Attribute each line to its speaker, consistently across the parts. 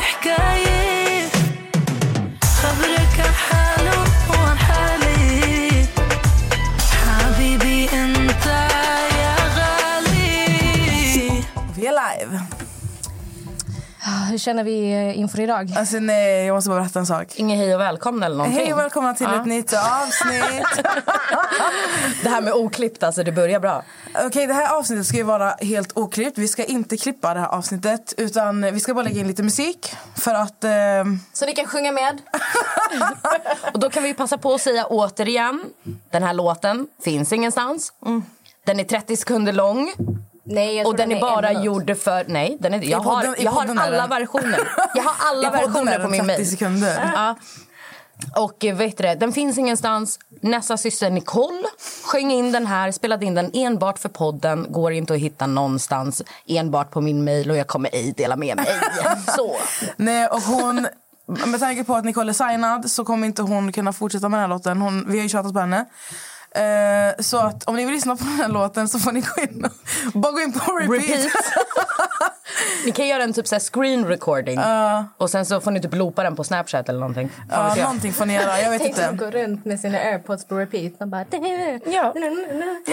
Speaker 1: حكاية خبرك عحاله وعن حالي حبيبي انت يا غالي
Speaker 2: Vi är live.
Speaker 3: Ah, Hur känner vi eh, inför idag?
Speaker 2: Alltså nej, jag måste bara berätta en sak.
Speaker 4: Inget hej och välkomna eller någonting.
Speaker 2: Hej och välkomna till ett nytt avsnitt.
Speaker 4: Det här med oklippt, alltså det börjar bra.
Speaker 2: Okej, det här avsnittet ska ju vara helt oklippt. Vi ska inte klippa det här avsnittet utan vi ska bara lägga in lite musik för att... Eh,
Speaker 4: Så ni kan sjunga med. och då kan vi passa på att säga återigen, den här låten finns ingenstans. Den är 30 sekunder lång
Speaker 3: Nej, jag
Speaker 4: och den är bara
Speaker 3: gjord...
Speaker 4: gjord för... Nej, den är, jag,
Speaker 2: podden-
Speaker 4: har,
Speaker 2: i
Speaker 4: jag har
Speaker 2: podden är
Speaker 4: alla
Speaker 2: den.
Speaker 4: versioner. Jag har alla
Speaker 2: i podden är
Speaker 4: versioner
Speaker 2: det
Speaker 4: på min
Speaker 2: 30
Speaker 4: mail.
Speaker 2: sekunder.
Speaker 4: Ja. Och eh, vet du det, den finns ingenstans. Nästa syster Nicole sjöng in den här, spelade in den enbart för podden. Går inte att hitta någonstans, enbart på min mail och jag kommer ej dela med mig. Så.
Speaker 2: Nej, och hon... Med tanke på att Nicole är signad så kommer inte hon kunna fortsätta med den här låten. Hon, vi har ju tjatat på henne. Eh, så att om ni vill lyssna på den här låten så får ni gå in och, bara gå in på repeat.
Speaker 4: Repeat. Ni kan göra en typ så här screen recording och sen så får ni typ loopa den på Snapchat eller någonting. Fan
Speaker 2: Ja,
Speaker 4: vet jag.
Speaker 2: någonting får ni göra. Jag vet
Speaker 5: Tänk
Speaker 2: inte.
Speaker 4: typ.
Speaker 5: att gå runt med sina airpods på repeat. Man bara...
Speaker 3: Ja.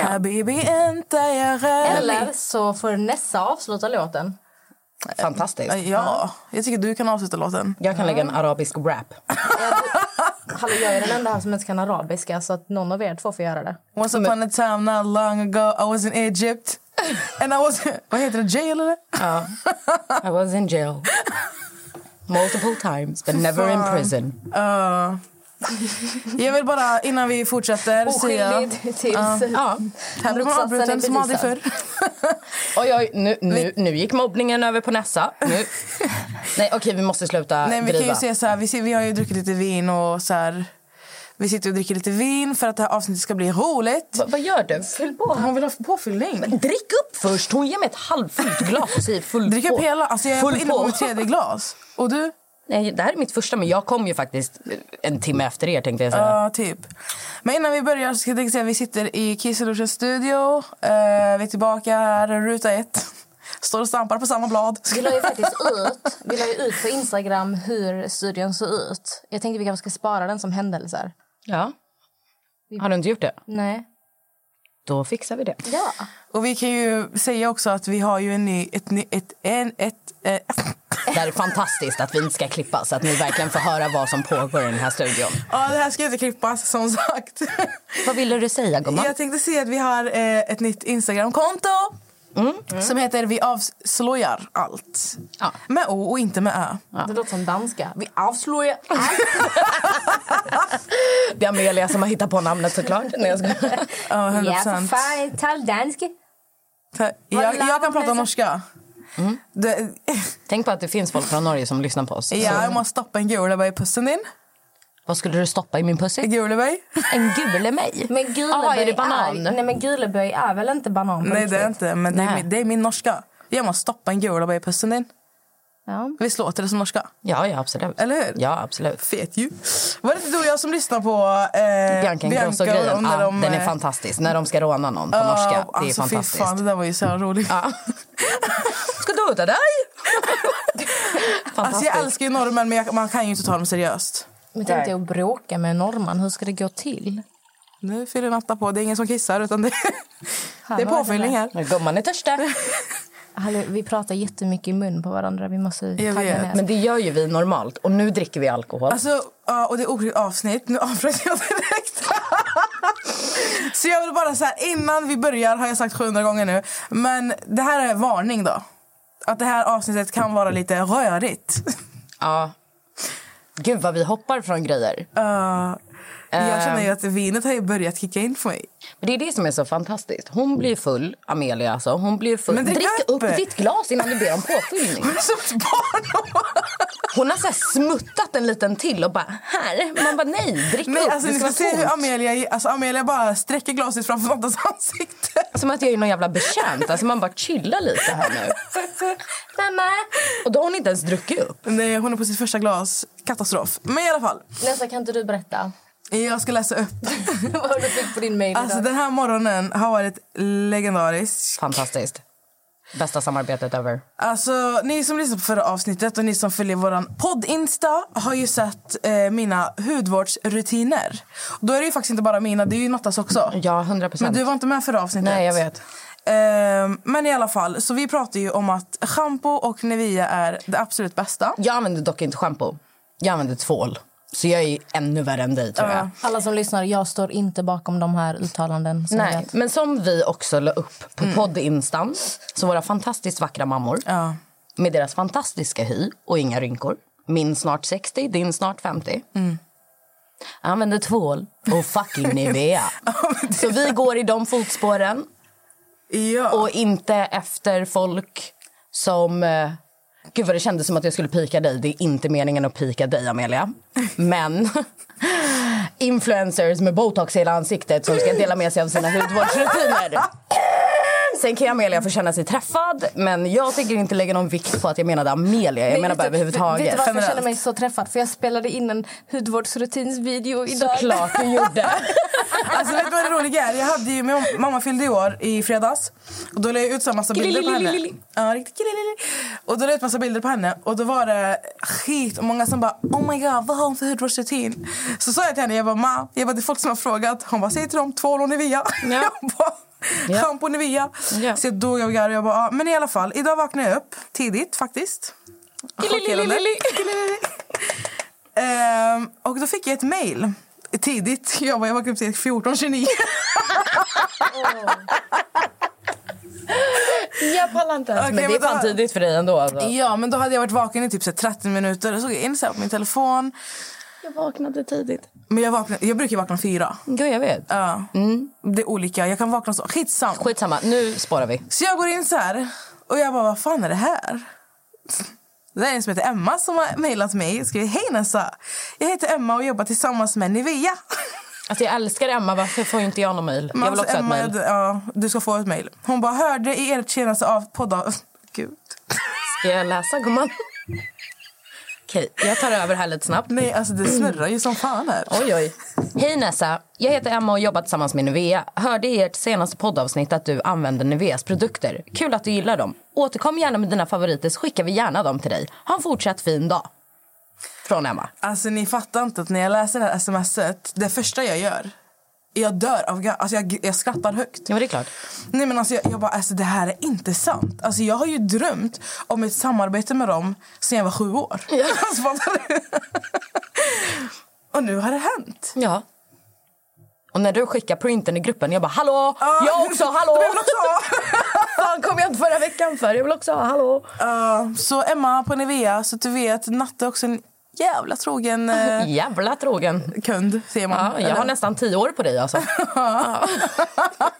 Speaker 2: Habibi inte jag rädd.
Speaker 5: Eller så får Nessa avsluta låten.
Speaker 4: Fantastiskt.
Speaker 2: Eh, Ja, jag tycker du kan avsluta låten.
Speaker 4: Jag kan lägga en arabisk rap.
Speaker 5: Hallå, jag är den enda här som inte kan arabiska så att någon av er två får göra det.
Speaker 2: Once upon a time not long ago I was in Egypt and I was... Vad heter det? Jail eller?
Speaker 4: Ja. I was in jail multiple times but never in prison.
Speaker 2: Ja. Eh, jag vill bara innan vi fortsätter säga...
Speaker 5: Oskyldig tills...
Speaker 4: Ja.
Speaker 2: Här blir man
Speaker 5: Motsatsen är
Speaker 2: avbruten som aldrig förr.
Speaker 5: bevisad.
Speaker 4: Oj, oj, nu, nu, nu gick mobbningen över på Nessa. Nu. Nej, okej, vi måste sluta
Speaker 2: Nej, vi kan ju
Speaker 4: driva.
Speaker 2: säga så här, vi, ser, vi har ju druckit lite vin och så här... Vi sitter och dricker lite vin för att det här avsnittet ska bli roligt.
Speaker 4: Va- vad gör du?
Speaker 5: Fyll på.
Speaker 2: Hon vill ha påfyllning.
Speaker 4: Drick upp först! Hon ger mig ett halvfullt glas och säger full
Speaker 2: Drick
Speaker 4: på.
Speaker 2: upp hela. Alltså jag är
Speaker 4: Full
Speaker 2: inne på
Speaker 4: på.
Speaker 2: mitt tredje glas. Och du?
Speaker 4: Nej, det här är mitt första, men jag kom ju faktiskt en timme efter er tänkte jag säga.
Speaker 2: Ja, typ. Men innan vi börjar så ska jag tänka säga att vi sitter i Kisselushens studio. Eh, vi är tillbaka här, ruta ett. Står och stampar på samma blad.
Speaker 5: Vi la ju faktiskt ut, vi la ju ut på Instagram hur studion såg ut. Jag tänkte vi kanske ska spara den som händelser.
Speaker 4: Ja. Har du inte gjort det?
Speaker 5: Nej.
Speaker 4: Då fixar vi det.
Speaker 5: Ja.
Speaker 2: Och vi kan ju säga också att vi har ju en ny... Ett, ny- ett, en, ett, eh,
Speaker 4: Det här är fantastiskt att vi inte ska klippa så att ni verkligen får höra vad som pågår i den här studion.
Speaker 2: ja, det här ska inte klippas, som sagt.
Speaker 4: Vad ville du säga, gumman?
Speaker 2: Jag tänkte säga att vi har eh, ett nytt Instagramkonto Mm. som heter Vi avslöjar allt.
Speaker 4: Ja.
Speaker 2: Med O och inte med Ö.
Speaker 5: Det låter som danska.
Speaker 4: Vi avslöjar allt. Det är Amelia som har hittat på namnet såklart. Nej, jag skojar.
Speaker 2: Ja, 100
Speaker 5: fan. Tal dansk.
Speaker 2: Ta- Jag, jag kan prata norska. Det,
Speaker 4: Tänk på att det finns folk från Norge som lyssnar på oss.
Speaker 2: ja, jag måste stoppa en gulebär i pussen din.
Speaker 4: Vad skulle du stoppa i min pussy?
Speaker 2: Gulebär?
Speaker 4: En gul mig?
Speaker 5: Men
Speaker 4: ah,
Speaker 5: Guleböj
Speaker 4: är det banan?
Speaker 5: nej, men Guleböj är väl inte banan? på
Speaker 2: Nej, det
Speaker 5: riktigt?
Speaker 2: är inte. Men det är,
Speaker 4: Nej.
Speaker 2: min, det är min norska. Jag måste stoppa en gulebär i pussen din.
Speaker 5: Ja.
Speaker 2: Visst låter det som norska?
Speaker 4: Ja, ja, absolut.
Speaker 2: Eller hur?
Speaker 4: Ja, absolut.
Speaker 2: Fet ju. Var det inte du och jag som lyssnade på eh,
Speaker 4: Bianca
Speaker 2: och
Speaker 4: Ingrosso-grejen,
Speaker 2: när
Speaker 4: ja,
Speaker 2: de,
Speaker 4: den är
Speaker 2: eh,
Speaker 4: fantastisk. När de ska råna någon på
Speaker 2: ja,
Speaker 4: norska. Det är
Speaker 2: alltså, fy
Speaker 4: fantastiskt.
Speaker 2: Fan, det där var ju så här roligt.
Speaker 4: Ja. Ska du ta dig?
Speaker 2: Alltså,
Speaker 4: fantastiskt.
Speaker 2: jag älskar ju norrmän, men jag, man kan ju inte ta dem seriöst.
Speaker 5: Men tänk dig att bråka med en norrman. Hur ska det gå till?
Speaker 2: Nu fyller Natta på. Det är ingen som kissar, utan det, det är
Speaker 5: vad
Speaker 2: påfyllning här.
Speaker 4: Men Gumman är törstig.
Speaker 5: Hallå, vi pratar jättemycket i mun på varandra. Vi måste
Speaker 2: Jag
Speaker 5: tagga
Speaker 2: vet.
Speaker 5: ner.
Speaker 4: Men det gör ju vi normalt. Och nu dricker vi alkohol.
Speaker 2: Alltså, ja, och det är oklippt avsnitt. Nu avbröt jag direkt. så jag vill bara så här, innan vi börjar har jag sagt 700 gånger nu. Men det här är en varning då. Att det här avsnittet kan vara lite rörigt.
Speaker 4: Ja. Gud vad vi hoppar från grejer.
Speaker 2: Ja, Eh, jag känner
Speaker 4: Eh.
Speaker 2: ju att vinet har ju börjat kicka in för mig.
Speaker 4: Men Det är det som är så fantastiskt. Hon blir full, Amelia alltså. Hon blir full.
Speaker 2: Men drick upp.
Speaker 4: upp ditt glas innan du ber om påfyllning.
Speaker 2: Men som ett barn!
Speaker 4: Hon har så här smuttat en liten till och bara här. Man bara nej, drick
Speaker 2: Nej,
Speaker 4: upp.
Speaker 2: alltså,
Speaker 4: Oh, det
Speaker 2: ni
Speaker 4: ska
Speaker 2: ska se
Speaker 4: vara
Speaker 2: hur
Speaker 4: tomt.
Speaker 2: Amelia, alltså, Amelia bara sträcker glaset framför Mattas ansikte.
Speaker 4: Som att jag är någon jävla betjänt. Alltså man bara chilla lite här nu.
Speaker 5: Mamma!
Speaker 4: Och då har hon inte ens druckit upp.
Speaker 2: Nej, hon är på sitt första glas. Katastrof. Men i alla fall,
Speaker 5: Nästa kan inte du berätta?
Speaker 2: jag ska läsa upp.
Speaker 5: Vad har du fick på din mail
Speaker 2: Alltså
Speaker 5: idag?
Speaker 2: den här morgonen har varit legendarisk.
Speaker 4: Fantastiskt. Bästa samarbetet ever.
Speaker 2: Alltså, ni som lyssnade på förra avsnittet och ni som följer vår podd-insta har ju sett eh, mina hudvårdsrutiner. Då är det ju faktiskt inte bara mina, det är ju Nattas också.
Speaker 4: Ja, 100
Speaker 2: Men du var inte med förra avsnittet.
Speaker 4: Nej, jag vet.
Speaker 2: Ehm, men i alla fall, så vi pratar ju om att shampoo och Nivea är det absolut bästa.
Speaker 4: Jag använder dock inte shampoo. Jag använder tvål. Så jag är ännu värre än dig, tror jag.
Speaker 5: Alla som lyssnar, jag står inte bakom de här uttalanden. så
Speaker 4: Nej,
Speaker 5: jag-
Speaker 4: men som vi också la upp på poddinstan, så våra fantastiskt vackra mammor
Speaker 2: Ja.
Speaker 4: med deras fantastiska hy och inga rynkor. Min snart 60, din snart 50. Jag använder tvål och fucking Nivea. Så vi går i de fotspåren
Speaker 2: Ja.
Speaker 4: och inte efter folk som... eh, Gud vad det kändes som att jag skulle pika dig. Det är inte meningen att pika dig, Amelia. Men influencers med botox i hela ansiktet som ska dela med sig av sina hudvårdsrutiner. Sen kan Amelia få känna sig träffad, men jag tänker inte lägga någon vikt på att jag menade Amelia. Jag
Speaker 2: typ-
Speaker 4: menar bara
Speaker 5: vet du- Vet du
Speaker 4: överhuvudtaget.
Speaker 5: varför jag känner mig så träffad? För jag spelade in en hudvårdsrutinsvideo idag.
Speaker 4: Såklart du gjorde.
Speaker 2: Alltså vet du vad det roliga är? Jag hade ju, min mamma fyllde i år i fredags och då la jag ut så här massa bilder på henne. Ja, riktigt kililili. Och då la jag ut massa bilder på henne och då var det skit och många som bara oh my god vad har hon för hudvårdsrutin? Så sa jag till henne, jag bara ma, jag bara, det är folk som har frågat. Hon bara säg till dem tvål och Nivea. Jag bara,
Speaker 4: Ja.
Speaker 2: Shampoo och Nivea.
Speaker 4: Ja.
Speaker 2: Så jag dog av garv. Jag bara, ah. Men i alla fall, idag vaknade jag upp tidigt faktiskt. Chockerande. Ehm, och då fick jag ett mejl tidigt. Jag, typ bara, jag vaknade upp till 14.29.
Speaker 4: Jag pallar inte.
Speaker 2: Okej,
Speaker 4: men det är
Speaker 2: men då-
Speaker 4: fan tidigt för dig ändå. Alltså.
Speaker 2: Ja, men då hade jag varit vaken i typ så här 30 minuter och såg jag in så här på min telefon.
Speaker 4: Jag vaknade tidigt.
Speaker 2: Men jag, vaknade, jag brukar vakna fyra.
Speaker 4: Gud, jag vet. Mm.
Speaker 2: Ja. Det är olika. Jag kan vakna så. Skitsam.
Speaker 4: Skitsamma, nu sparar vi.
Speaker 2: Så jag går in så här och jag bara, vad fan är det här? Det är en som heter Emma som har mejlat mig och skrivit Hej Nessa! Jag heter Emma och jobbar tillsammans med Nivea.
Speaker 4: Alltså jag älskar Emma, varför får inte jag någon mejl? Jag vill
Speaker 2: Alltså,
Speaker 4: också ha ett
Speaker 2: Emma,
Speaker 4: mejl.
Speaker 2: jag- Ja, du ska få ett mejl. Hon bara, hörde i ert senaste av podda... Gud.
Speaker 4: Ska jag läsa gumman? Okej, jag tar över här lite snabbt.
Speaker 2: Nej, alltså det snurrar ju som fan här.
Speaker 4: Oj, oj. Hej Nessa, jag heter Emma och jobbar tillsammans med Nivea. Hörde i ert senaste poddavsnitt att du använder Niveas produkter. Kul att du gillar dem. Återkom gärna med dina favoriter så skickar vi gärna dem till dig. Ha en fortsatt fin dag. Från Emma.
Speaker 2: Alltså ni fattar inte att när jag läser det här smset, det första jag gör, jag dör av ga- alltså jag, jag skrattar högt.
Speaker 4: Ja, men det är klart.
Speaker 2: Nej men alltså jag, jag bara, alltså det här är inte sant. Alltså jag har ju drömt om ett samarbete med dem sedan jag var sju år. Alltså, fattar du? Och nu har det hänt.
Speaker 4: Ja. Och när du skickar printen i gruppen, jag bara hallå!
Speaker 2: Ja.
Speaker 4: Jag också, hallå!
Speaker 2: De vill också ha.
Speaker 4: Fan kom jag inte förra veckan för? Jag vill också ha hallå!
Speaker 2: Ja, så Emma på Nivea, så att du vet, Natte är också en jävla trogen eh,
Speaker 4: Jävla trogen.
Speaker 2: kund, säger man.
Speaker 4: Ja, jag
Speaker 2: Eller?
Speaker 4: har nästan tio år på dig alltså.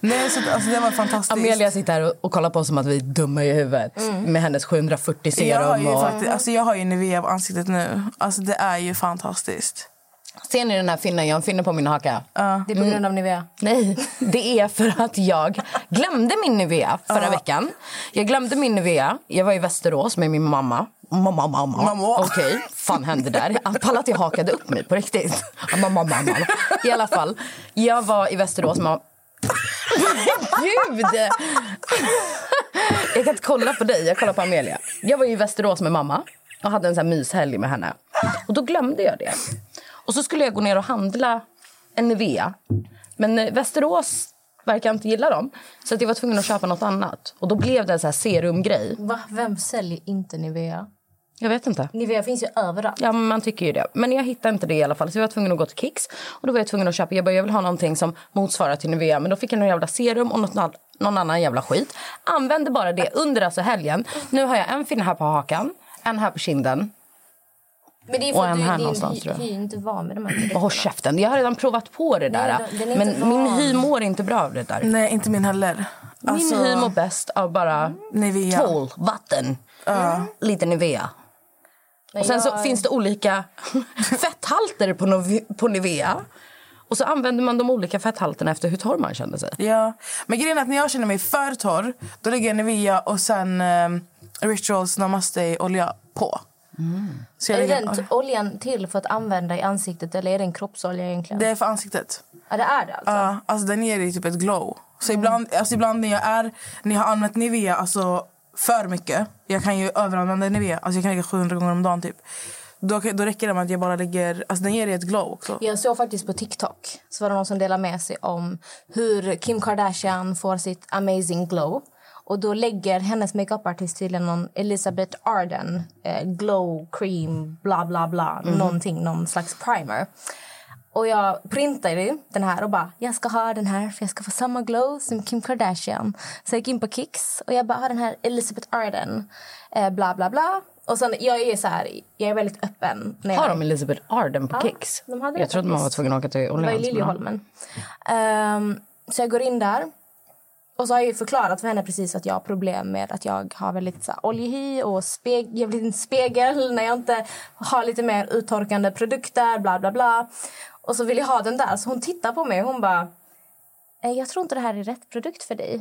Speaker 2: Nej, så, att- alltså det var fantastiskt.
Speaker 4: Amelia sitter här och, och kollar på oss som att vi är dumma i huvudet med hennes 740
Speaker 2: Mm. jag har,
Speaker 4: serum.
Speaker 2: ju
Speaker 4: Och...
Speaker 2: faktiskt, alltså jag har ju Nivea på ansiktet nu. Alltså det är ju fantastiskt.
Speaker 4: Ser ni den här finnen? Jag har en finne på min haka.
Speaker 5: Det är på
Speaker 4: Mm.
Speaker 5: grund av Nivea.
Speaker 4: Nej, det är för att jag glömde min Nivea förra veckan. Jag glömde min Nivea. Jag var i Västerås med min mamma. Mamma, mamma.
Speaker 2: Mamma.
Speaker 4: Okej, fan hände där? Jag pallar att jag hakade upp mig på riktigt. Mamma, mamma. I alla fall, jag var i Västerås med... Gud! Jag kan inte kolla på dig, jag kollar på Amelia. Jag var ju i Västerås med mamma och hade en sån här myshelg med henne. Och då glömde jag det. Och så skulle jag gå ner och handla en Nivea. Men eh, Västerås verkar inte gilla dem. Så att jag var tvungen att köpa något annat. Och då blev det en sån här serumgrej.
Speaker 5: Va? Vem säljer inte Nivea?
Speaker 4: Jag vet inte.
Speaker 5: Nivea finns ju överallt.
Speaker 4: Ja, men man tycker ju det. Men jag hittade inte det i alla fall. Så jag var tvungen att gå till Kicks. Och då var jag tvungen att köpa. Jag bara, jag vill ha någonting som motsvarar till Nivea. Men då fick jag någon jävla serum och något, annat- någon annan jävla skit. Använde bara det under alltså helgen. Nu har jag en fin här på hakan. En här på kinden.
Speaker 5: Men det är
Speaker 4: Och
Speaker 5: för
Speaker 4: en
Speaker 5: att du,
Speaker 4: här
Speaker 5: din
Speaker 4: någonstans,
Speaker 5: hy,
Speaker 4: tror jag.
Speaker 5: hy är inte van med de här
Speaker 4: Och
Speaker 5: produkterna.
Speaker 4: håll käften. Jag har redan provat på det där.
Speaker 5: Nej, den är inte
Speaker 4: men min
Speaker 5: van. Alltså-
Speaker 4: hy mår inte bra av det där.
Speaker 2: Nej, inte min heller. Alltså,
Speaker 4: Min hy mår bäst av bara
Speaker 2: Nivea.
Speaker 4: tvål, vatten, lite Nivea. Och sen så finns det olika fetthalter på, Nov- på Nivea. Och så använder man de olika fetthalterna efter hur torr man känner sig.
Speaker 2: Ja. Men grejen är att när jag känner mig för torr, då lägger jag Nivea och sen eh, Rituals Namaste-olja på.
Speaker 4: Mm.
Speaker 2: Så jag
Speaker 5: Är
Speaker 2: lägger-
Speaker 5: den t- oljan till för att använda i ansiktet eller är det en kroppsolja egentligen?
Speaker 2: det är för ansiktet.
Speaker 5: Ja, det är det alltså.
Speaker 2: Ja, alltså den ger dig typ ett glow. Så
Speaker 4: Mm.
Speaker 2: ibland, alltså ibland när jag är, när jag har använt Nivea alltså för mycket, jag kan ju överanvända Nivea, alltså jag kan lägga 700 gånger om dagen typ. Då, kan- då räcker det med att jag bara lägger, alltså den ger dig ett glow också.
Speaker 5: Jag såg faktiskt på TikTok så var det någon som delade med sig om hur Kim Kardashian får sitt amazing glow. Och då lägger hennes makeupartist tydligen någon Elizabeth Arden eh, glow cream, bla bla bla, någonting, någon slags primer. Och jag printade ju den här och bara, jag ska ha den här för jag ska få samma glow som Kim Kardashian. Så jag gick in på Kicks och jag bara, har den här Elizabeth Arden, eh, bla bla bla. Och sen, jag är så här, jag är väldigt öppen. När jag
Speaker 4: Har de Elizabeth Arden på
Speaker 5: Ja,
Speaker 4: Kicks?
Speaker 5: de hade det
Speaker 4: jag trodde man var
Speaker 5: faktiskt.
Speaker 4: tvungen att åka till
Speaker 5: Det var i
Speaker 4: Orleans. men ja.
Speaker 5: Liljeholmen.
Speaker 4: Mm.
Speaker 5: Ehm, så jag går in där. Och så har jag ju förklarat för henne precis att jag har problem med att jag har väldigt så här, oljehy och speg- jag blir en spegel när jag inte har lite mer uttorkande produkter, bla bla bla. Och så vill jag ha den där, så hon tittar på mig och hon bara... "Eh, Jag tror inte det här är rätt produkt för dig.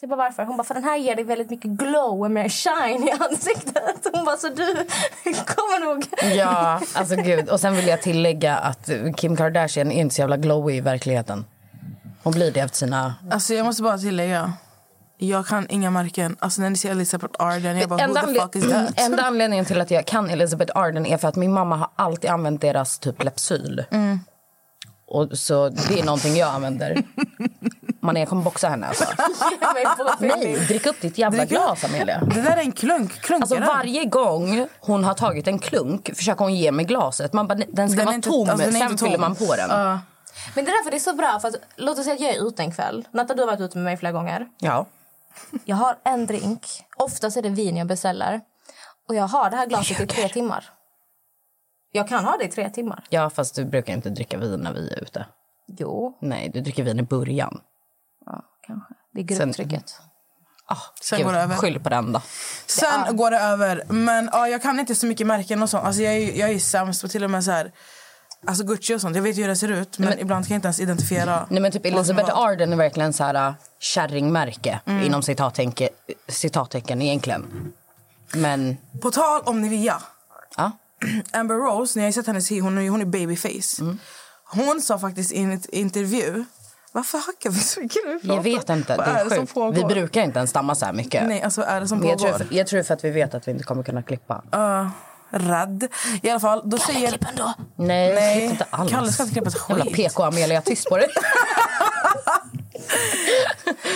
Speaker 5: Så jag bara, varför? Hon bara, för den här ger dig väldigt mycket glow och mer shine i ansiktet. Hon bara, så du kommer nog...
Speaker 4: Ja, alltså gud. Och sen vill jag tillägga att Kim Kardashian är inte så jävla glowy i verkligheten. Hon blir det efter sina...
Speaker 2: Alltså jag måste bara tillägga, jag kan inga märken. Alltså när ni ser Elizabeth Arden, jag bara who
Speaker 4: Enda,
Speaker 2: the fuck is
Speaker 4: anled- Mm,
Speaker 2: that?
Speaker 4: enda anledningen till att jag kan Elizabeth Arden är för att min mamma har alltid använt deras typ Lypsyl.
Speaker 2: Mm.
Speaker 4: Och så det är någonting jag använder. Man jag kommer boxa henne alltså. Nej, drick upp ditt jävla
Speaker 2: Drick upp.
Speaker 4: glas Amelia.
Speaker 2: Det där är en klunk, klunkare.
Speaker 4: Alltså varje gång hon har tagit en klunk försöker hon ge mig glaset. Man bara, "Nej, den ska
Speaker 2: Den är
Speaker 4: vara
Speaker 2: inte-
Speaker 4: tom,
Speaker 2: alltså, den är
Speaker 4: sen
Speaker 2: inte tom."
Speaker 4: fyller man på den.
Speaker 2: Ja.
Speaker 5: Men det är därför det är så bra. För att, låt oss säga att jag är ute en kväll. Natta, du har varit ute med mig flera gånger.
Speaker 4: Ja.
Speaker 5: Jag har en drink. Oftast är det vin jag beställer. Och jag har det här glaset i tre timmar. Jag kan ha det i tre timmar.
Speaker 4: ja, fast du brukar inte dricka vin när vi är ute.
Speaker 5: Jo,
Speaker 4: Nej, du dricker vin i början.
Speaker 5: kanske. Det är grupptrycket.
Speaker 4: Ah,
Speaker 2: Sen
Speaker 4: gud,
Speaker 2: går det över.
Speaker 4: Skyll på den då.
Speaker 2: Sen går det över. Men ja, jag kan inte så mycket märken och sånt. Alltså, jag, är, ju- jag är ju sämst på till och med så här, alltså Gucci och sånt. Jag vet ju hur det ser ut, men, ibland kan jag inte ens identifiera.
Speaker 4: Nej, men typ
Speaker 2: vad som är
Speaker 4: Elizabeth
Speaker 2: vad.
Speaker 4: Arden är verkligen så här äh, kärringmärke
Speaker 2: Mm.
Speaker 4: inom citattecken, citattecken egentligen. Men
Speaker 2: På tal om Nivea.
Speaker 4: ja,
Speaker 2: Amber Rose, när jag har sett hennes hy, hon, är- hon är babyface.
Speaker 4: Mm.
Speaker 2: Hon sa faktiskt i en int- intervju... Varför hackar vi så mycket nu?
Speaker 4: jag vet inte. Det
Speaker 2: Vad är
Speaker 4: är
Speaker 2: det som
Speaker 4: sjukt.
Speaker 2: pågår?
Speaker 4: Vi brukar inte ens stamma så här mycket.
Speaker 2: Nej, alltså vad är det som
Speaker 4: Men jag, tror
Speaker 2: pågår?
Speaker 4: för, jag tror för att vi vet att vi inte kommer kunna klippa.
Speaker 2: Uh, rädd. I alla fall, då säger...
Speaker 4: Nej,
Speaker 2: Nej.
Speaker 4: klipp inte alls.
Speaker 2: Kalle ska inte klippa ett
Speaker 4: Jävla
Speaker 2: skit.
Speaker 4: PK Amelia, tyst på dig.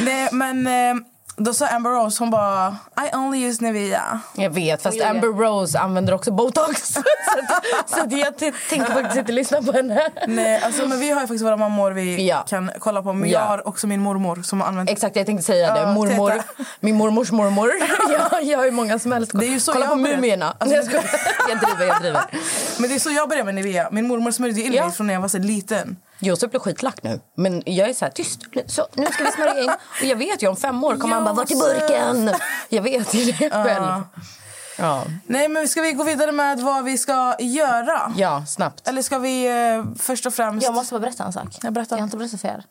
Speaker 2: Nej, men eh, då sa Amber Rose, hon bara... I only use Nivea.
Speaker 4: jag vet, fast
Speaker 5: Oj, oj, oj.
Speaker 4: Amber Rose använder också botox. så att, så att jag t- tänkte faktiskt inte lyssna på henne.
Speaker 2: Nej, alltså, men vi har ju faktiskt våra mammor vi
Speaker 4: Ja.
Speaker 2: kan kolla på. Men
Speaker 4: Ja.
Speaker 2: jag har också min mormor som har använt...
Speaker 4: Exakt, jag tänkte säga det.
Speaker 2: Ja,
Speaker 4: Mormor,
Speaker 2: titta.
Speaker 4: min mormors mormor. Jag, jag har ju många som helst.
Speaker 2: Det är ju så
Speaker 4: Kolla
Speaker 2: jag
Speaker 4: på
Speaker 2: började.
Speaker 4: mumierna.
Speaker 2: Alltså,
Speaker 4: jag, skojar. jag driver, jag driver.
Speaker 2: men det är så jag började med Nivea. Min mormor smörjde in
Speaker 4: Ja.
Speaker 2: mig från när jag var så liten.
Speaker 4: Josef blir skitlack nu. Men jag är så här, tyst. Så, nu ska vi smörja in. Och jag vet ju, om fem år kommer han bara, vart är
Speaker 2: Josef.
Speaker 4: burken? Jag vet ju det själv. Ja,
Speaker 2: Nej, men ska vi gå vidare med vad vi ska göra?
Speaker 4: ja snabbt.
Speaker 2: Eller ska vi eh, först och främst...
Speaker 5: Jag måste bara berätta en sak.
Speaker 2: Jag berättar.
Speaker 5: har inte berättat för er.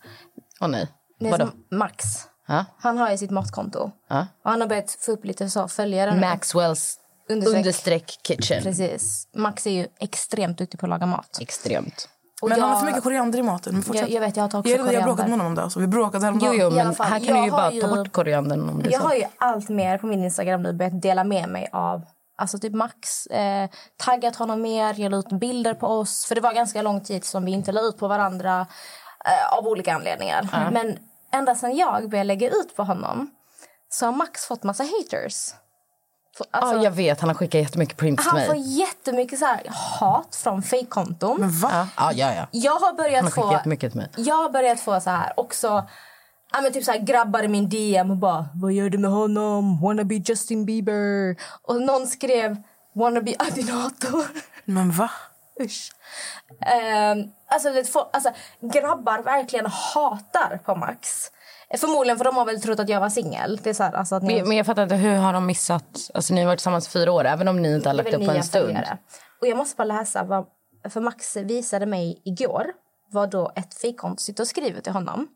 Speaker 4: Åh nej.
Speaker 5: Det är
Speaker 4: Vadå?
Speaker 5: som Max.
Speaker 4: Ja.
Speaker 5: Han har ju sitt matkonto.
Speaker 4: Ja.
Speaker 5: Och han har börjat få upp lite så följare nu.
Speaker 4: Maxwells
Speaker 5: Understreck.
Speaker 4: understreck, kitchen.
Speaker 5: Precis. Max är ju extremt duktig på att laga mat.
Speaker 4: Extremt.
Speaker 5: Och
Speaker 2: men han har
Speaker 5: jag-
Speaker 2: för mycket koriander i maten. Men fortsätt.
Speaker 5: Jag- jag vet, jag tar också
Speaker 2: jag, jag har bråkat
Speaker 5: koriander.
Speaker 2: med honom om det. Alltså. Vi bråkade
Speaker 4: Jo,
Speaker 2: häromdagen.
Speaker 4: jo,
Speaker 5: I alla
Speaker 4: men
Speaker 5: fall,
Speaker 4: här kan du
Speaker 5: jag
Speaker 4: ju
Speaker 5: har
Speaker 4: bara
Speaker 5: ju-
Speaker 4: ta bort koriandern om det är
Speaker 5: Jag
Speaker 4: så.
Speaker 5: har ju allt mer på min Instagram nu börjat dela med mig av Alltså typ Max, eh, taggat honom mer, jag la ut bilder på oss. För det var ganska lång tid som vi inte la ut på varandra eh, av olika anledningar. Men ända sedan jag började lägga ut på honom så har Max fått massa haters. F- Alltså,
Speaker 4: ja, jag vet, han har skickat jättemycket prints till
Speaker 5: han får
Speaker 4: mig.
Speaker 5: jättemycket så här hat från fejkkonton.
Speaker 2: Men va?
Speaker 4: Ja, ja, ja.
Speaker 5: Jag har
Speaker 4: Han har
Speaker 5: börjat
Speaker 4: skickat
Speaker 5: få
Speaker 4: jättemycket till mig.
Speaker 5: jag har börjat få så här också Ja, men typ så här, grabbar i min DM och bara Vad gör du med honom? Wanna be Justin Bieber. Och någon skrev Wanna be Adinator.
Speaker 2: Men va?
Speaker 5: Usch. Um, alltså, du vet, få, alltså grabbar verkligen hatar på Max. Eh, Förmodligen för de har väl trott att jag var singel. Det är så här, alltså att ni...
Speaker 4: Men men jag fattar inte, hur har de missat... Alltså ni har varit tillsammans i fyra år, även om ni inte har
Speaker 5: Det
Speaker 4: lagt
Speaker 5: är väl
Speaker 4: upp på en
Speaker 5: nya
Speaker 4: stund.
Speaker 5: följare. Och jag måste bara läsa vad, för Max visade mig igår vad då ett fejkkonto sitter och skriver till honom.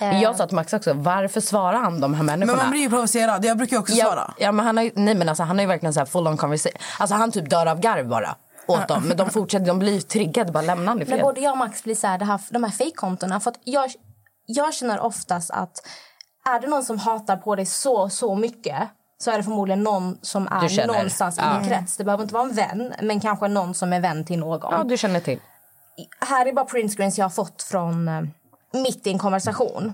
Speaker 4: Men Jag sa till Max också, varför svarar han de här människorna?
Speaker 2: Men man blir ju provocerad. Jag brukar ju också
Speaker 4: ja,
Speaker 2: svara.
Speaker 4: ja, men han har ju, nej men alltså han har ju verkligen så här full on conversation. Alltså han typ dör av garv bara åt dem. Men de fortsätter, de blir ju triggade, bara lämna han i
Speaker 5: Men
Speaker 4: fred.
Speaker 5: både jag och Max blir så här, det här de här fejkkontona. För att jag, jag känner oftast att är det någon som hatar på dig så, så mycket så är det förmodligen någon som
Speaker 4: Du
Speaker 5: är
Speaker 4: känner.
Speaker 5: någonstans i
Speaker 4: Ja.
Speaker 5: din krets. Det behöver inte vara en vän, men kanske någon som är vän till någon
Speaker 4: Ja, du känner till.
Speaker 5: här är bara printscreens jag har fått från eh, mitt i en konversation.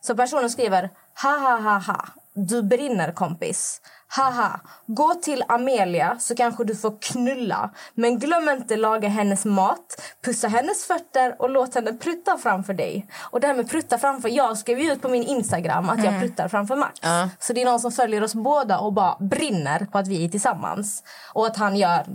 Speaker 5: Så personen skriver ha ha ha ha, du brinner kompis. Haha, gå till Amelia så kanske du får knulla. Men glöm inte laga hennes mat, pussa hennes fötter och låt henne prutta framför dig. Och det här med prutta framför, jag skrev ju ut på min Instagram att jag pruttar framför Max. Så det är någon som följer oss båda och bara brinner på att vi är tillsammans. Och att han gör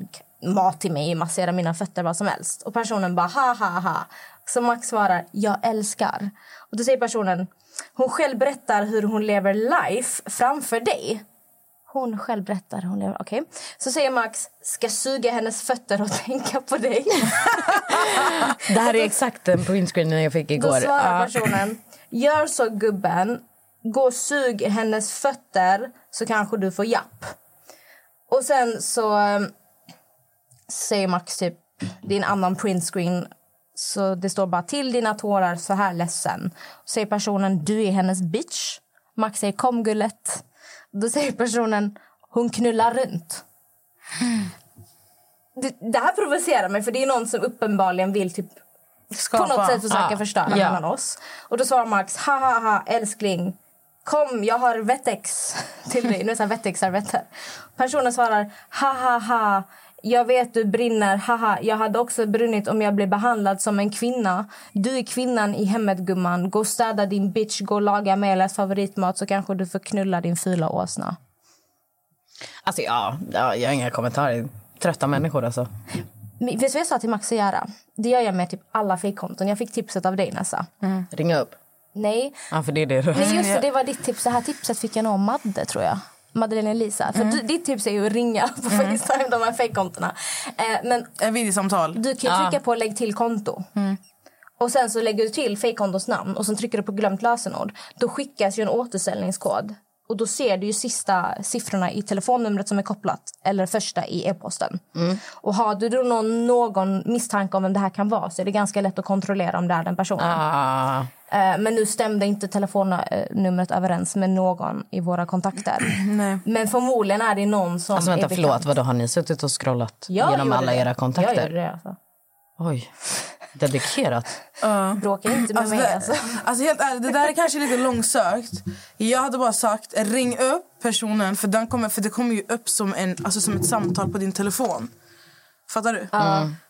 Speaker 5: mat till mig, massera mina fötter, vad som helst. Och personen bara ha ha ha. Så Max svarar jag älskar. Och då säger personen hon själv berättar hur hon lever life framför dig. Hon själv berättar hur hon lever, okej. Så säger Max ska suga hennes fötter och tänka på dig.
Speaker 4: Det här är exakt den printscreenen jag fick
Speaker 5: Då
Speaker 4: igår.
Speaker 5: svarar
Speaker 4: Ja.
Speaker 5: personen gör så gubben, gå och sug hennes fötter så kanske du får japp. Och sen så eh, säger Max typ, det är en annan printscreen så det står bara till dina tårar så här ledsen. Säger personen du är hennes bitch. Max säger kom gullet. Då säger personen hon knullar runt.
Speaker 4: Mm.
Speaker 5: Det, det här provocerar mig för det är någon som uppenbarligen vill typ
Speaker 2: Skapa.
Speaker 5: på något sätt försöka
Speaker 4: Ja.
Speaker 5: förstöra
Speaker 4: Ja.
Speaker 5: mellan oss. Och då svarar Max, ha ha ha älskling, kom jag har Vetex till dig. Nu är det Vetex-servetter. Personen svarar, ha ha ha, jag vet du brinner, haha, jag hade också brunnit om jag blev behandlad som en kvinna. Du är kvinnan i hemmet gumman, gå och städa din bitch, gå och laga Amelias favoritmat så kanske du får knulla din fula åsna.
Speaker 4: Alltså, ja, ja, jag har inga kommentarer. Trötta människor alltså.
Speaker 5: Men Vet du vad jag sa till Max att göra? Det gör jag med typ alla fejkkonton. Jag fick tipset av dig Nessa.
Speaker 4: Mm. Ringa upp.
Speaker 5: Nej,
Speaker 4: Ja, för det är det du...
Speaker 5: Mm. Nej, just det, det var ditt tips. Det här tipset fick jag nog av Madde, tror jag. Madeleine Elisa. För du, ditt tips är ju att ringa på Facetime, de här fejkkontona. Eh, men
Speaker 2: En videosamtal.
Speaker 5: du kan ju trycka på lägg till konto. Och sen så lägger du till fejkkontos namn och sen trycker du på glömt lösenord. Då skickas ju en återställningskod. Och då ser du ju sista siffrorna i telefonnumret som är kopplat. Eller första i e-posten. Och har du då någon, någon misstanke om vem det här kan vara så är det ganska lätt att kontrollera om det är den personen.
Speaker 4: Ah,
Speaker 5: Eh, Men nu stämde inte telefonnumret överens med någon i våra kontakter.
Speaker 2: Nej.
Speaker 5: Men förmodligen är det någon som...
Speaker 4: alltså
Speaker 5: är
Speaker 4: vänta,
Speaker 5: bekant.
Speaker 4: förlåt. Vadå, har ni suttit och scrollat
Speaker 5: Jag
Speaker 4: genom
Speaker 5: gjorde
Speaker 4: alla
Speaker 5: det.
Speaker 4: era
Speaker 5: Jag
Speaker 4: kontakter?
Speaker 5: gjorde det. Alltså.
Speaker 4: Oj. Dedikerat.
Speaker 5: Bråka inte med
Speaker 2: Alltså,
Speaker 5: mig.
Speaker 2: det,
Speaker 5: Alltså.
Speaker 2: alltså helt ärligt, det där är kanske lite långsökt. Jag hade bara sagt ring upp personen för, den kommer, för det kommer ju upp som, en, alltså, som ett samtal på din telefon. Fattar du?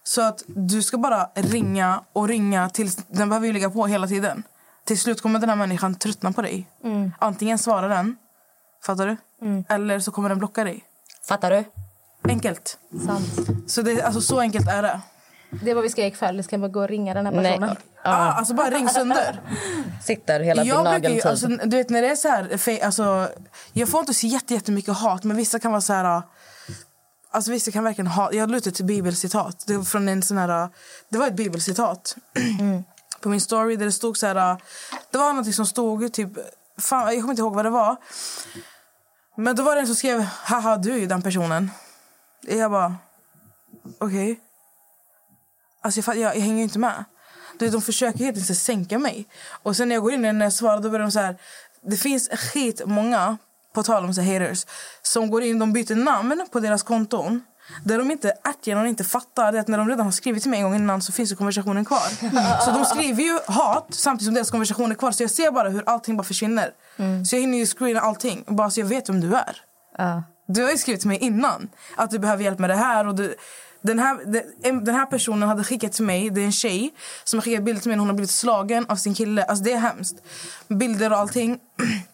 Speaker 2: Så att du ska bara ringa och ringa tills den behöver ju ligga på hela tiden. Till slut kommer den här människan tröttna på dig. Antingen svarar den, fattar du? Eller så kommer den blocka dig.
Speaker 4: Fattar du?
Speaker 2: Enkelt.
Speaker 5: Sant.
Speaker 2: Så, det, alltså, så enkelt är det.
Speaker 5: Det är vad vi ska göra ikväll. Vi ska bara gå och ringa den här
Speaker 4: Nej.
Speaker 5: personen.
Speaker 2: Ah, alltså bara ring sönder.
Speaker 4: Sitter hela typ. din
Speaker 2: Jag brukar ju,
Speaker 4: nageltid.
Speaker 2: alltså, du vet när det är så här, fe- alltså, jag får inte så jätte- jättemycket hat men vissa kan vara så här, alltså vissa kan verkligen ha, jag la ut ett bibelcitat, det var från en sån här, det var ett bibelcitat på min story där det stod så här, det var någonting som stod typ, fan, jag kommer inte ihåg vad det var. Men då var det en som skrev, haha du är ju den personen. Jag bara, okej. Alltså jag, fatt- jag, jag hänger ju inte med. Du vet, de försöker helt enkelt sänka mig. Och sen när jag går in när jag svarar då börjar de så här. Det finns skitmånga, på tal om så här haters, som går in de byter namn på deras konton. Där de inte ärtigen och inte fattar det är att när de redan har skrivit till mig en gång innan så finns ju konversationen kvar. Så de skriver ju hat samtidigt som deras konversation är kvar. Så jag ser bara hur allting bara försvinner. Så jag hinner ju screena allting. Bara så jag vet vem du är. Du har ju skrivit till mig innan att du behöver hjälp med det här. Och du, den, här de- en- den här personen hade skickat till mig, det är en tjej som har skickat bilder till mig när hon har blivit slagen av sin kille. Alltså det är hemskt. Bilder och allting.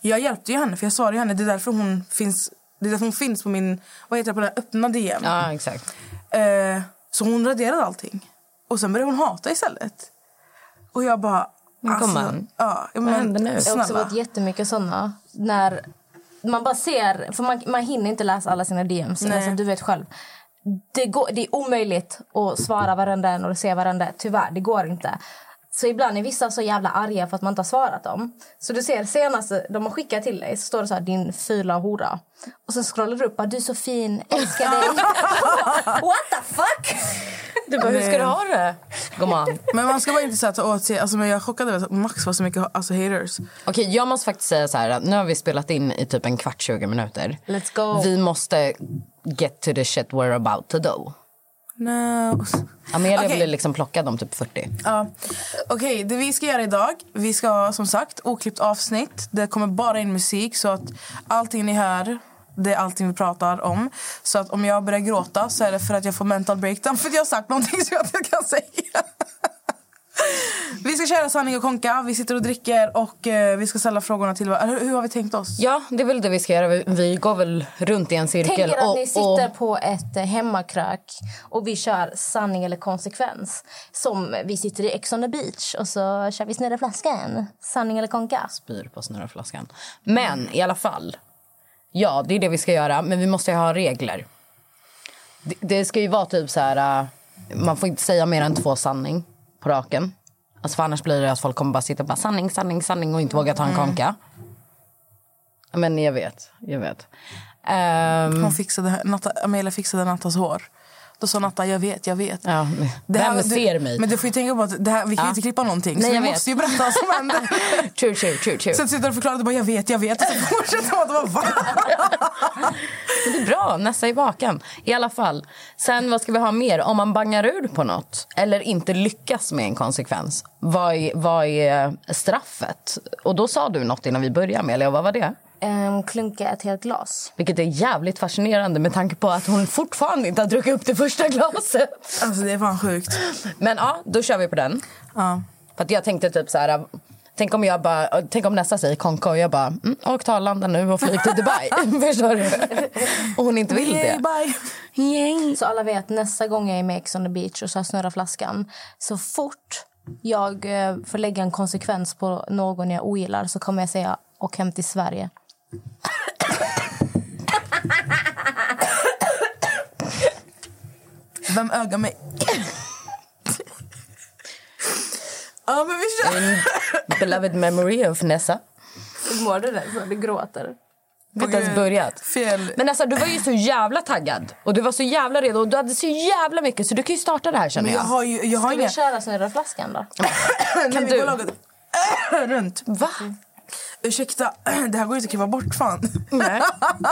Speaker 2: Jag hjälpte ju henne för jag svarade ju henne. Det är därför hon finns, det är därför hon finns på min, vad heter det, på den här öppna DM.
Speaker 4: Ja, exakt.
Speaker 2: Eh, så hon raderade allting. Och sen började hon hata istället. Och jag bara... alltså,
Speaker 4: Men kom an.
Speaker 2: ja, jag men,
Speaker 4: händer nu?
Speaker 5: Jag har också
Speaker 2: Snälla.
Speaker 5: fått jättemycket såna. När man bara ser, för man, man hinner inte läsa alla sina DMs. Alltså, du vet själv. Det, går, det är omöjligt att svara varenda en och se varenda. Tyvärr, det går inte. Så ibland är vissa så jävla arga för att man inte har svarat dem. Så du ser senaste de har skickat till dig så står det så här din fula hora. Och sen scrollar du upp bara du är så fin, älskar dig. What the fuck?
Speaker 4: Du bara, hur ska du ha det, gumman?
Speaker 2: Men man ska vara inte säga att åt sig, alltså men jag är chockad över att Max var så mycket alltså, haters.
Speaker 4: Okej, jag måste faktiskt säga så här. att Nu har vi spelat in i typ en kvart, 20 minuter.
Speaker 5: Let's go.
Speaker 4: Vi måste get to the shit we're about to do.
Speaker 2: No.
Speaker 4: Amelia
Speaker 2: Okej.
Speaker 4: blir liksom plockad om typ 40.
Speaker 2: Ja. Okej, det vi ska göra idag, vi ska ha, som sagt oklippt avsnitt. Det kommer bara in musik så att allting ni hör, det är allting vi pratar om. Så att om jag börjar gråta så är det för att jag får mental breakdown för att jag har sagt någonting som jag inte kan säga. Vi ska köra sanning och konka, vi sitter och dricker och eh, vi ska ställa frågorna till varandra. Hur, hur har vi tänkt oss?
Speaker 4: Ja, det är väl det vi ska göra. Vi, vi går väl runt i en cirkel.
Speaker 5: Tänk er att
Speaker 4: och-
Speaker 5: ni sitter
Speaker 4: och-
Speaker 5: på ett eh, hemmakrök och vi kör sanning eller konsekvens. Som vi sitter i Ex on the beach och så kör vi snurra flaskan. Sanning eller konka.
Speaker 4: spyr på snurrflaskan. Men i alla fall. Ja, det är det vi ska göra, men vi måste ju ha regler. Det, det ska ju vara typ så här... äh, Man får inte säga mer än två sanning på raken. Alltså för annars blir det att folk kommer bara sitta och bara sanning, sanning, sanning och inte våga ta en
Speaker 2: Mm.
Speaker 4: konka. Men jag vet, jag vet. Ehm,
Speaker 2: Hon fixade, Natta, Amelia fixade Nattas hår. Då sa Natta, jag vet, jag vet.
Speaker 4: ja, det här, vem ser
Speaker 2: du,
Speaker 4: mig?
Speaker 2: Men du får ju tänka på att det här, vi kan ju
Speaker 4: Ja.
Speaker 2: inte klippa någonting.
Speaker 4: Nej,
Speaker 2: så vi
Speaker 4: jag vet.
Speaker 2: måste ju berätta vad som händer.
Speaker 4: True, true, true, true.
Speaker 2: Sen sitter du och förklarar, du bara jag vet, jag vet. Och så fortsätter man att bara va?
Speaker 4: Det är bra, nästa i baken. I alla fall. Sen vad ska vi ha mer? Om man bangar ur på något eller inte lyckas med en konsekvens, vad är, vad är straffet? Och då sa du något innan vi började, Amelia. Vad var det?
Speaker 5: Ehm, klunka ett helt glas.
Speaker 4: Vilket är jävligt fascinerande med tanke på att hon fortfarande inte har druckit upp det första glaset.
Speaker 2: Alltså det är fan sjukt.
Speaker 4: Men ja, då kör vi på den.
Speaker 2: Ja.
Speaker 4: För att jag tänkte typ så här... Tänk om, jag bara, tänk om nästa säger konka och jag bara mm, åk till Arlanda nu och flyg till Dubai. Förstår du? Och hon inte vill
Speaker 2: Yay,
Speaker 4: det.
Speaker 2: bye.
Speaker 5: Så alla vet, nästa gång jag är med i Ex on the beach och så här snurrar flaskan. Så fort jag eh, får lägga en konsekvens på någon jag ogillar så kommer jag säga och hem till Sverige.
Speaker 2: Vem ögar mig? Ja men vi kör.
Speaker 4: Beloved memory of Nessa.
Speaker 5: Hur mår du? Där? Du gråter.
Speaker 4: Vi har inte ens
Speaker 2: Gud.
Speaker 4: börjat.
Speaker 2: Fel.
Speaker 4: Men alltså, du var ju så jävla taggad och du var så jävla redo och du hade så jävla mycket så du kan ju starta det här känner
Speaker 2: Men jag
Speaker 4: jag.
Speaker 2: har ju, jag har
Speaker 5: Ska vi
Speaker 2: inga...
Speaker 5: köra snurra flaskan då?
Speaker 2: Kan
Speaker 4: du?
Speaker 2: Runt.
Speaker 4: Va?
Speaker 2: Ursäkta, det här går ju inte att klippa bort fan.
Speaker 4: Nej.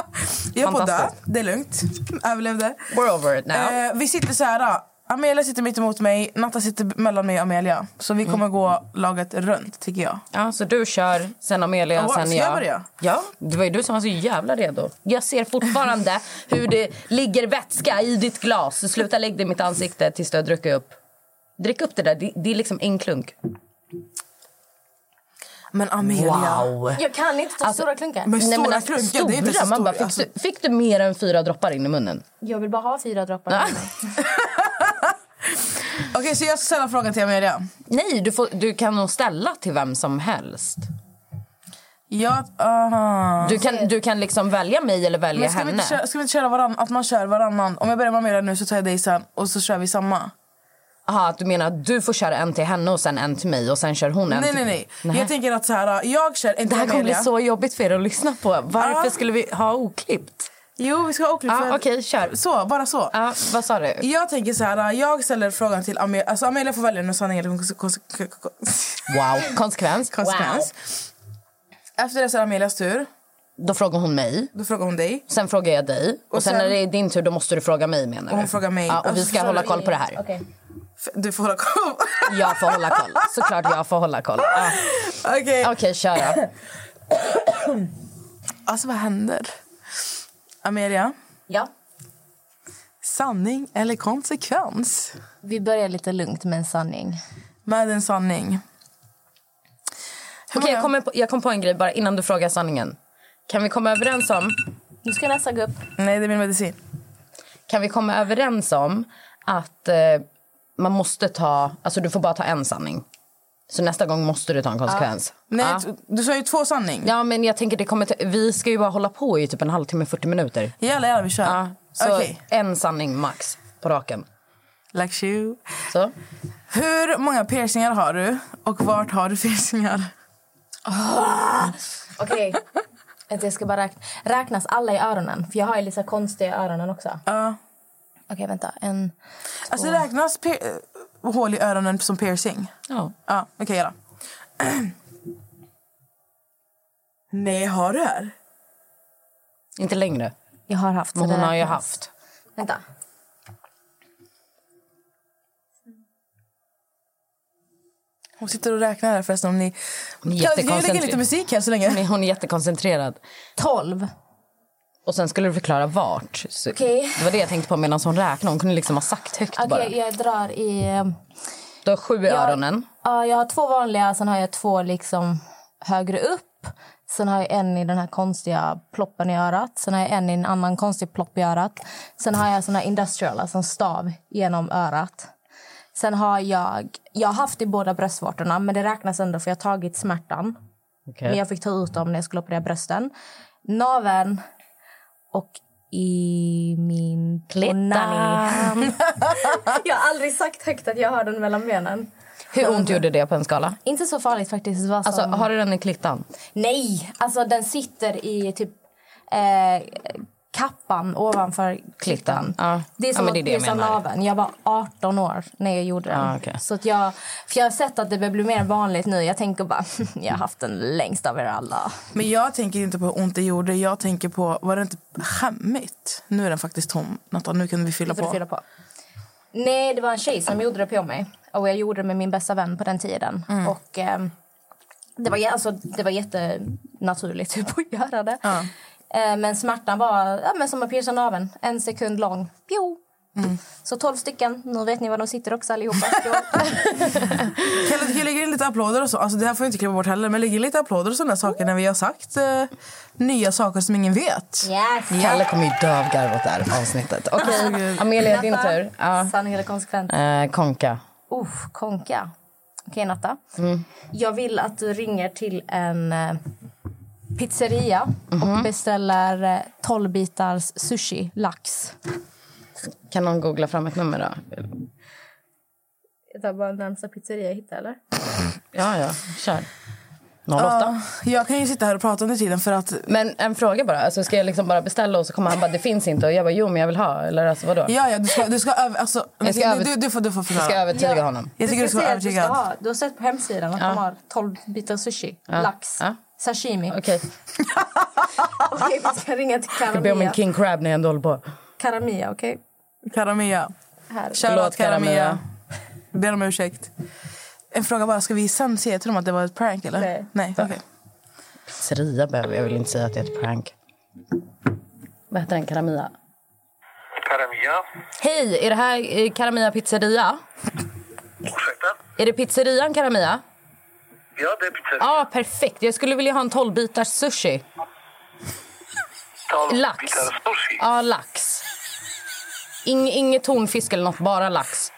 Speaker 2: Jag är på att dö,
Speaker 4: Fantastiskt.
Speaker 2: det är lugnt. Överlevde.
Speaker 4: We're over it now.
Speaker 2: Eh, vi sitter så här. Amelia sitter mitt emot mig, Natta sitter mellan mig och Amelia. Så vi kommer gå laget runt tycker jag.
Speaker 4: Ja, så du kör, sen Amelia,
Speaker 2: Oh,
Speaker 4: sen
Speaker 2: ska
Speaker 4: jag.
Speaker 2: jag börja?
Speaker 4: Ja, det var ju du som var så jävla redo. Jag ser fortfarande hur det ligger vätska i ditt glas. Så sluta lägg det i mitt ansikte tills du har druckit upp. Drick upp det där, det, det är liksom en klunk.
Speaker 2: Men Amelia.
Speaker 5: Jag kan inte ta
Speaker 4: Alltså,
Speaker 5: stora klunkar.
Speaker 2: Men stora
Speaker 4: alltså,
Speaker 2: klunkar, det är inte så
Speaker 4: stora, man
Speaker 2: stor-
Speaker 4: bara, fick,
Speaker 2: alltså.
Speaker 4: du, fick du mer än fyra droppar in i munnen?
Speaker 5: Jag vill bara ha fyra droppar. med mig.
Speaker 2: Okej, så jag ska ställa frågan till Amelia.
Speaker 4: Nej, du, får, du kan nog ställa till vem som helst.
Speaker 2: Ja, aha.
Speaker 4: Du kan, du kan liksom välja mig eller välja
Speaker 2: Alltså- Men ska, vi
Speaker 4: henne.
Speaker 2: inte köra, ska vi inte köra varann, att man kör varannan? Om jag börjar med Amelia nu så tar jag dig sen och så kör vi samma.
Speaker 4: Aha, att du menar att du får köra en till henne och sen en till mig och sen kör hon en
Speaker 2: Nej,
Speaker 4: till
Speaker 2: nej,
Speaker 4: mig.
Speaker 2: nej. Jag tänker att så här, jag kör en
Speaker 4: Det
Speaker 2: till
Speaker 4: här kommer bli
Speaker 2: Amelia.
Speaker 4: så jobbigt för er att lyssna på. Varför
Speaker 2: Ja.
Speaker 4: skulle vi ha oklippt?
Speaker 2: Jo, vi ska ha oklippt.
Speaker 4: Ja,
Speaker 2: för-
Speaker 4: Ah, okej, Ah. kör.
Speaker 2: Så, bara så.
Speaker 4: Ja, vad sa du?
Speaker 2: Jag tänker så här, jag ställer frågan till Amelia. Alltså Amelia får välja nu sanning eller konse- konse-
Speaker 4: Wow, konsekvens.
Speaker 2: konsekvens. Efter det så är det Amelias tur.
Speaker 4: Då frågar hon mig,
Speaker 2: Då frågar hon dig.
Speaker 4: sen frågar jag dig och,
Speaker 2: Och
Speaker 4: sen,
Speaker 2: sen-
Speaker 4: när det är din tur då måste du fråga mig menar du?
Speaker 2: Och hon frågar mig.
Speaker 4: Ja, och vi
Speaker 2: Alltså,
Speaker 4: ska
Speaker 2: så-
Speaker 4: hålla koll på det här.
Speaker 5: Okej.
Speaker 2: F- Du får hålla koll.
Speaker 4: Jag får hålla koll. Såklart jag får hålla koll. Ja.
Speaker 2: Okej.
Speaker 4: Okej, kör då.
Speaker 2: Alltså vad händer? Amelia,
Speaker 5: Ja.
Speaker 2: sanning eller konsekvens?
Speaker 5: Vi börjar lite lugnt med en sanning.
Speaker 2: Med en sanning. Hur
Speaker 4: Okej,
Speaker 2: många-
Speaker 4: jag, kommer på, jag kom på en grej bara innan du frågar sanningen. Kan vi komma överens om
Speaker 5: Nu ska nästa gå upp.
Speaker 2: Nej, det är min medicin.
Speaker 4: kan vi komma överens om att eh, man måste ta... Alltså du får bara ta en sanning. Så nästa gång måste du ta en konsekvens.
Speaker 2: Nej,
Speaker 4: Ja.
Speaker 2: t- Du sa ju två sanning.
Speaker 4: Ja, men jag tänker det kommer ta, vi ska ju bara hålla på i typ en halvtimme, 40 minuter.
Speaker 2: Jävlar, jävlar, vi kör.
Speaker 4: Ja, Ah, så
Speaker 2: Okej.
Speaker 4: en sanning max på raken.
Speaker 2: Like you.
Speaker 4: Så.
Speaker 2: Hur många piercingar har du och vart har du piercingar?
Speaker 5: Okej. Vänta, Jag ska bara räkna. Räknas alla i öronen? För jag har ju lite så här konstiga öronen också.
Speaker 2: Ja.
Speaker 5: Okej, vänta. En...
Speaker 2: Alltså räknas pe- hål i öronen som piercing?
Speaker 4: Ja.
Speaker 2: Ja, vi kan göra. Nej, har du här?
Speaker 4: Inte längre.
Speaker 5: Jag har haft. så
Speaker 4: Men
Speaker 5: det
Speaker 4: hon har ju
Speaker 5: räknas.
Speaker 4: haft.
Speaker 5: Vänta.
Speaker 2: Hon sitter och räknar här förresten om ni...
Speaker 4: Hon är
Speaker 2: Jag, jag lägger
Speaker 4: jättekoncentrerad.
Speaker 2: lite musik här så länge.
Speaker 4: Men Hon är jättekoncentrerad.
Speaker 5: Tolv.
Speaker 4: Och sen skulle du förklara vart. Så
Speaker 5: Okej.
Speaker 4: Det var det jag tänkte på medan hon räknade. Hon kunde liksom ha sagt högt
Speaker 5: Okej,
Speaker 4: bara.
Speaker 5: jag drar i... ehm,
Speaker 4: Du har sju i
Speaker 5: Jag-
Speaker 4: öronen.
Speaker 5: Ja, jag har två vanliga, sen har jag två liksom högre upp. Sen har jag en i den här konstiga ploppen i örat. Sen har jag en i en annan konstig plopp i örat. Sen har jag såna här industrial, alltså en stav genom örat. Sen har jag... Jag har haft i båda bröstvårtorna, men det räknas ändå för jag har tagit smärtan.
Speaker 4: Okej.
Speaker 5: Men jag fick ta ut dem när jag skulle operera brösten. Naveln och i min... Klittan! jag har aldrig sagt högt att jag har den mellan benen.
Speaker 4: Hur ont gjorde det på en skala?
Speaker 5: Inte så farligt faktiskt. Det var
Speaker 4: Alltså,
Speaker 5: som...
Speaker 4: har du den i klittan?
Speaker 5: Nej, alltså den sitter i typ eh, kappan ovanför klittan.
Speaker 4: Ja.
Speaker 5: Det är
Speaker 4: Ja,
Speaker 5: som
Speaker 4: men det är
Speaker 5: att
Speaker 4: det jag
Speaker 5: pierca
Speaker 4: menar.
Speaker 5: naveln. Jag var 18 år när jag gjorde den.
Speaker 4: Ja, okej.
Speaker 5: så att jag, för jag har sett att det börjar bli mer vanligt nu. Jag tänker bara, jag har haft den längst av er alla.
Speaker 2: Men jag tänker inte på hur ont det gjorde. Jag tänker på, var det inte skämmigt? Nu är den faktiskt tom. Nathan, nu kan vi fylla
Speaker 5: Nu får du
Speaker 2: på.
Speaker 5: fylla på. Nej, det var en tjej som gjorde det på mig. Och jag gjorde det med min bästa vän på den tiden.
Speaker 4: Mm.
Speaker 5: Och ehm, det, var, jä- alltså, det var jättenaturligt typ, att göra det. Eh, men smärtan var ja, men som att pierca naveln. En sekund lång. Pio!
Speaker 4: Mm.
Speaker 5: Så tolv stycken. Nu vet ni var de sitter också allihopa.
Speaker 2: Kalle, du kan lägga in lite applåder och så. Alltså, det här får vi inte klippa bort heller. Men lägg in lite applåder och sådana saker när vi har sagt eh, nya saker som ingen vet.
Speaker 5: yes!
Speaker 4: Kalle kommer ju dö av garv åt det här avsnittet. Okej,
Speaker 2: gud.
Speaker 4: Amelia, din tur. Ja.
Speaker 5: Sanning eller konsekvens?
Speaker 4: Eh, konka.
Speaker 5: Uh, konka. Okej, Natta. Jag vill att du ringer till en eh, pizzeria och beställer eh, 12 bitars sushi lax.
Speaker 4: Kan någon googla fram ett nummer då?
Speaker 5: Jag tar bara närmsta pizzeria jag hittar, eller?
Speaker 4: Ja, ja, kör. Ah. 08.
Speaker 2: Ja, jag kan ju sitta här och prata under tiden för att
Speaker 4: Men en fråga bara. Alltså, ska jag liksom bara beställa och så kommer han bara det finns inte och jag bara jo men jag vill ha eller alltså vadå?
Speaker 2: Ja, ja, du ska, du ska över... Alltså,
Speaker 4: Jag ska
Speaker 2: du,
Speaker 4: över-
Speaker 2: du, du får, du får
Speaker 4: Jag ska
Speaker 2: förklara.
Speaker 4: övertyga honom.
Speaker 2: Jag tycker du ska vara
Speaker 5: säga att
Speaker 2: övertygad.
Speaker 5: Du, ska ha. du har sett på hemsidan att de har 12 bitar sushi lax.
Speaker 4: Ja.
Speaker 5: Sashimi. Okej,
Speaker 4: Okej,
Speaker 5: vi ska ringa till
Speaker 4: jag ber om
Speaker 5: Karamia.
Speaker 4: en king crab när jag ändå håller på.
Speaker 5: Karamia, okej?
Speaker 2: Karamia.
Speaker 5: Här.
Speaker 2: Shoutout
Speaker 4: Förlåt,
Speaker 2: Karamia.
Speaker 4: Karamia.
Speaker 2: Ber om ursäkt. En fråga bara, ska vi sen säga till dem att det var ett prank eller?
Speaker 5: Nej.
Speaker 2: Nej, okej.
Speaker 4: Pizzeria behöver jag vill inte säga att det är ett prank. Vad heter den? Karamia?
Speaker 6: Karamia.
Speaker 4: Hej, är det här eh, Karamia pizzeria?
Speaker 6: Ursäkta?
Speaker 4: Är det pizzerian Karamia?
Speaker 6: Ja, det är pizzeria.
Speaker 4: Ja, perfekt. Jag skulle vilja ha en 12-bitars sushi.
Speaker 6: Tolv
Speaker 4: lax.
Speaker 6: bitar sushi.
Speaker 4: Ja, lax. Ing, inget tonfisk eller något, bara lax.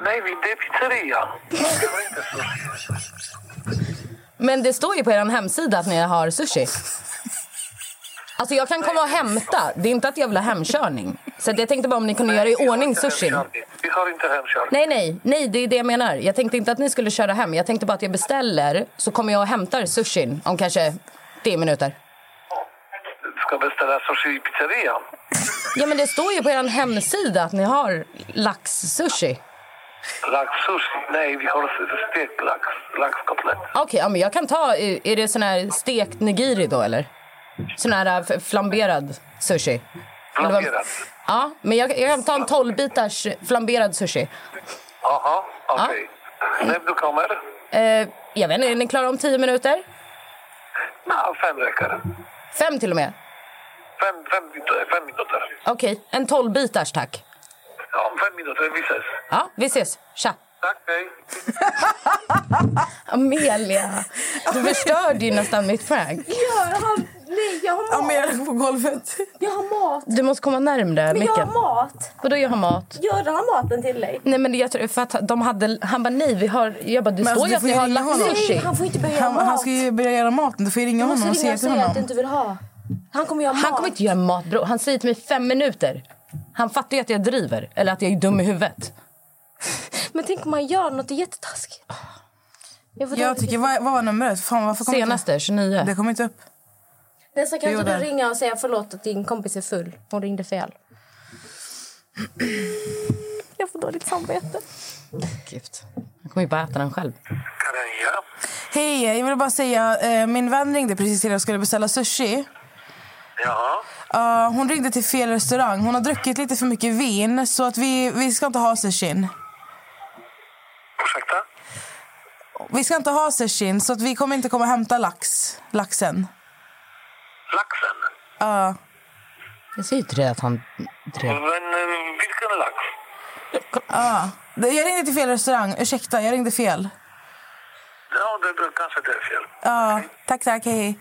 Speaker 6: Nej, vi- det är pizzeria. Vi har inte sushi.
Speaker 4: Men det står ju på er hemsida att ni har sushi. Alltså jag kan komma och hämta. Det är inte att jag vill ha hemkörning. Så att jag tänkte bara om ni kunde göra i
Speaker 6: Vi har
Speaker 4: ordning
Speaker 6: inte
Speaker 4: sushin.
Speaker 6: hemkörning. Vi har inte hemkörning.
Speaker 4: Nej, nej, nej, det är det jag menar. Jag tänkte inte att ni skulle köra hem. Jag tänkte bara att jag beställer så kommer jag och hämtar sushin om kanske 10 minuter.
Speaker 6: Du ska beställa sushi i pizzerian.
Speaker 4: Ja, men det står ju på er hemsida att ni har lax-sushi.
Speaker 6: Lax sushi. Nej, vi har s- stekt lax. Laxkotlett.
Speaker 4: Okej, ja, men jag kan ta... eh, Är det sån här stekt nigiri då, eller? Sån här eh, flamberad sushi? Eller vad-
Speaker 6: Flamberad.
Speaker 4: Ja, men jag, jag kan ta en 12-bitars flamberad sushi.
Speaker 6: Jaha, okej. När du kommer?
Speaker 4: Eh, jag vet inte, är ni klara om 10 minuter?
Speaker 6: Ja, No, fem räcker.
Speaker 4: Fem till och med?
Speaker 6: Fem, fem, minuter- fem minuter.
Speaker 4: Okej, en 12-bitars tack.
Speaker 6: Ja, om No, fem Tak, minuter. Vi ses.
Speaker 4: Ja, vi ses. Tja!
Speaker 6: Tack, hej.
Speaker 4: Amelia, du förstörde ju nästan mitt prank.
Speaker 5: Jag har, nej, jag har
Speaker 2: Ja, men jag är på golvet.
Speaker 5: Jag har mat.
Speaker 4: Du måste komma närmre micken.
Speaker 5: mat.
Speaker 4: Vadå, jag har mat?
Speaker 5: Gör han maten till dig?
Speaker 4: Nej, men jag tror, för att de hade, han bara, nej, vi har... Jag bara, det
Speaker 2: Men
Speaker 4: står
Speaker 2: alltså,
Speaker 4: ju
Speaker 2: du
Speaker 4: att
Speaker 2: får
Speaker 4: ni
Speaker 2: ju
Speaker 4: har
Speaker 2: ringa honom.
Speaker 4: laxsushi.
Speaker 5: Nej, han får inte börja
Speaker 2: Han,
Speaker 5: göra
Speaker 2: han
Speaker 5: mat.
Speaker 2: ska ju börja göra maten, du får ju ringa
Speaker 5: Du måste
Speaker 2: honom och
Speaker 5: ringa
Speaker 2: säga
Speaker 5: och
Speaker 2: till
Speaker 5: säga att du
Speaker 2: honom.
Speaker 5: inte vill ha. Han kommer göra
Speaker 4: Han
Speaker 5: mat.
Speaker 4: kommer inte göra mat, bro. Han säger till mig fem minuter. Han fattar ju att jag driver, eller att jag är dum i huvudet.
Speaker 5: Men tänk om man gör något jättetaskigt. Jag får
Speaker 2: Jag
Speaker 5: då-
Speaker 2: tycker, vad, vad var numret? Fan, varför kom
Speaker 4: Senaste,
Speaker 2: Inte,
Speaker 4: 29.
Speaker 2: det kom inte upp.
Speaker 5: Nästa kanske
Speaker 2: gjorde
Speaker 5: du
Speaker 2: det.
Speaker 5: ringa och säga förlåt att din kompis är full. Hon ringde fel. Jag får dåligt samvete.
Speaker 4: Gift. Jag kommer ju bara äta den själv.
Speaker 6: Karja.
Speaker 2: Hej, jag ville bara säga, eh, min vän ringde precis till och skulle beställa sushi.
Speaker 6: Ja.
Speaker 2: Eh, hon ringde till fel restaurang. Hon har druckit lite för mycket vin så att vi, vi ska inte ha sushin.
Speaker 6: Ursäkta?
Speaker 2: Vi ska inte ha sushin så att vi kommer inte komma och hämta lax. Laxen.
Speaker 6: Laxen?
Speaker 2: Ja.
Speaker 4: Jag säger ju till dig att han drev.
Speaker 6: Men eh, vilken lax?
Speaker 2: Jag ringde till fel restaurang. Ursäkta, jag ringde fel.
Speaker 6: Ja, det, det kanske det är fel.
Speaker 2: Ja, tack, tack. Hej, hej.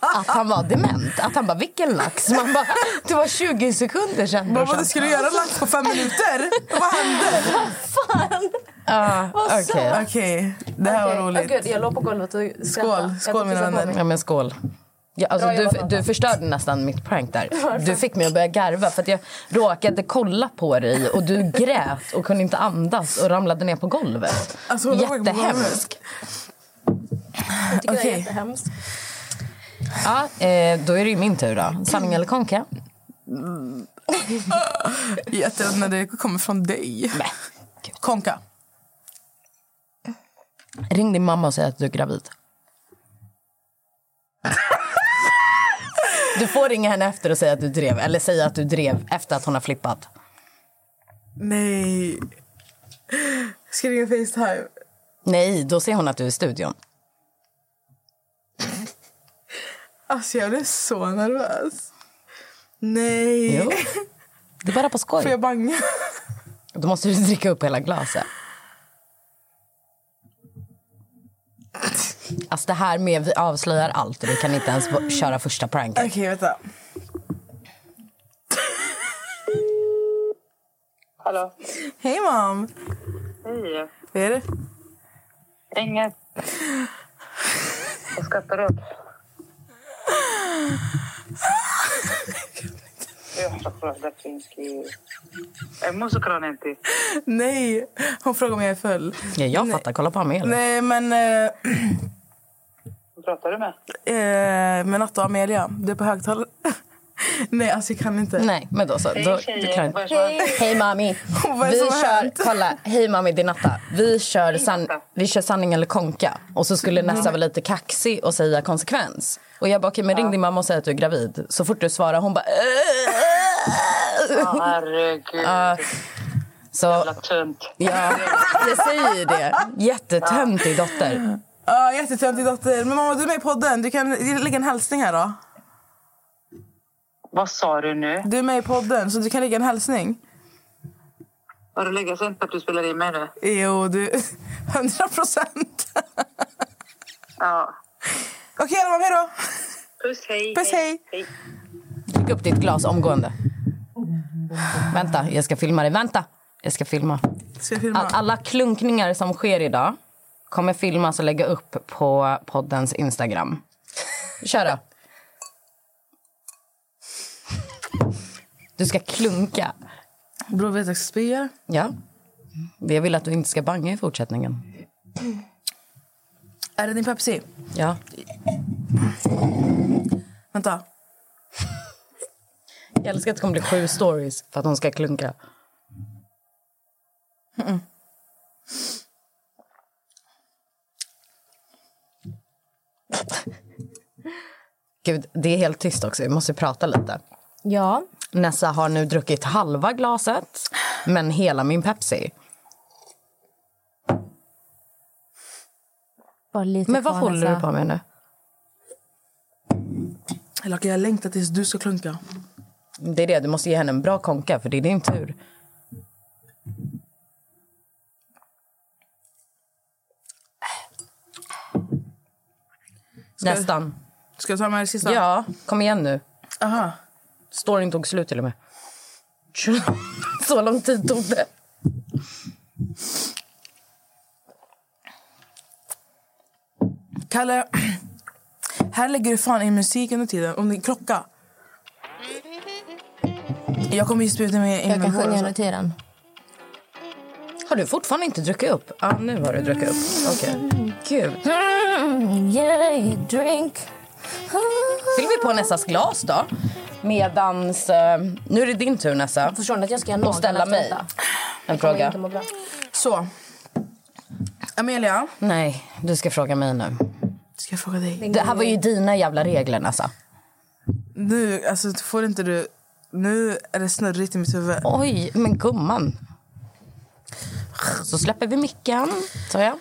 Speaker 4: Att han var dement. Att han bara, vilken lax? Man bara, det var 20 sekunder sedan. brorsan.
Speaker 2: skulle göra lax på fem minuter? Vad hände?
Speaker 4: Ja, okej.
Speaker 2: Okej, det här var
Speaker 5: Okej. oh, Åh,
Speaker 2: roligt.
Speaker 5: gud, jag låg på golvet och
Speaker 2: Skål,
Speaker 5: skrattade.
Speaker 2: skål mina vänner.
Speaker 4: Ja, men skål. Ja, alltså,
Speaker 5: Bra
Speaker 4: du,
Speaker 5: jobbat, Lotta.
Speaker 4: du förstörde nästan mitt prank där. Du fick mig att börja garva för att jag råkade kolla på dig och du grät och kunde inte andas och ramlade ner på golvet.
Speaker 2: Alltså, hon låg på golvet.
Speaker 4: Jättehemskt.
Speaker 5: Jag tycker det
Speaker 2: Okej.
Speaker 5: är jättehemskt.
Speaker 4: Ja, eh, då är det ju min tur då. Sanning eller konka?
Speaker 2: Jätteroligt när det kommer från dig.
Speaker 4: Nej.
Speaker 2: Konka.
Speaker 4: Ring din mamma och säg att du är gravid. Du får ringa henne efter och säga att du drev. Eller säga att du drev efter att hon har flippat.
Speaker 2: Nej. Ska jag ringa Facetime?
Speaker 4: Nej, då ser hon att du är i studion.
Speaker 2: Alltså jag blev så nervös. Nej.
Speaker 4: Jo. Det är bara på skoj.
Speaker 2: Får jag banga?
Speaker 4: Då måste du dricka upp hela glaset. Alltså det här med vi avslöjar allt och du kan inte ens v- köra första pranket.
Speaker 2: Okej, vänta.
Speaker 7: Hallå?
Speaker 2: Hej mam.
Speaker 7: Hej.
Speaker 2: Vad är det?
Speaker 7: Inget. Jag skrattar upp. Jag skrattar upp. Det finns ju... Jag måste krana en till.
Speaker 2: Nej. Hon frågade om jag är full.
Speaker 4: Ja, jag fattar, kolla på Amelia.
Speaker 2: Nej men, eh,
Speaker 7: Pratar du med?
Speaker 2: eh, men Natta och Amelia, du är på högtalare. Nej alltså jag kan inte.
Speaker 4: Nej, men då så. Då, du klarar inte.
Speaker 7: Hej.
Speaker 4: Hej mami.
Speaker 2: Vad är det
Speaker 4: Vi
Speaker 2: som har
Speaker 4: kör,
Speaker 2: hänt?
Speaker 4: kolla, hej mami det är Natta. Vi kör, san, vi kör sanning eller konka. Och så skulle Nessa vara lite kaxig och säga konsekvens. Och jag bara, okej men ring din mamma och säg att du är gravid. Så fort du svarar hon bara... "Äh."
Speaker 7: Ja, Herregud.
Speaker 4: Så
Speaker 7: Jävla tönt.
Speaker 4: Ja, jag säger ju det. Jättetöntig dotter.
Speaker 2: Ja, jättetöntig dotter. Men mamma du är med i podden. Du kan lägga en hälsning här då.
Speaker 7: Vad sa du nu?
Speaker 2: Du är med i podden så du kan lägga en hälsning.
Speaker 7: Har du lägger sig inte att du spelar in mig nu?
Speaker 2: Jo du, 100 procent.
Speaker 7: Ja.
Speaker 2: Okej då, mam, hej då.
Speaker 7: Puss, hej.
Speaker 2: Puss, hej.
Speaker 4: Drick upp ditt glas omgående. Vänta, jag ska filma dig. Vänta! Jag ska filma.
Speaker 2: Ska jag filma?
Speaker 4: All, alla klunkningar som sker idag kommer filmas och lägga upp på poddens Instagram. Kör då. Du ska klunka.
Speaker 2: Bror vet jag ska spya.
Speaker 4: Ja. Jag vill att du inte ska banga i fortsättningen.
Speaker 2: Är det din Pepsi?
Speaker 4: Ja.
Speaker 2: Vänta.
Speaker 4: Jag älskar att det kommer bli sju stories för att hon ska klunka. Mm. Gud, det är helt tyst också. Vi måste prata lite.
Speaker 5: Ja.
Speaker 4: Nessa har nu druckit halva glaset, men hela min Pepsi.
Speaker 5: Bara lite
Speaker 4: Men vad
Speaker 5: kvar,
Speaker 4: håller
Speaker 5: Typ Nessa.
Speaker 4: du på med nu?
Speaker 2: Eller okej, jag längtar tills du ska klunka.
Speaker 4: Det är det, du måste ge henne en bra konka, för det är din tur. Nästan.
Speaker 2: Ska jag ta med det sista?
Speaker 4: Ja, kom igen nu.
Speaker 2: Aha.
Speaker 4: Storyn tog slut till och med. Så lång tid tog det.
Speaker 2: Kalle, här lägger du fan in musik under tiden. Om din klocka. Jag kommer ju spruta mig in
Speaker 5: Jag
Speaker 2: med
Speaker 5: kan
Speaker 2: hår
Speaker 5: sjunga
Speaker 2: och
Speaker 5: under
Speaker 2: så.
Speaker 5: tiden.
Speaker 4: Har du fortfarande inte druckit upp? Ja, ah, nu har du druckit upp. Okej. Gud.
Speaker 5: Mm, yeah, drink.
Speaker 4: Fyller vi på Nessas glas då? Medans... Eh, nu är det din tur, Nessa.
Speaker 5: Förstår ni att jag ska göra naglarna
Speaker 4: Och ställa
Speaker 5: efter
Speaker 4: mig
Speaker 5: detta?
Speaker 4: en
Speaker 5: Jag kommer
Speaker 4: fråga.
Speaker 5: inte må bra.
Speaker 2: Så. Amelia,
Speaker 4: Nej, du ska fråga mig nu.
Speaker 2: ska jag fråga dig?
Speaker 4: Det här var ju dina jävla regler, alltså. Nessa.
Speaker 2: Nu, alltså får inte du... Nu är det snurrigt i mitt huvud.
Speaker 4: Oj, men gumman. Så släpper vi micken, sa jag.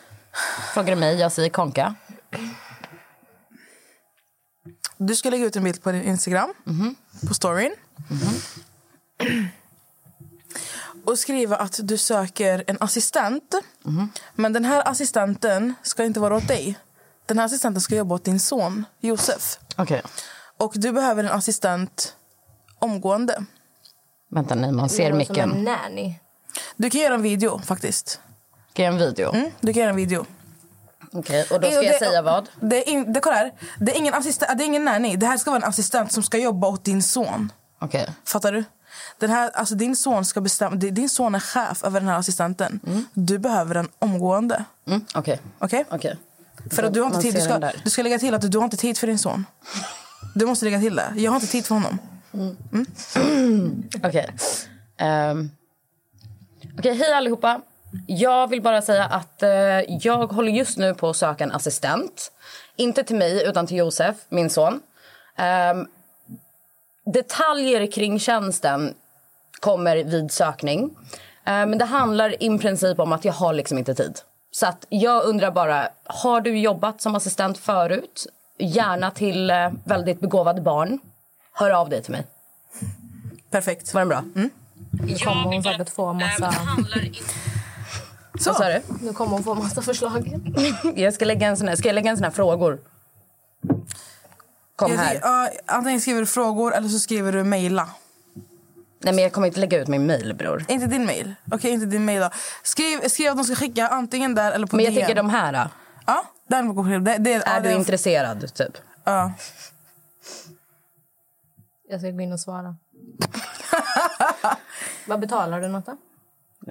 Speaker 4: Frågar du mig, jag säger konka.
Speaker 2: Du ska lägga ut en bild på din Instagram,
Speaker 4: Mhm.
Speaker 2: på storyn. Och skriva att du söker en assistent.
Speaker 4: Mhm.
Speaker 2: Men den här assistenten ska inte vara åt dig. Den här assistenten ska jobba åt din son, Josef.
Speaker 4: Okej.
Speaker 2: Och du behöver en assistent omgående.
Speaker 4: Vänta, nej, man ser
Speaker 5: Någon som är
Speaker 4: micken.
Speaker 5: nanny.
Speaker 2: Du kan göra en video faktiskt.
Speaker 4: Ska jag göra en video?
Speaker 2: Mm, du kan göra en video.
Speaker 4: Okej, och då ska
Speaker 2: Jo,
Speaker 4: jag
Speaker 2: det-
Speaker 4: säga vad?
Speaker 2: Det är, in, det, kolla här. Det, är ingen assistent, det är ingen nanny. Det här ska vara en assistent som ska jobba åt din son.
Speaker 4: Okej.
Speaker 2: Fattar du? Den här, alltså din, son ska bestämma, di- din son är chef över den här assistenten. Du behöver den omgående.
Speaker 4: Mm, Okej.
Speaker 2: Okej?
Speaker 4: Mm. Okej.
Speaker 2: För att du, har inte
Speaker 4: Man
Speaker 2: tid, du,
Speaker 4: ser
Speaker 2: ska,
Speaker 4: den där.
Speaker 2: du ska lägga till att du, du har inte tid för din son. Du måste lägga till det. Jag har inte tid för honom.
Speaker 4: Okej. Ehm. Okej, hej allihopa. Jag vill bara säga att eh, jag håller just nu på att söka en assistent. Inte till mig, utan till Josef, min son. Ehm, detaljer kring tjänsten kommer vid sökning. Eh, Men det handlar i princip om att jag har liksom inte tid. Så att jag undrar bara, har du jobbat som assistent förut? Gärna till eh, väldigt begåvade barn. Hör av dig till mig.
Speaker 2: Perfekt.
Speaker 4: Var den bra?
Speaker 5: Nu kommer hon säkert få massa,
Speaker 4: Vad sa du?
Speaker 5: nu kommer hon få massa förslag.
Speaker 4: Jag ska lägga en sån här, ska jag lägga en sån här frågor? Kom
Speaker 2: Jag-
Speaker 4: här.
Speaker 2: ja, antingen skriver du frågor eller så skriver du mejla.
Speaker 4: Nej men jag kommer inte lägga ut min mail bror.
Speaker 2: Inte din mejl. Okej, inte din mejl då. Skriv, skriv att de ska skicka antingen där eller på
Speaker 4: Men jag
Speaker 2: DM.
Speaker 4: tänker de här. Då.
Speaker 2: Ja, där går det, det, det,
Speaker 4: Är
Speaker 2: ja,
Speaker 4: du
Speaker 2: det,
Speaker 4: intresserad typ?
Speaker 2: Ja.
Speaker 5: Jag ska gå in och svara. Vad betalar du något då?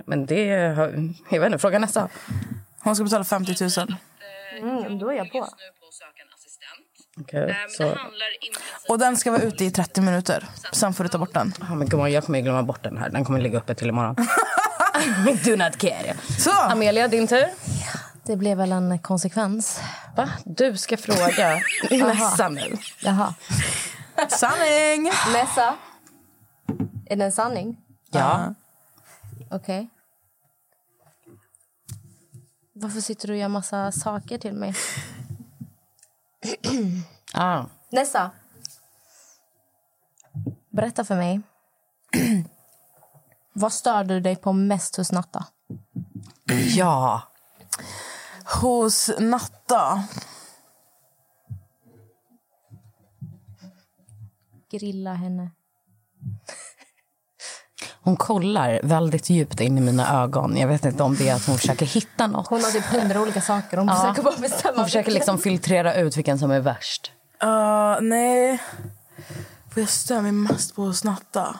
Speaker 4: Men det, har- jag vet inte, fråga nästa.
Speaker 2: Hon ska betala 50 000.
Speaker 5: Mm, då är jag på.
Speaker 4: Okej,
Speaker 2: Ehm,
Speaker 4: så.
Speaker 2: Och den ska vara ute i 30 minuter. Sen får du ta bort den.
Speaker 4: Ja, men gumman, jag kommer ju glömma bort den här. Den kommer ligga uppe till imorgon. Do not care.
Speaker 2: Så!
Speaker 4: Amelia, din tur.
Speaker 5: Det blev väl en konsekvens.
Speaker 4: Va? Du ska fråga Nessa nu.
Speaker 5: Jaha.
Speaker 2: Sanning!
Speaker 5: Nessa. Är det en sanning?
Speaker 4: Ja.
Speaker 5: Okej. Varför sitter du och gör massa saker till mig?
Speaker 4: Ah.
Speaker 5: Nessa. Berätta för mig. Vad störde du dig på mest hos Natta?
Speaker 4: Ja.
Speaker 2: Hos Natta.
Speaker 5: Grilla henne.
Speaker 4: Hon kollar väldigt djupt in i mina ögon. Jag vet inte om det är att hon försöker hitta något.
Speaker 5: Hon har typ hundra olika saker. Hon försöker bara bestämma.
Speaker 4: Hon försöker liksom filtrera ut vilken som är värst.
Speaker 2: Uh, nej. För jag stör mig mest på hos Natta.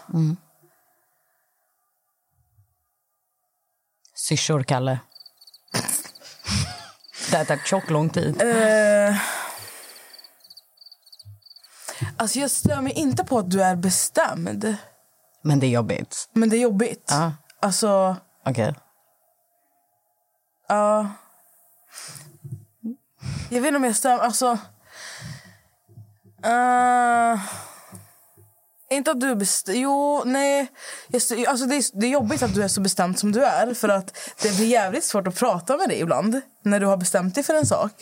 Speaker 4: Syrsor, Kalle. Det har tagit tjock lång tid.
Speaker 2: Eh, alltså jag stör mig inte på att du är bestämd.
Speaker 4: Men det är jobbigt.
Speaker 2: Men det är jobbigt.
Speaker 4: Ja.
Speaker 2: Alltså,
Speaker 4: Okej.
Speaker 2: ja. jag vet inte om jag stör mig. Alltså, eh, inte att du är bestämd. Jo, nej. Jag stö- alltså det, är, det är jobbigt att du är så bestämd som du är. För att Det blir jävligt svårt att prata med dig ibland när du har bestämt dig för en sak.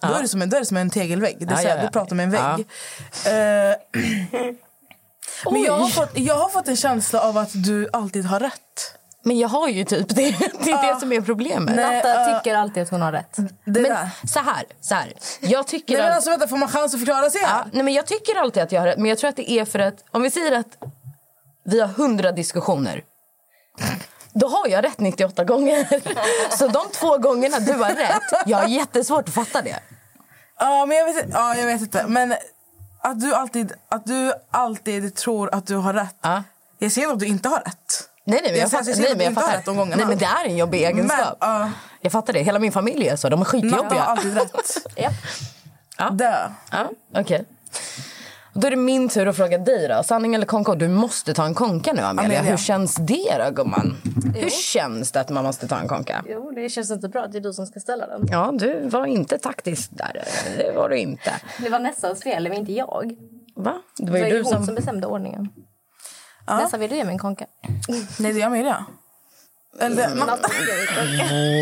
Speaker 2: Då, är det som en, då är det som en tegelvägg. Det är
Speaker 4: Ja,
Speaker 2: så här,
Speaker 4: ja, ja.
Speaker 2: Du pratar med en vägg.
Speaker 4: Ja.
Speaker 2: Eh, men jag har, fått, jag har fått en känsla av att du alltid har rätt.
Speaker 4: Men jag har ju typ det. Det är det som är problemet.
Speaker 2: Nej,
Speaker 5: Natta
Speaker 2: eh,
Speaker 5: tycker alltid att hon har rätt.
Speaker 2: det där.
Speaker 4: Men så här, så här. Jag tycker
Speaker 2: Nej, men
Speaker 4: att...
Speaker 2: alltså, vänta, får man chans att förklara sig?
Speaker 4: Ja,
Speaker 2: här?
Speaker 4: nej, men jag tycker alltid att jag har rätt. Men jag tror att det är för att om vi säger att vi har 100 diskussioner. Då har jag rätt 98 gånger. Så de två gångerna du har rätt, jag har jättesvårt att fatta det.
Speaker 2: Ja, men jag vet, ja, jag vet inte. Men att du alltid, att du alltid tror att du har rätt.
Speaker 4: Ja.
Speaker 2: Jag ser att du inte har rätt.
Speaker 4: Nej, nej, men jag,
Speaker 2: Jag säger
Speaker 4: fattar.
Speaker 2: att
Speaker 4: Nej,
Speaker 2: vi
Speaker 4: men jag
Speaker 2: inte har
Speaker 4: fattar.
Speaker 2: rätt de gångerna.
Speaker 4: Nej, men det är en jobbig egenskap.
Speaker 2: Men, ja.
Speaker 4: Jag fattar det. Hela min familj är så. De är
Speaker 2: Natta har
Speaker 4: skitjobbiga.
Speaker 2: alltid rätt.
Speaker 4: Ja. Ja.
Speaker 2: Dö.
Speaker 4: Ja, okej. Då är det min tur att fråga dig då. Sanning eller konka? Och Du måste ta en konka nu Amelia.
Speaker 2: Amelia.
Speaker 4: Hur känns det då gumman? Hur känns det att man måste ta en konka?
Speaker 5: Jo, det känns inte bra. Det är du som ska ställa den.
Speaker 4: Ja, du var inte taktisk där. Det var du inte.
Speaker 5: Det var Nessas fel, det var inte jag.
Speaker 4: Va? Det
Speaker 5: Det
Speaker 4: var
Speaker 5: var
Speaker 4: ju
Speaker 5: ju
Speaker 4: du
Speaker 5: hon som...
Speaker 4: som...
Speaker 5: bestämde ordningen. Nessa, vill du ge mig en konka?
Speaker 2: Nej, det är Amelia. Eller, mm.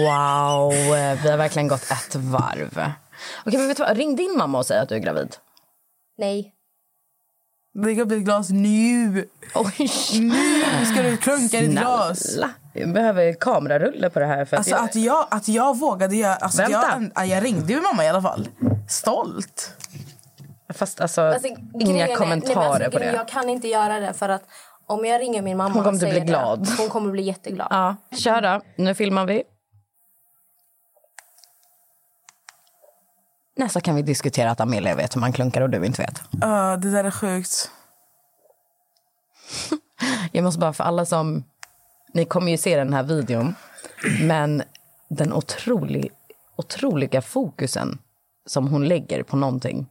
Speaker 4: Wow, vi har verkligen gått ett varv. Okej, men vet du vad? Ring din mamma och säg att du är gravid.
Speaker 5: Nej.
Speaker 2: Drick upp ditt glas nu.
Speaker 4: Oj,
Speaker 2: Nu ska du klunka ditt glas.
Speaker 4: snälla. Jag Mm, behöver kamerarulle på det här. För att
Speaker 2: Alltså
Speaker 4: jag-
Speaker 2: att jag, att jag vågade göra... Alltså, jag,
Speaker 4: Vänta.
Speaker 2: ja, jag ringde ju mamma i alla fall. Stolt.
Speaker 4: Fast alltså,
Speaker 5: Alltså, grejen
Speaker 4: inga
Speaker 5: är-
Speaker 4: kommentarer
Speaker 5: nej, men
Speaker 4: på
Speaker 5: alltså,
Speaker 4: det.
Speaker 5: Jag kan inte göra det för att om jag ringer min mamma
Speaker 4: Hon kommer
Speaker 5: och
Speaker 4: bli
Speaker 5: säger
Speaker 4: glad.
Speaker 5: Det, hon kommer bli jätteglad.
Speaker 4: Ja, kör då. Nu filmar vi. Nästa kan vi diskutera att Amelia vet hur man klunkar och du inte vet.
Speaker 2: Uh, det där är sjukt.
Speaker 4: Jag måste bara för alla som... Ni kommer ju se den här videon. Men den otrolig, otroliga fokusen som hon lägger på någonting.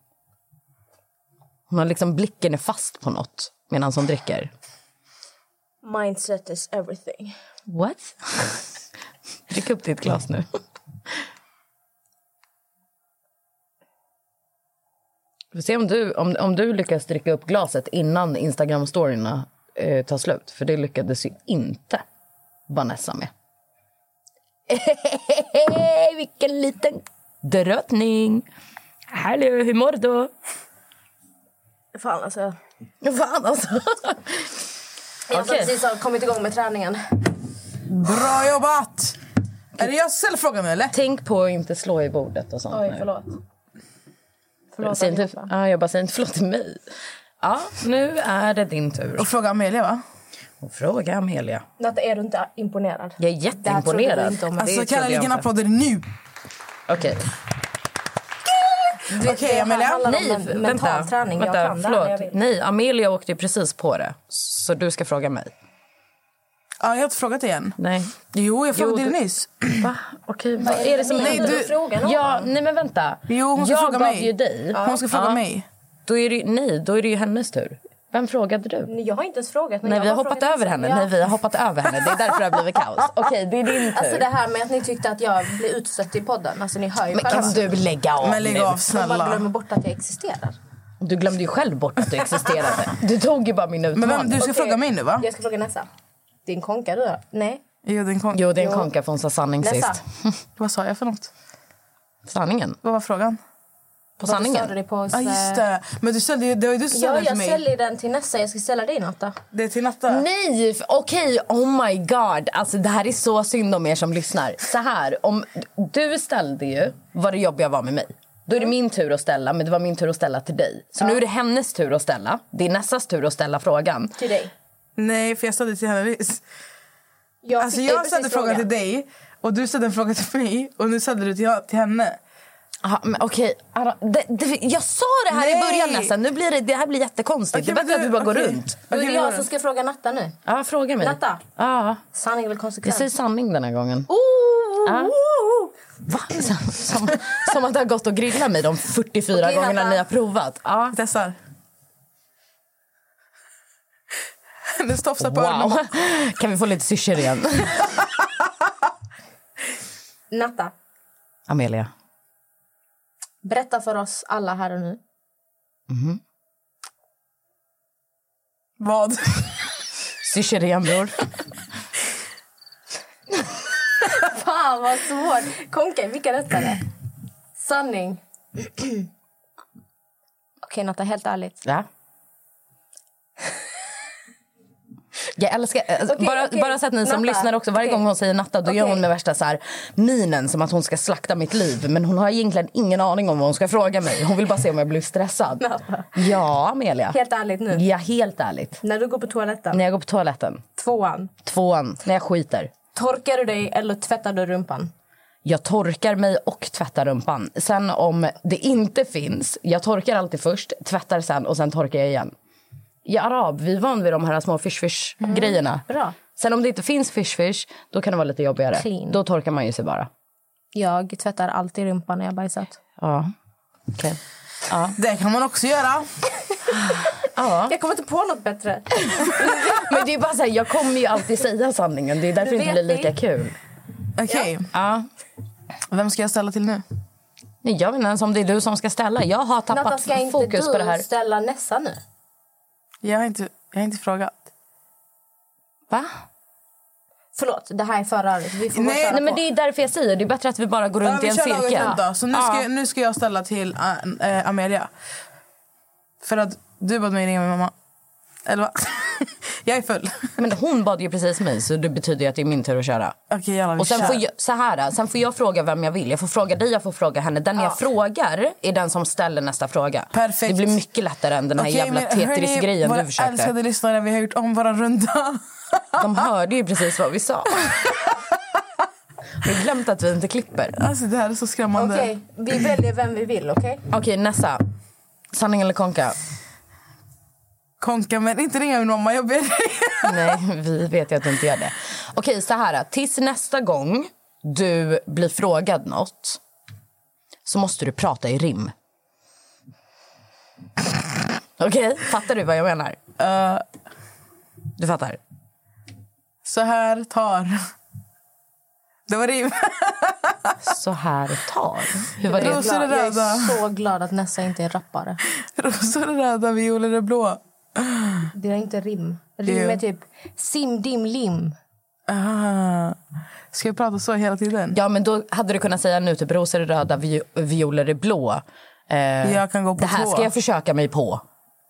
Speaker 4: Hon har liksom blicken är fast på något medan hon dricker.
Speaker 5: Mindset is everything.
Speaker 4: What? Drick upp ditt glas nu. Vi får se om du, om, om du lyckas dricka upp glaset innan Instagram-storyna eh, tar slut. För det lyckades ju inte Vanessa med. Vilken liten drottning! Hallå, hur mår du?
Speaker 5: Fan alltså.
Speaker 4: Fan, alltså.
Speaker 5: Jag som
Speaker 4: Okej.
Speaker 5: precis har kommit igång med träningen.
Speaker 2: Bra jobbat! Är det jag som ställer frågan nu eller?
Speaker 4: Tänk på att inte slå i bordet och sånt.
Speaker 5: Oj,
Speaker 4: nu.
Speaker 5: förlåt.
Speaker 4: Jag
Speaker 5: Förlåt
Speaker 4: säger inte,
Speaker 5: allihopa.
Speaker 4: ja, jag bara säger inte förlåt till mig. Ja, nu är det din tur.
Speaker 2: Och fråga Amelia va?
Speaker 4: Och fråga Amelia.
Speaker 5: Natta, är du inte imponerad?
Speaker 4: Jag är
Speaker 5: Det här trodde
Speaker 4: jätteimponerad.
Speaker 5: du inte om.
Speaker 4: Det
Speaker 2: Alltså
Speaker 4: trodde
Speaker 2: Kalle
Speaker 4: jag
Speaker 2: ligger
Speaker 4: inte.
Speaker 2: applåder nu.
Speaker 4: Okej.
Speaker 2: Okej Amelia.
Speaker 5: handlar om
Speaker 4: Nej,
Speaker 5: men- mental
Speaker 4: vänta.
Speaker 5: träning.
Speaker 4: vänta
Speaker 5: jag kan det här, men jag
Speaker 4: förlåt.
Speaker 5: vet.
Speaker 4: Nej, Amelia åkte ju precis på det. Så du ska fråga mig.
Speaker 2: Ja, jag har inte frågat igen.
Speaker 4: Nej.
Speaker 2: Jo, jag frågade
Speaker 4: Jo,
Speaker 2: dig
Speaker 4: du-
Speaker 2: nyss.
Speaker 4: Va? Okej, vad är det som
Speaker 5: Nej,
Speaker 4: händer?
Speaker 5: du- Fråga någon.
Speaker 4: ja, nej men vänta.
Speaker 2: Jo, hon ska
Speaker 4: jag
Speaker 2: fråga
Speaker 4: gav
Speaker 2: mig.
Speaker 4: ju dig.
Speaker 2: Hon ska fråga
Speaker 4: Ja.
Speaker 2: mig.
Speaker 4: Då är det, ju- nej, då är det ju hennes tur. Vem frågade du?
Speaker 5: Nej, Jag har inte ens frågat. men
Speaker 4: Nej,
Speaker 5: jag
Speaker 4: vi har
Speaker 5: bara
Speaker 4: hoppat
Speaker 5: frågat
Speaker 4: över
Speaker 5: Nessa.
Speaker 4: henne.
Speaker 5: Ja.
Speaker 4: Nej, vi har hoppat över henne. Det är därför det har blivit kaos. Okej, det är din tur.
Speaker 5: Alltså det här med att ni tyckte att jag blev utstött i podden. Alltså ni hör ju
Speaker 4: Men
Speaker 5: själva.
Speaker 4: kan du lägga av
Speaker 2: Men lägg
Speaker 4: nu?
Speaker 2: av
Speaker 5: Jag bara glömmer
Speaker 2: snälla.
Speaker 5: bort att jag existerar.
Speaker 4: Du glömde ju själv bort att du existerade. Du tog ju bara min
Speaker 2: Men
Speaker 4: utmaning.
Speaker 2: vem, du ska
Speaker 5: Okej.
Speaker 2: fråga mig nu va?
Speaker 5: Jag ska fråga Nessa. Din konka du då? Nej.
Speaker 2: Jo, din kon-
Speaker 4: Jo, det är en konka från sa sanning
Speaker 5: Nessa.
Speaker 4: sist.
Speaker 2: Vad sa jag för något?
Speaker 4: Sanningen.
Speaker 2: Vad var frågan?
Speaker 4: På
Speaker 5: Varför
Speaker 4: sanningen.
Speaker 5: störde du på oss? eh,
Speaker 2: Ja ah, just det. Men du ställde ju, det var ju du som ställde den
Speaker 5: Ja,
Speaker 2: till
Speaker 5: jag
Speaker 2: mig.
Speaker 5: säljer den till Nessa. Jag ska sälja dig Natta.
Speaker 2: Det är till Natta.
Speaker 4: Nej, f- okej, oh my god. Alltså det här är så synd om er som lyssnar. Så här, om du ställde ju vad det jobbiga var med mig. Då är det min tur att ställa, men det var min tur att ställa till dig. Så nu är det hennes tur att ställa. Det är Nessas tur att ställa frågan.
Speaker 5: Till dig.
Speaker 2: Nej, för jag ställde till henne nyss.
Speaker 5: Jag
Speaker 2: Alltså
Speaker 5: fick dig
Speaker 2: jag
Speaker 5: precis
Speaker 2: ställde frågan till dig och du ställde en fråga till mig och nu ställde du till, till henne.
Speaker 4: Aha, men okej, Anna, det, det, jag sa det här
Speaker 2: Nej.
Speaker 4: i början nästan. Nu blir det, det här blir jättekonstigt.
Speaker 2: Okej,
Speaker 4: det
Speaker 2: men
Speaker 4: är bättre att
Speaker 2: du-
Speaker 4: du bara går
Speaker 2: okej.
Speaker 4: runt.
Speaker 5: Då
Speaker 2: Okej,
Speaker 5: är det
Speaker 2: vi gör
Speaker 5: jag
Speaker 2: det.
Speaker 5: som ska fråga Natta nu.
Speaker 4: Ja, fråga mig.
Speaker 5: Natta.
Speaker 4: Ja,
Speaker 5: Sanning eller
Speaker 4: jag
Speaker 5: konsekvens?
Speaker 4: säger sanning den här gången.
Speaker 5: Oh,
Speaker 4: Ja. Va? Som- Som, som att det har gått att grilla mig de 44
Speaker 5: Okej,
Speaker 4: gångerna
Speaker 5: Natta.
Speaker 4: ni har provat. Ja.
Speaker 2: Vi testar. Hennes tofsar på öronen.
Speaker 4: Wow. Kan vi få lite syrsor igen?
Speaker 5: Natta,
Speaker 4: Amelia.
Speaker 5: berätta för oss alla här och nu.
Speaker 2: Vad?
Speaker 4: Syrsor igen, bror.
Speaker 5: Fan vad svårt! Konke, vilka rätt är det? Sanning. Okej Natta, helt ärligt.
Speaker 4: Ja. Jag älskar, alltså,
Speaker 5: Okej,
Speaker 4: bara,
Speaker 5: okej.
Speaker 4: bara så att ni som
Speaker 5: Natta.
Speaker 4: lyssnar också, varje
Speaker 5: Okej.
Speaker 4: gång hon säger natta då gör
Speaker 5: Okej.
Speaker 4: hon med värsta så här, minen som att hon ska slakta mitt liv. Men hon har egentligen ingen aning om vad hon ska fråga mig. Hon vill bara se om jag blir stressad.
Speaker 5: Natta.
Speaker 4: Ja, Amelia.
Speaker 5: Helt ärligt nu.
Speaker 4: Ja, helt ärligt.
Speaker 5: När du går på toaletten,
Speaker 4: När jag går på toaletten,
Speaker 5: tvåan,
Speaker 4: tvåan, när jag skiter.
Speaker 5: torkar du dig eller tvättar du rumpan?
Speaker 4: Jag torkar mig och tvättar rumpan. Sen om det inte finns, jag torkar alltid först, tvättar sen och sen torkar jag igen. Jag är arab, vi är van vid de här små fish-fish-grejerna.
Speaker 5: Mm, Bra.
Speaker 4: Sen om det inte finns fish fish, då kan det vara lite jobbigare.
Speaker 5: Clean.
Speaker 4: Då torkar man ju sig bara.
Speaker 5: Jag tvättar alltid rumpan när jag bajsat.
Speaker 4: Ja. Okej.
Speaker 2: Det kan man också göra.
Speaker 5: Jag kommer inte på något bättre.
Speaker 4: Men det är bara så här, jag kommer ju alltid säga sanningen. Det är därför det inte
Speaker 5: vet
Speaker 4: blir lika
Speaker 5: det.
Speaker 4: kul.
Speaker 2: Okej,
Speaker 4: Ja.
Speaker 2: vem ska jag ställa till nu?
Speaker 4: Nej, jag vet inte ens om det är du som ska ställa. Jag har tappat
Speaker 5: Natta, ska inte
Speaker 4: fokus
Speaker 5: du
Speaker 4: på det här.
Speaker 5: ställa nästa nu?
Speaker 2: Jag har inte, jag har inte frågat.
Speaker 4: Va?
Speaker 5: Förlåt, det här är förra året. Vi får
Speaker 2: Nej,
Speaker 5: bara köra
Speaker 4: Nej, men
Speaker 5: på.
Speaker 4: det är därför jag säger. Det är bättre att vi bara går
Speaker 2: Ja,
Speaker 4: runt i
Speaker 2: vi
Speaker 4: en
Speaker 2: kör laget
Speaker 4: cirkel.
Speaker 2: runt då. Så nu
Speaker 4: Ja.
Speaker 2: ska, nu ska jag ställa till eh, eh, Amelia. För att du bad mig ringa min mamma. Eller vad? jag är full.
Speaker 4: Men hon bad ju precis mig, så det betyder ju att det är min tur att köra.
Speaker 2: Okej, jävlar vi
Speaker 4: Och sen
Speaker 2: kör.
Speaker 4: får, jag, så här, sen får jag fråga vem jag vill. Jag får fråga dig, jag får fråga henne. Den jag frågar är den som ställer nästa fråga.
Speaker 2: Perfekt.
Speaker 4: Det blir mycket lättare än den här
Speaker 2: Okej,
Speaker 4: jävla
Speaker 2: men hörni,
Speaker 4: Tetris-grejen
Speaker 2: våra
Speaker 4: du försökte.
Speaker 2: älskade lyssnare, vi har gjort om våran runda.
Speaker 4: De hörde ju precis vad vi sa. Har du glömt att vi inte klipper?
Speaker 2: Alltså det här är så skrämmande.
Speaker 5: Okej, vi
Speaker 2: Mm.
Speaker 5: väljer vem vi vill, okej?
Speaker 4: Okej, Nessa. Sanning eller konka?
Speaker 2: Konka, men inte ringa min mamma. Jag ber dig.
Speaker 4: Nej, vi vet ju att du inte gör det. Okej, så här. Tills nästa gång du blir frågad något så måste du prata i rim. Okej, fattar du vad jag menar? Eh, Du fattar?
Speaker 2: Så här tar... Det var rim.
Speaker 4: Så här tar. Hur var
Speaker 2: Rosor
Speaker 4: det?
Speaker 2: är
Speaker 5: jag
Speaker 2: röda,
Speaker 5: är så glad att Nessa inte är rappare.
Speaker 2: rosor är röda, violer är blå.
Speaker 5: Det är inte rim. Rim
Speaker 2: Jo.
Speaker 5: är typ sim, dim, lim.
Speaker 2: Ah. Ska vi prata så hela tiden?
Speaker 4: Ja, men då hade du kunnat säga nu typ rosor är röda, vi- violer är blå. Eh,
Speaker 2: Jag kan gå på
Speaker 4: det här
Speaker 2: tå.
Speaker 4: ska jag försöka mig på.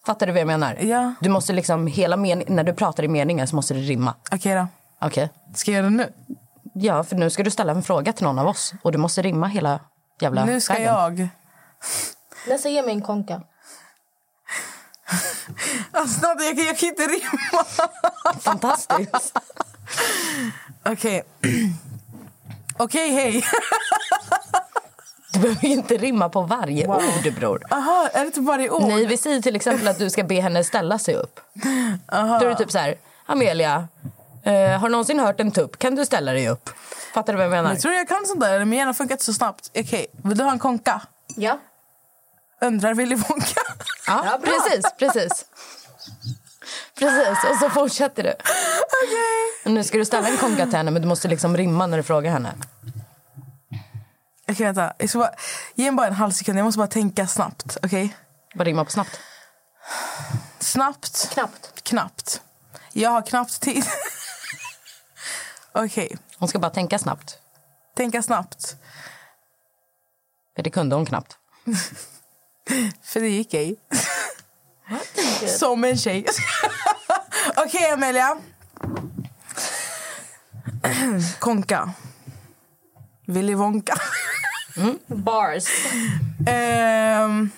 Speaker 4: Fattar du vad jag menar?
Speaker 2: Ja.
Speaker 4: Du måste liksom, hela men- när du pratar i meningar så måste det rimma.
Speaker 2: Okej då.
Speaker 4: Okej.
Speaker 2: Ska jag göra det nu?
Speaker 4: Ja, för nu ska du ställa en fråga till någon av oss och du måste rimma hela jävla
Speaker 2: Nu ska
Speaker 4: vägen.
Speaker 2: jag.
Speaker 5: Nessa, ge mig en konka.
Speaker 2: Alltså, Nadja, jag, kan, jag kan inte rimma.
Speaker 4: Fantastiskt.
Speaker 2: Okej. Okej, hej.
Speaker 4: Du behöver ju inte rimma på varje ord, bror.
Speaker 2: Aha, är det typ varje ord?
Speaker 4: Nej, vi säger till exempel att du ska be henne ställa sig upp. Då är det typ så här, Amelia, eh, har du någonsin hört en tupp? Kan du ställa dig upp? Fattar du vad jag menar?
Speaker 2: Jag tror jag kan sånt där, men hjärnan funkar inte så snabbt. Okej, vill du ha en konka?
Speaker 5: Ja.
Speaker 2: Undrar Willy Wonka.
Speaker 4: Ja, precis, precis. Precis, och så fortsätter du. Nu ska du ställa en konka till henne, men du måste liksom rimma när du frågar henne.
Speaker 2: Okej, vänta. Jag ska bara, ge mig bara en halv sekund. Jag måste bara tänka snabbt. Okej?
Speaker 4: Vad rimmar på snabbt?
Speaker 2: Snabbt.
Speaker 5: Knappt.
Speaker 2: Knappt. Jag har knappt tid. Okej.
Speaker 4: Hon ska bara tänka snabbt.
Speaker 2: Tänka snabbt.
Speaker 4: För det kunde hon knappt.
Speaker 2: För det gick ej. Som en tjej. Okej, Amelia. Konka. Willy Wonka.
Speaker 5: Bars.
Speaker 2: Ehm,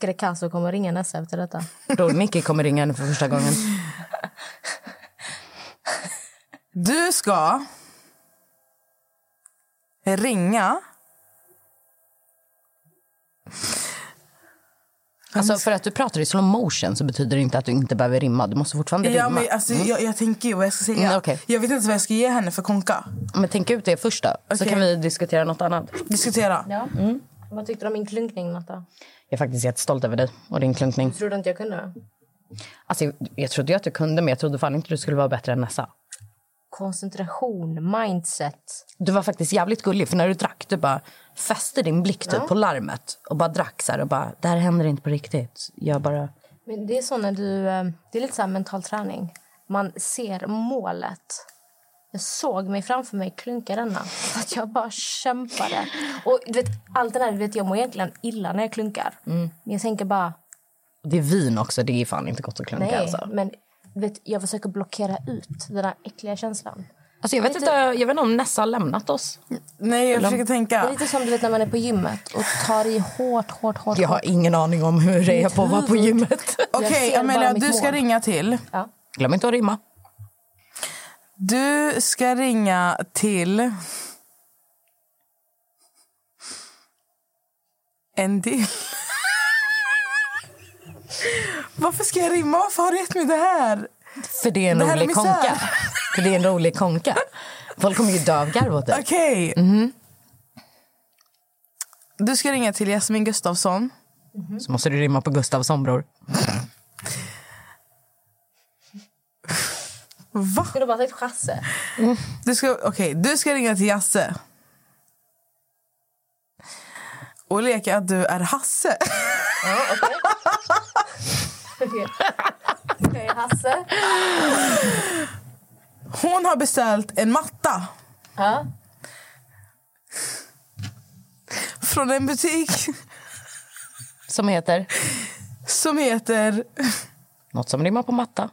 Speaker 5: Grecaso kommer ringa Nessa efter detta.
Speaker 4: Bror Nicky kommer ringa henne för första gången.
Speaker 2: du ska ringa...
Speaker 4: Alltså för att du pratar i slow motion så betyder det inte att du inte behöver rimma. Du måste fortfarande
Speaker 2: Ja,
Speaker 4: rimma.
Speaker 2: men, alltså,
Speaker 5: Mm.
Speaker 2: jag, jag tänker ju vad jag ska säga.
Speaker 4: Mm, okej.
Speaker 2: Jag vet inte vad jag ska ge henne för konka.
Speaker 4: Men, tänk ut det först då. Så
Speaker 2: Okej.
Speaker 4: kan vi diskutera något annat.
Speaker 2: Diskutera.
Speaker 5: Ja. Mm. Vad tyckte du om min klunkning, Natta?
Speaker 4: Jag är faktiskt jättestolt över dig och din klunkning.
Speaker 5: Trodde inte jag kunde?
Speaker 4: Alltså, jag, jag trodde ju att du kunde men jag trodde fan inte du skulle vara bättre än Nessa.
Speaker 5: Koncentration, mindset.
Speaker 4: Du var faktiskt jävligt gullig för när du drack du bara fäste din blick typ på larmet och bara drack så här och bara det här händer inte på riktigt. Jag bara
Speaker 5: Men det är så när du... eh, Det är lite så här mental träning. Man ser målet. Jag såg mig framför mig klunka denna. Så att jag bara kämpade. Och du vet, allt det där, du vet, jag mår egentligen illa när jag klunkar. Men jag tänker bara,
Speaker 4: det är vin också, det är fan inte gott att klunka
Speaker 5: nej.
Speaker 4: alltså.
Speaker 5: Men du vet, jag försöker blockera ut den där äckliga känslan.
Speaker 4: Alltså jag vet inte, jag vet inte om Nessa har lämnat oss.
Speaker 2: Nej, jag försöker
Speaker 5: Det är
Speaker 2: tänka.
Speaker 5: lite som du vet när man är på gymmet och tar i hårt, hårt, hårt.
Speaker 4: Jag har
Speaker 5: hårt.
Speaker 4: ingen aning om hur det är på att vara på gymmet.
Speaker 2: Okej,
Speaker 5: Jag ser
Speaker 2: Amelia,
Speaker 5: bara mitt
Speaker 2: du ska
Speaker 5: mål.
Speaker 2: ringa till...
Speaker 5: Ja.
Speaker 4: Glöm inte att rimma.
Speaker 2: Du ska ringa till... En till. Varför ska jag rimma? Varför har du gett mig det här?
Speaker 4: För det är en
Speaker 2: Det här är
Speaker 4: rolig
Speaker 2: misär.
Speaker 4: konka. För det är en rolig konka. Folk kommer ju dö av garv åt dig.
Speaker 2: Okej. Du ska ringa till Jasmin Gustafsson.
Speaker 4: Så måste du rimma på Gustavsson, bror.
Speaker 2: Va?
Speaker 5: Skulle bara sagt chasse.
Speaker 2: Du ska, okej, du ska ringa till Jasse. Och leka att du är Hasse.
Speaker 5: Jag är Hasse.
Speaker 2: Hon har beställt en matta
Speaker 5: Ja.
Speaker 2: från en butik
Speaker 4: Som heter...
Speaker 2: som heter...
Speaker 4: Något som rimmar på matta.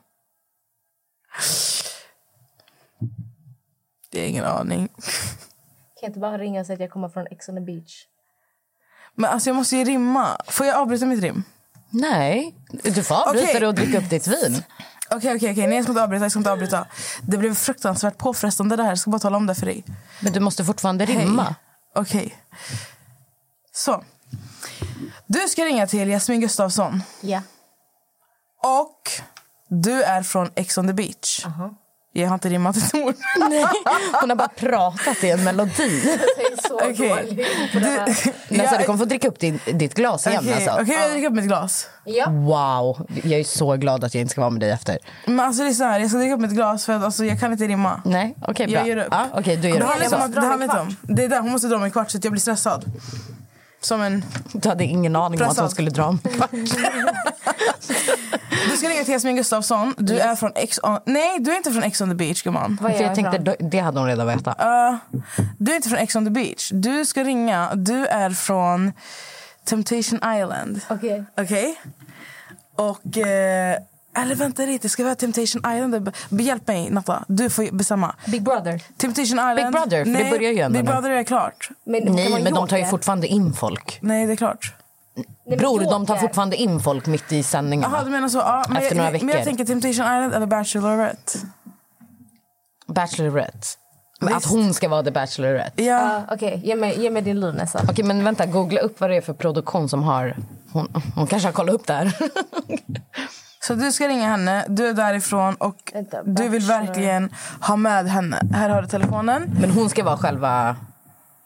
Speaker 2: Det är ingen aning.
Speaker 5: Kan jag inte bara ringa och säga att jag kommer från Ex on the beach?
Speaker 2: Men alltså jag måste ju rimma. Får jag avbryta mitt rim?
Speaker 4: Nej, du får avbryta
Speaker 2: Okej.
Speaker 4: det och dricka upp ditt vin.
Speaker 2: Okej, okej, okej. Nej, jag ska inte avbryta. Jag ska inte avbryta. Det blev fruktansvärt påfrestande det här. Jag ska bara tala om det för dig.
Speaker 4: Men du måste fortfarande rimma.
Speaker 2: Hej. Okej. Så. Du ska ringa till Jasmin Gustafsson.
Speaker 5: Ja.
Speaker 2: Och du är från Ex on the beach. Jag har inte rimmat ett ord.
Speaker 4: Hon har bara pratat i en melodi.
Speaker 5: Jag är så
Speaker 2: Okej.
Speaker 5: dålig på det
Speaker 2: Du,
Speaker 5: här.
Speaker 4: Nej, så du
Speaker 2: Jag-
Speaker 4: kommer få dricka upp din, ditt glas igen.
Speaker 2: Okej,
Speaker 4: Alltså.
Speaker 2: okej, jag dricker upp mitt glas.
Speaker 5: Ja.
Speaker 4: Wow, jag är så glad att jag inte ska vara med dig efter.
Speaker 2: Men alltså det är så här, jag ska dricka upp mitt glas för att alltså, jag kan inte rimma.
Speaker 4: Nej, okej bra.
Speaker 2: Jag ger upp. liksom
Speaker 4: Ja, okej, du ger
Speaker 2: Det
Speaker 4: upp.
Speaker 2: handlar inte om
Speaker 4: Så.
Speaker 2: att- det handlar inte om. Det är där, hon måste dra mig kvart så att jag blir stressad. Som en...
Speaker 4: Du hade ingen aning om att hon
Speaker 2: Pressad.
Speaker 4: skulle dra om
Speaker 2: Du ska ringa till Jasmin Gustafsson. Du
Speaker 4: Mm.
Speaker 2: är från Ex on... Nej, du är inte från Ex on the beach gumman.
Speaker 5: Vad
Speaker 4: För
Speaker 5: är
Speaker 4: jag tänkte, då- det hade hon redan vetat.
Speaker 2: Uh, du är inte från Ex on the beach. Du ska ringa. Du är från Temptation Island.
Speaker 5: Okej.
Speaker 2: Okej? Och... eh, eller vänta lite, ska vi ha Temptation Island? Be- Hjälp mig Natta, du får bestämma.
Speaker 5: Big Brother.
Speaker 2: Temptation Island.
Speaker 4: Big Brother, för det börjar ju ändå
Speaker 2: Big
Speaker 4: nu.
Speaker 2: Brother är klart.
Speaker 5: Men, kan
Speaker 4: Nej,
Speaker 5: man
Speaker 4: men de tar ju
Speaker 5: joker?
Speaker 4: fortfarande in folk.
Speaker 2: Nej, det är klart.
Speaker 5: Nej, men
Speaker 4: Bror, de tar
Speaker 5: joker.
Speaker 4: fortfarande in folk mitt i sändningarna.
Speaker 2: Jaha, du menar så. Ja, men,
Speaker 4: Efter
Speaker 2: jag,
Speaker 4: några
Speaker 2: men
Speaker 4: veckor.
Speaker 2: jag tänker Temptation Island eller Bachelorette.
Speaker 4: Bachelorette. Men
Speaker 2: Visst.
Speaker 4: att hon ska vara the
Speaker 2: Ja.
Speaker 4: Bachelorette.
Speaker 5: Ja, Okej, ge, mig, ge mig din lur nästan.
Speaker 4: Okej, men vänta. Googla upp vad det är för produktion som har... Hon, hon kanske har kollat upp det här.
Speaker 2: Så du ska ringa henne, du är därifrån och
Speaker 5: Vänta,
Speaker 2: du vill
Speaker 5: Bachelor.
Speaker 2: verkligen ha med henne. Här har du telefonen.
Speaker 4: men hon ska vara själva...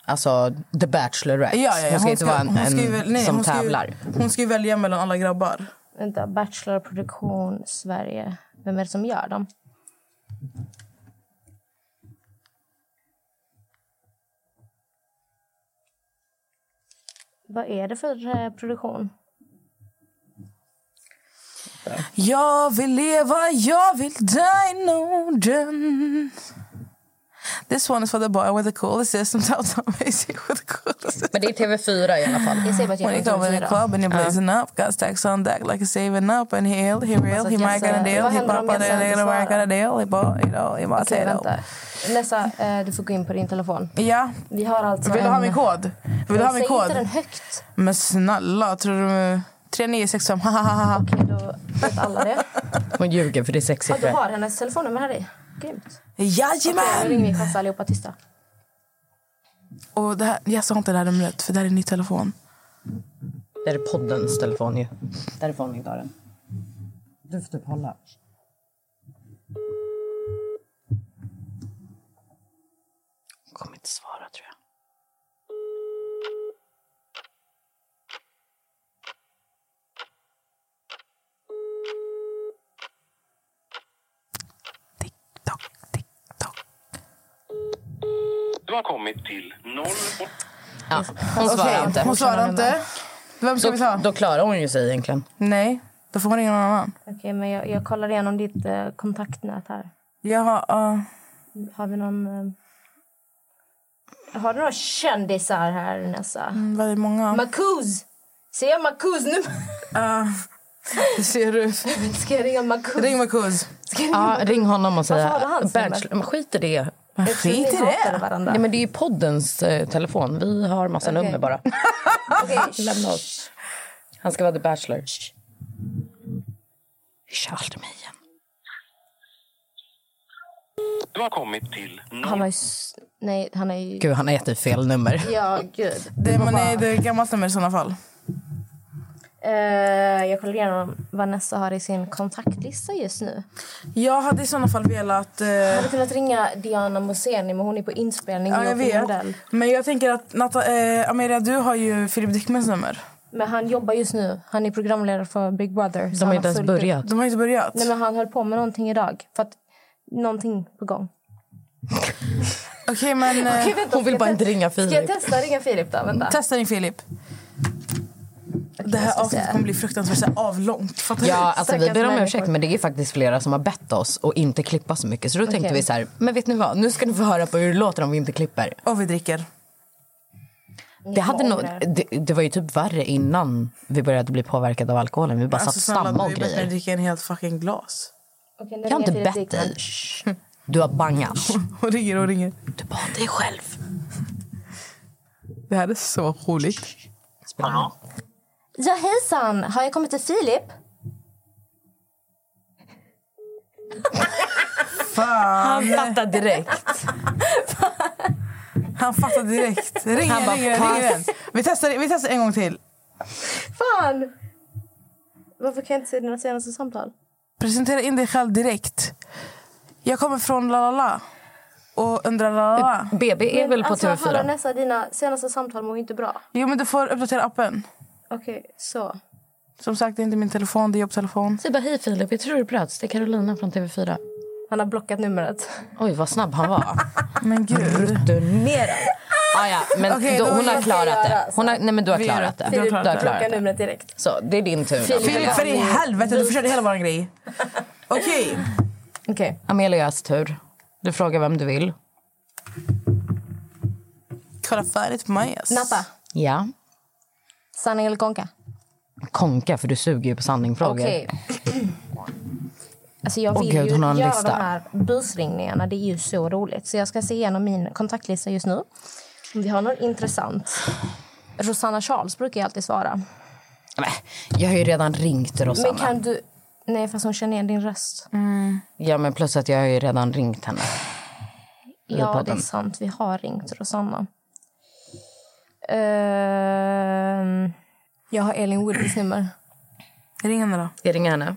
Speaker 4: Alltså, the Bachelorette.
Speaker 2: Ja, ja, ja.
Speaker 4: Hon ska inte vara en,
Speaker 2: hon ska ju
Speaker 4: en
Speaker 2: väl- nej,
Speaker 4: som
Speaker 2: hon ska ju-
Speaker 4: tävlar.
Speaker 2: Hon ska ju välja mellan alla grabbar.
Speaker 5: Vänta, Bachelor Produktion Sverige. Vem är det som gör dem? Vad är det för eh, produktion?
Speaker 2: Jag vill leva, jag vill dö i Norden. This one is for the boy with the coolest system. Don't amazing with the coolest
Speaker 4: Men det är TV4 i alla fall.
Speaker 5: Jag säger bara att jag
Speaker 2: When you come in the
Speaker 5: inte har tid
Speaker 2: club and you're blazing up, got stacks on deck like he's saving up and he ill, he real,
Speaker 5: att
Speaker 2: he might got a
Speaker 5: Jesse-
Speaker 2: deal,
Speaker 5: vad
Speaker 2: he
Speaker 5: händer
Speaker 2: pop
Speaker 5: om
Speaker 2: on
Speaker 5: Jesse
Speaker 2: a
Speaker 5: inte
Speaker 2: little work
Speaker 5: svarar?
Speaker 2: a deal, he bought, you know, he might
Speaker 5: Okej,
Speaker 2: say
Speaker 5: vänta. Nessa, eh, du får gå in på din telefon.
Speaker 2: Ja,
Speaker 5: Vi har alltså
Speaker 2: vill du
Speaker 5: en...
Speaker 2: ha min kod? Vill du ha min
Speaker 5: Säg inte den
Speaker 2: kod?
Speaker 5: högt.
Speaker 2: Men snälla, tror du... 3965, hahaha.
Speaker 5: Okej, då vet alla det.
Speaker 4: Hon ljuger för det är
Speaker 5: Ja, du
Speaker 4: sexsiffror.
Speaker 5: har hennes telefonnummer här i. Grymt. Då
Speaker 2: Jajamän!
Speaker 5: ringer vi Kassa allihopa tysta.
Speaker 2: Och det här, jag sa inte det här numret, för det här är en ny telefon.
Speaker 4: Det är poddens telefon ju. Därifrån vi tar den. Du får typ hålla. Hon kommer inte svara tror jag.
Speaker 2: Tick-tock, tick-tock.
Speaker 6: Du har kommit till 08...
Speaker 4: Ja, hon svarar
Speaker 2: Okej,
Speaker 4: inte.
Speaker 2: Hon svarar inte. Vem ska vi
Speaker 4: Då,
Speaker 2: ta?
Speaker 4: då klarar hon ju sig egentligen.
Speaker 2: Nej, då får man ringa någon annan.
Speaker 5: Okej, men jag, jag kollar igenom ditt eh, kontaktnät här.
Speaker 2: Jag har... ja.
Speaker 5: Har vi någon... eh, har du några kändisar här, Nessa?
Speaker 2: Mm, väldigt många.
Speaker 5: Makuz! Ser jag Makuz nu?
Speaker 2: Ja. det ser du.
Speaker 5: Ska jag ringa Makuz?
Speaker 2: Ring Marcus.
Speaker 4: Ja, ring honom och säga...
Speaker 5: Varför har du hans nummer?
Speaker 4: Bachelor- men skit i det.
Speaker 5: Jag tror
Speaker 2: Skit
Speaker 5: ni
Speaker 2: i
Speaker 5: hatar
Speaker 2: det.
Speaker 5: Varandra.
Speaker 4: Nej, men det är ju poddens eh, telefon. Vi har massa nummer bara.
Speaker 5: Okej,
Speaker 4: Lämna oss. Han ska vara the bachelor. Vi kör aldrig mig igen.
Speaker 6: Du har kommit till
Speaker 5: han
Speaker 6: 08...
Speaker 5: har ju... s- Nej, han är ju...
Speaker 4: Gud, han har gett dig fel nummer.
Speaker 5: Ja, gud.
Speaker 2: Det, men nej, det är ett gammalt nummer i sådana fall.
Speaker 5: Eh, jag kollar igenom vad Vanessa har i sin kontaktlista just nu.
Speaker 2: Jag hade i såna fall velat... Eh,
Speaker 5: Jag hade kunnat ringa Diana Moseni, men hon är på inspelning.
Speaker 2: ja,
Speaker 5: i
Speaker 2: jag
Speaker 5: Opinion
Speaker 2: vet.
Speaker 5: Modell.
Speaker 2: Men jag tänker att Nata, eh, Amelia, du har ju Filip Dickmans nummer.
Speaker 5: Men han jobbar just nu. Han är programledare för Big Brother. så
Speaker 4: De har
Speaker 5: han
Speaker 4: inte ens
Speaker 5: fullt upp.
Speaker 4: börjat.
Speaker 2: De har inte börjat.
Speaker 5: Nej, men han höll på med någonting idag. För att någonting på gång.
Speaker 2: Okej, men... Eh,
Speaker 5: Okej, vänta,
Speaker 4: Hon vill
Speaker 5: ska jag
Speaker 4: bara
Speaker 5: te-
Speaker 4: inte ringa
Speaker 5: Ska jag
Speaker 4: Filip.
Speaker 5: testa ringa Filip då? Vänta.
Speaker 2: Testa din Filip. Det
Speaker 5: jag
Speaker 2: här
Speaker 5: ska
Speaker 2: avsnittet
Speaker 5: se.
Speaker 2: kommer bli fruktansvärt så här avlångt. Fattar du?
Speaker 4: Ja, alltså vi
Speaker 5: Stackars
Speaker 4: ber om
Speaker 5: människor.
Speaker 4: ursäkt men det är faktiskt flera som har bett oss att inte klippa så mycket. Så då tänkte
Speaker 5: Okej.
Speaker 4: vi så här, men vet ni vad, nu ska ni få höra på hur det låter om vi inte klipper.
Speaker 2: Och vi dricker.
Speaker 4: Det, hade
Speaker 5: Ja,
Speaker 4: nog,
Speaker 5: det.
Speaker 4: det, det var ju typ värre innan vi började bli påverkade av alkoholen. Vi bara satt och
Speaker 2: Alltså, du
Speaker 4: stammade
Speaker 2: har
Speaker 4: och
Speaker 2: ju bett mig
Speaker 4: grejer.
Speaker 2: dricka en helt fucking glas.
Speaker 5: Okej, nu
Speaker 4: Jag har
Speaker 5: ringer
Speaker 4: inte
Speaker 5: Filip
Speaker 4: bett
Speaker 5: Dickman.
Speaker 4: dig. Shh. Du har bangat.
Speaker 2: Och ringer och ringer.
Speaker 4: Du bad dig själv.
Speaker 2: Det här är så roligt.
Speaker 4: Hallå?
Speaker 5: Ja, hejsan. Har jag kommit till Filip?
Speaker 2: Fan.
Speaker 4: Han fattar direkt.
Speaker 2: Han fattar direkt. Ring
Speaker 4: Han
Speaker 2: igen,
Speaker 4: bara,
Speaker 2: ring igen,
Speaker 4: pass.
Speaker 2: ring igen. Vi testar, vi testar en gång till.
Speaker 5: Fan! Varför kan jag inte se dina senaste samtal?
Speaker 2: Presentera in dig själv direkt. Jag kommer från la la la. Och undrar la la la.
Speaker 4: BB är väl på
Speaker 5: alltså, Hallå
Speaker 4: TV4?
Speaker 5: Nessa, dina senaste samtal mår ju inte bra.
Speaker 2: Jo men du får uppdatera appen.
Speaker 5: Okej, så.
Speaker 2: Som sagt det är inte min telefon, det är jobbtelefon.
Speaker 4: Säg bara hej Filip, jag tror du bröts. Det är Carolina från TV4.
Speaker 5: Han har blockat numret.
Speaker 4: Oj, vad snabb han var.
Speaker 2: Men gud.
Speaker 4: Rutinera. Ah, ja, men
Speaker 2: Okej,
Speaker 4: då,
Speaker 2: då
Speaker 4: hon har
Speaker 2: jag
Speaker 4: klarat
Speaker 5: göra
Speaker 4: det. Hon har, nej, men du har
Speaker 2: Vi gör
Speaker 4: klarat
Speaker 2: det.
Speaker 4: det.
Speaker 2: Du har
Speaker 4: Du
Speaker 2: klarat
Speaker 4: har
Speaker 2: det.
Speaker 4: klarat
Speaker 5: Blocka
Speaker 4: det.
Speaker 5: numret direkt.
Speaker 4: Så, det är din tur. då.
Speaker 2: Filip för i helvete du förstörde hela våran grej. Okej.
Speaker 5: Okej.
Speaker 4: Amelias tur. Du frågar vem du vill.
Speaker 2: Kolla färdigt på mig ass.
Speaker 5: Natta.
Speaker 4: Ja.
Speaker 5: Sanning eller konka?
Speaker 4: Konka, för du suger ju på sanningfrågor.
Speaker 5: Okej. Alltså jag
Speaker 4: Åh,
Speaker 5: vill
Speaker 4: gud,
Speaker 5: ju
Speaker 4: hon har en
Speaker 5: göra
Speaker 4: lista.
Speaker 5: de här busringningarna. Det är ju så roligt. Så jag ska se igenom min kontaktlista just nu. Om vi har någon intressant. Rosanna Charles brukar jag alltid svara.
Speaker 4: Nej, Jag har ju redan ringt Rosanna. Mm.
Speaker 5: Men kan du... Nej, fast hon känner igen din röst.
Speaker 4: Ja, men plus att jag har ju redan ringt henne.
Speaker 5: Ja, det är
Speaker 4: podden.
Speaker 5: sant. Vi har ringt Rosanna. Ehm, jag har Elin Woodys nummer.
Speaker 2: Ring henne då.
Speaker 4: Ska jag ringa henne?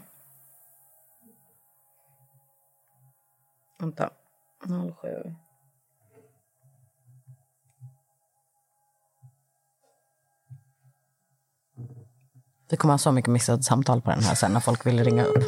Speaker 4: Vänta. 07... Vi kommer ha så mycket missade samtal på den här sen när folk vill ringa upp.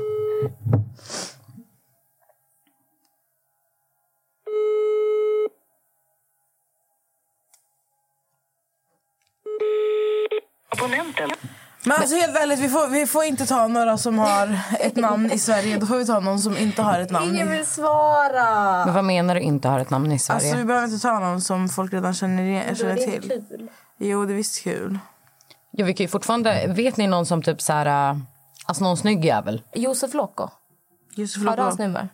Speaker 2: Men alltså helt ärligt, vi får, vi får inte ta några som har ett namn i Sverige. Då får vi ta någon som inte har ett namn. i-
Speaker 5: vill svara!
Speaker 4: Men vad menar du inte har ett namn i Sverige?
Speaker 2: Alltså vi behöver inte ta någon som folk redan känner, igen,
Speaker 5: Det
Speaker 2: känner
Speaker 5: är
Speaker 2: till.
Speaker 5: kul.
Speaker 2: Jo, det är visst kul.
Speaker 4: ja, vi kan ju fortfarande... Vet ni någon som typ så här... äh, Alltså någon snygg jävel?
Speaker 5: Josef Locko.
Speaker 2: Josef
Speaker 5: Har du
Speaker 2: Loppa.
Speaker 5: hans nummer?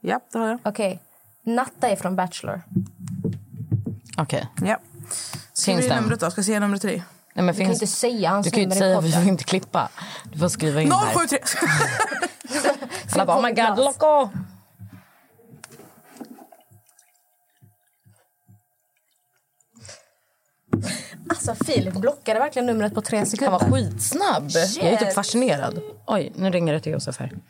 Speaker 2: Ja, det har jag.
Speaker 5: Okej. Natta är från Bachelor.
Speaker 4: Okej.
Speaker 2: Ja. Skriv
Speaker 4: Finns
Speaker 2: i
Speaker 4: den?
Speaker 2: numret då, ska jag säga numret till dig.
Speaker 4: Nej, men
Speaker 5: Du kan
Speaker 4: finns...
Speaker 5: inte säga hans
Speaker 4: Du kan ju inte
Speaker 5: nummer i
Speaker 4: säga för du
Speaker 5: podden.
Speaker 4: vill inte klippa. Du får skriva in här.
Speaker 2: 073!
Speaker 4: Alla bara, oh my god, Loco!
Speaker 5: Alltså, Filip blockade verkligen numret på tre
Speaker 4: Han
Speaker 5: sekunder.
Speaker 4: var skitsnabb. Jag är typ
Speaker 5: Shit.
Speaker 4: fascinerad. Oj, nu ringer det till Josef här.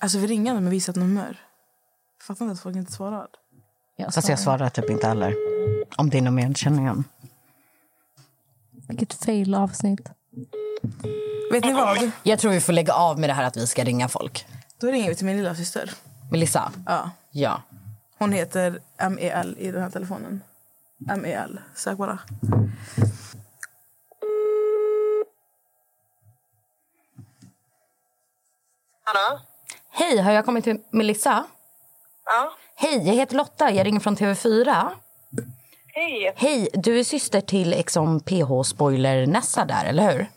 Speaker 2: Alltså vi ringer honom med visat nummer. Fattar inte att folk inte svarar.
Speaker 5: Jag
Speaker 4: Fast jag svarar typ inte heller. Om det är någon medkänning om.
Speaker 5: Vilket fail avsnitt.
Speaker 2: Vet ni vad?
Speaker 4: Jag tror vi får lägga av med det här att vi ska ringa folk.
Speaker 2: Då ringer vi till min lilla syster.
Speaker 4: Melissa?
Speaker 2: Ja.
Speaker 4: Ja.
Speaker 2: Hon heter MEL i den här telefonen. MEL. Sök bara.
Speaker 7: Hallå?
Speaker 4: Hej, har jag kommit till Melissa?
Speaker 7: Ja?
Speaker 4: Hej, jag heter Lotta. Jag ringer från TV4.
Speaker 7: Hej!
Speaker 4: Hej, du är syster till liksom Exxon PH Spoiler Nessa där, eller hur?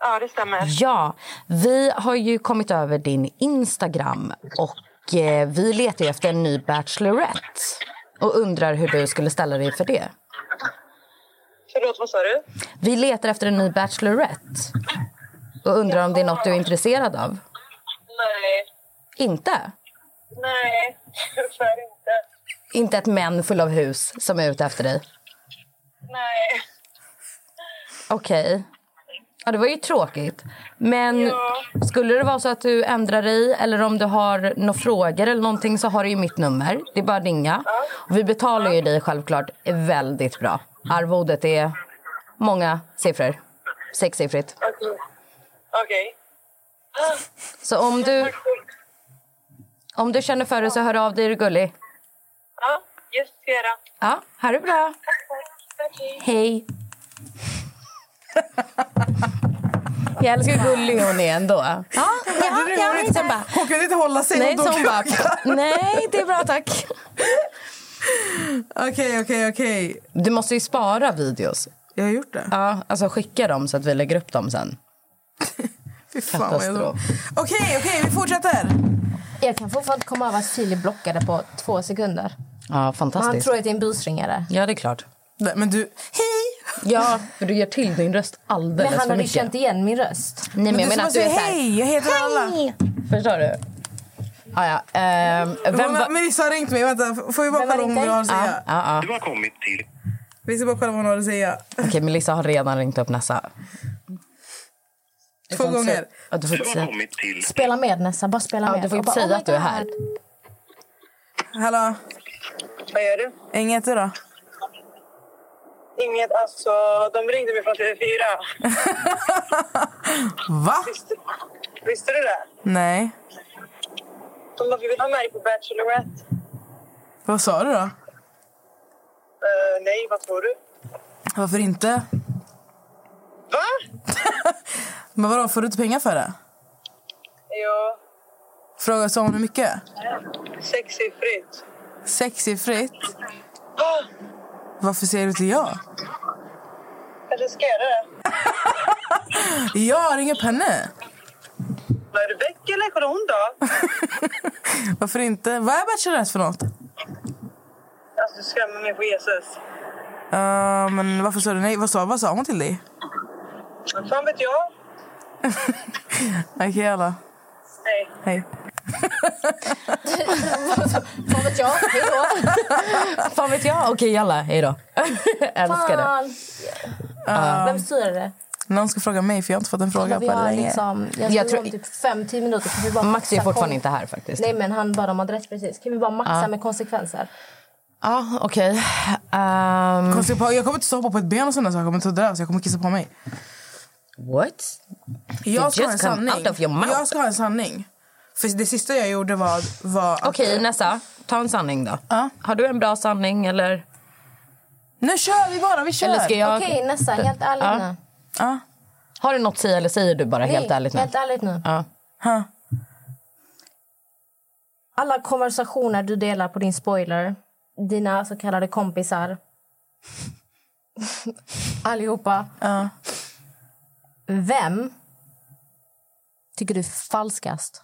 Speaker 7: Ja, det stämmer.
Speaker 4: Ja, vi har ju kommit över din Instagram och eh, vi letar ju efter en ny Bachelorette och undrar hur du skulle ställa dig för det.
Speaker 8: Förlåt, vad sa du?
Speaker 4: Vi letar efter en ny Bachelorette och undrar om det är något du är intresserad av.
Speaker 8: Nej,
Speaker 4: Inte?
Speaker 8: nej, tyvärr inte.
Speaker 4: Inte ett män full av hus som är ute efter dig?
Speaker 8: Nej.
Speaker 4: Okej. Ja, det var ju tråkigt. Men skulle det vara så att du ändrar dig eller om du har några frågor eller någonting så har du ju mitt nummer. Det är bara att ringa. Och vi betalar ju dig självklart väldigt bra. Arvodet är många siffror. Sexsiffrigt.
Speaker 8: Okej. Okej.
Speaker 4: Så om du, om du känner för det så hör av dig, är du gullig?
Speaker 8: Ja, just det. gör jag.
Speaker 4: Ja, ha det bra. Hej. Jag älskar hur gullig hon är ändå. Ja, ja, ja. Sen bara,
Speaker 2: Hon kunde inte hålla sig.
Speaker 4: nej,
Speaker 2: hon
Speaker 4: så
Speaker 2: dog.
Speaker 4: hon bara, nej, det är bra tack.
Speaker 2: Okej, okej, okej.
Speaker 4: Du måste ju spara videos.
Speaker 2: Jag har gjort det.
Speaker 4: Ja, alltså skicka dem så att vi lägger upp dem sen.
Speaker 2: Fy fan vad jag dog.
Speaker 4: Katastrof.
Speaker 2: Okej, okej, vi fortsätter.
Speaker 5: Jag kan fortfarande komma över att Filip blockade på två sekunder.
Speaker 4: Ja,
Speaker 5: Och han
Speaker 4: fantastiskt.
Speaker 5: tror att det är en busringare.
Speaker 4: Ja, det är klart.
Speaker 2: Nej, Men du, hej!
Speaker 4: Ja, för du gör till din röst alldeles
Speaker 5: Men han
Speaker 4: för
Speaker 5: hade
Speaker 4: mycket.
Speaker 5: känt igen min röst.
Speaker 4: Nej, men,
Speaker 2: Men
Speaker 4: jag
Speaker 2: du som bara
Speaker 4: menar att du är
Speaker 2: säger
Speaker 4: så här,
Speaker 2: hej, jag heter alla.
Speaker 4: Förstår du? Ah, ja, ehm, vem
Speaker 2: Vem
Speaker 4: var...
Speaker 2: Melissa har ringt mig. Vänta, f- får vi bara
Speaker 5: Vem har
Speaker 2: kolla om
Speaker 5: ringt
Speaker 2: hon
Speaker 5: dig?
Speaker 2: har att
Speaker 4: Ja,
Speaker 2: säga?
Speaker 4: ja, ja.
Speaker 6: Du har kommit till...
Speaker 2: Vi ska bara kolla vad hon har att säga.
Speaker 4: Okej, Melissa har redan ringt upp Nessa. Du
Speaker 2: Två
Speaker 4: får inte säga-
Speaker 2: gånger.
Speaker 4: Ja, du får
Speaker 6: Du
Speaker 4: inte
Speaker 6: har
Speaker 4: säga,
Speaker 6: kommit till...
Speaker 5: Spela med Nessa, bara spela
Speaker 4: ja,
Speaker 5: med.
Speaker 4: du får
Speaker 5: Och
Speaker 4: inte
Speaker 5: bara,
Speaker 4: säga
Speaker 5: "Oh my
Speaker 4: att du är här.
Speaker 5: God."
Speaker 2: Hallå,
Speaker 8: Vad gör du?
Speaker 2: inget då?
Speaker 8: Inget, alltså. De ringde mig från TV4.
Speaker 2: Va?
Speaker 8: Visste, visste du det?
Speaker 2: Nej.
Speaker 8: De bara, vi vill ha med dig på Bachelorette.
Speaker 2: Vad sa du då?
Speaker 8: Eh, nej, vad tror du?
Speaker 2: Varför inte?
Speaker 8: Va?
Speaker 2: Men vadå, får du inte pengar för det?
Speaker 8: Ja,
Speaker 2: Frågar så om hur mycket?
Speaker 8: sexsiffrigt.
Speaker 2: Sexsiffrigt?
Speaker 8: Ah,
Speaker 2: Varför säger du inte ja?
Speaker 8: Eller ska jag göra det?
Speaker 2: Ja, ring upp henne!
Speaker 8: Vad är det, Beck eller kolla hon då?
Speaker 2: Varför inte? Vad är Bachelorette för något?
Speaker 8: Alltså, du skrämmer mig på Jesus.
Speaker 2: Uh, men varför sa du nej? Vad sa, vad sa hon till dig?
Speaker 8: Vad fan vet jag?
Speaker 2: Okej, alla.
Speaker 8: Nej.
Speaker 2: Hej.
Speaker 5: Vad vet jag? Hej då.
Speaker 4: Fan vet jag? Okej, jalla. Hej då. Älskar det.
Speaker 5: Fan. Vem styrade?
Speaker 2: Någon ska fråga mig för jag Alltså, har inte fått en fråga
Speaker 5: det?
Speaker 2: på
Speaker 5: Vi har
Speaker 2: länge.
Speaker 5: liksom, jag,
Speaker 4: Jag
Speaker 5: jag
Speaker 4: tror-
Speaker 5: tror typ fem, tio minuter. Kan vi bara
Speaker 4: Max är
Speaker 5: maxa
Speaker 4: fortfarande
Speaker 5: kon-
Speaker 4: inte här faktiskt.
Speaker 5: Nej men han bad om adress precis. Kan vi bara maxa
Speaker 4: Ja.
Speaker 5: med konsekvenser?
Speaker 4: Ja, okej. Ehm,
Speaker 2: Konstigt, Jag kommer inte stå hoppa på ett ben och sådana saker. Jag kommer inte dö så jag kommer kissa på mig.
Speaker 4: what?
Speaker 2: Jag ska ha en
Speaker 4: just come
Speaker 2: sanning.
Speaker 4: out of your mouth.
Speaker 2: Jag ska ha en sanning. För det sista jag gjorde var... var att-
Speaker 4: Okej, Nessa. Ta en sanning då.
Speaker 2: Ja.
Speaker 4: Har du en bra sanning eller?
Speaker 2: Nu kör vi bara, vi kör!
Speaker 4: eller ska jag...
Speaker 5: Okej Nessa, helt ärligt
Speaker 4: Ja.
Speaker 5: nu.
Speaker 2: Ja.
Speaker 4: Har du något att säga eller säger du bara helt
Speaker 5: Nej,
Speaker 4: ärligt nu?
Speaker 5: Helt ärligt nu.
Speaker 4: Ja.
Speaker 2: Ha.
Speaker 5: Alla konversationer du delar på din spoiler, dina så kallade kompisar allihopa.
Speaker 2: Ja.
Speaker 5: Vem tycker du är falskast?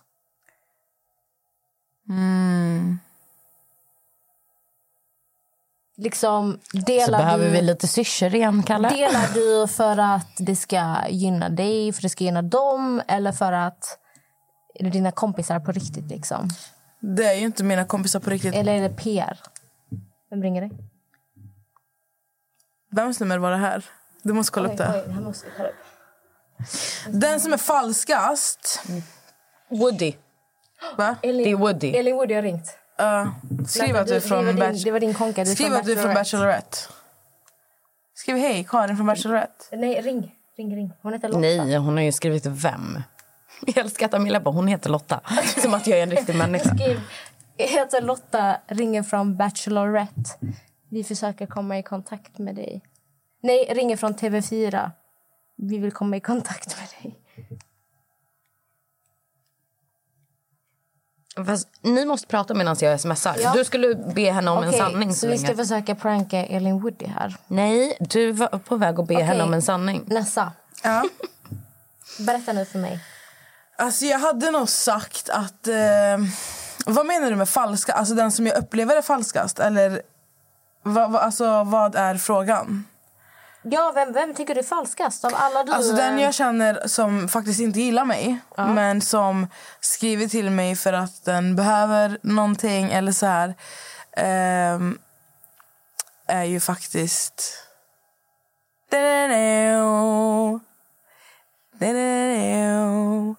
Speaker 4: Mm.
Speaker 5: Liksom,
Speaker 4: Så
Speaker 5: delar
Speaker 4: behöver
Speaker 5: du...
Speaker 4: vi lite syrsor igen, Kalle.
Speaker 5: Delar du för att det ska gynna dig, för det ska gynna dem eller för att är det dina kompisar på riktigt? liksom?
Speaker 2: Det är ju inte mina kompisar på riktigt.
Speaker 5: Eller är det PR? Vem ringer dig?
Speaker 2: Vems nummer var det här? Du måste kolla upp det.
Speaker 5: Oj, det här måste vi kolla upp.
Speaker 2: Den som är falskast...
Speaker 4: Woody.
Speaker 2: Va?
Speaker 4: Det är Woody.
Speaker 5: Elin Woody har ringt.
Speaker 2: Uh, skriv att du är
Speaker 5: det,
Speaker 2: från
Speaker 5: var din, det
Speaker 2: Bachelor...
Speaker 5: var din konka. Du är
Speaker 2: Skriv
Speaker 5: från
Speaker 2: att du är från Bachelorette. Skriv hej, Karin från Bachelorette.
Speaker 5: Nej, ring. Ring, ring. Hon heter Lotta.
Speaker 4: Nej, hon har ju skrivit vem. Jag älskar att Amelia bara, hon heter Lotta. Som att jag är en riktig människa.
Speaker 5: Skriv. Jag heter Lotta, ringer från Bachelorette. Vi försöker komma i kontakt med dig. Nej, ringer från TV4. Vi vill komma i kontakt med dig.
Speaker 4: Fast, ni måste prata medan jag smsar.
Speaker 5: Ja.
Speaker 4: Du skulle be henne om en
Speaker 5: Okej,
Speaker 4: sanning så,
Speaker 5: så vi ska
Speaker 4: länge.
Speaker 5: försöka pranka Elin Woody här.
Speaker 4: Nej, du var på väg att be
Speaker 5: Okej.
Speaker 4: henne om en sanning.
Speaker 5: Nessa,
Speaker 2: Ja.
Speaker 5: berätta nu för mig.
Speaker 2: Alltså jag hade nog sagt att... Eh, vad menar du med falska? Alltså den som jag upplever är falskast? Eller vad, vad, alltså, vad är frågan?
Speaker 5: Ja, vem, vem tycker du är falskast av alla du...
Speaker 2: Alltså
Speaker 4: Eh.
Speaker 2: den jag känner som faktiskt inte gillar mig men som skriver till mig för att den behöver någonting eller så här ehm, är ju faktiskt... Da-da-da-da. Da-da-da-da.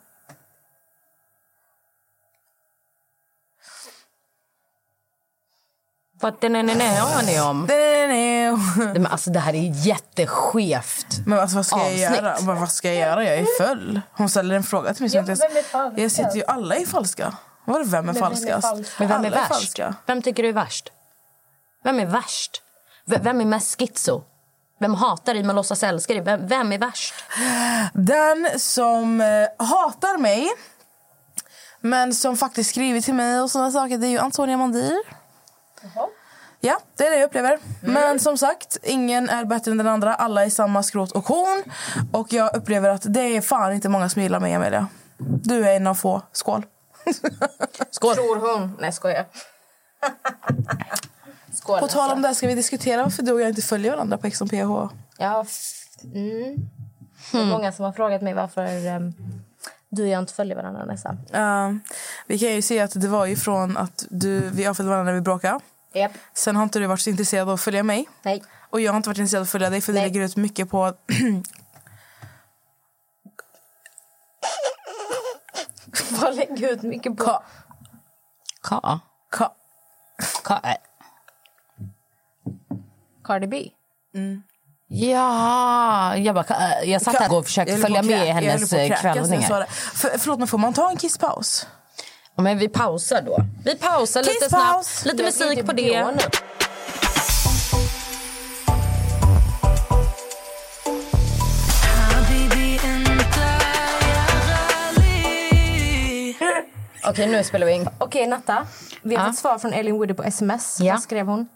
Speaker 4: Vad den är ni om?
Speaker 2: Da-da-da-da.
Speaker 4: Nej, Men alltså, det här är jätteskevt.
Speaker 2: Men alltså, vad ska jag
Speaker 4: Avsnitt.
Speaker 2: göra? Vad, vad ska jag göra? Jag är full. Hon ställer en fråga till mig som jag inte ens... Jag sitter ju... Alla är falska. Var det vem är falskast?
Speaker 4: Men vem är
Speaker 2: alla
Speaker 4: värst? Vem tycker du är värst? Vem är värst? V- vem är mest schizo? Vem hatar dig men låtsas älska dig? Vem, vem är värst?
Speaker 2: Den som eh, hatar mig men som faktiskt skriver till mig och sådana saker det är ju Antonia Mandir. Ja, det är det jag upplever. Men som sagt, ingen är bättre än den andra. Alla är samma skrot och korn. Och jag upplever att det är fan inte många som gillar mig, Amelia. Du är en av få. Skål.
Speaker 5: Tror hon. Nej, skojar. Skål.
Speaker 2: På tal om det här ska vi diskutera varför du och jag inte följer varandra på X on PH.
Speaker 5: Ja. f- Mm. Det
Speaker 4: Hmm.
Speaker 5: är många som har frågat mig varför ehm, du och jag inte följer varandra nästan.
Speaker 2: Eh, vi kan ju se att det var ju från att du, vi avföljde varandra när vi bråkade.
Speaker 5: Japp.
Speaker 2: Sen har inte du varit så intresserad av att följa mig.
Speaker 5: Nej.
Speaker 2: Och jag har inte varit intresserad av att följa dig för du
Speaker 5: Nej.
Speaker 2: lägger ut mycket på...
Speaker 5: Vad lägger ut mycket på...
Speaker 2: Ka.
Speaker 4: Ka.
Speaker 2: Ka.
Speaker 4: Ka.
Speaker 5: Cardi B.
Speaker 4: Ja, jag, bara, ka. jag satt här och försökte
Speaker 2: Jag höll på
Speaker 4: följa
Speaker 2: att
Speaker 4: med
Speaker 2: krä-
Speaker 4: i
Speaker 2: jag höll
Speaker 4: hennes
Speaker 2: på att
Speaker 4: eh,
Speaker 2: kräkas när jag sa
Speaker 4: kvällningar.
Speaker 2: det. För, förlåt, men får man ta en kisspaus?
Speaker 4: Ja, Men vi pausar då. Vi pausar lite
Speaker 2: Kisspaus!
Speaker 4: snabbt. Lite
Speaker 5: Jag blir
Speaker 4: musik på
Speaker 5: lite blå
Speaker 4: det.
Speaker 5: nu.
Speaker 1: حبيبي انت يا غالي
Speaker 4: Okej, nu spelar vi in.
Speaker 5: Okej, Natta. Vi har
Speaker 4: Ja.
Speaker 5: fått svar från Elin Woody på sms.
Speaker 4: Ja.
Speaker 5: Vad skrev hon?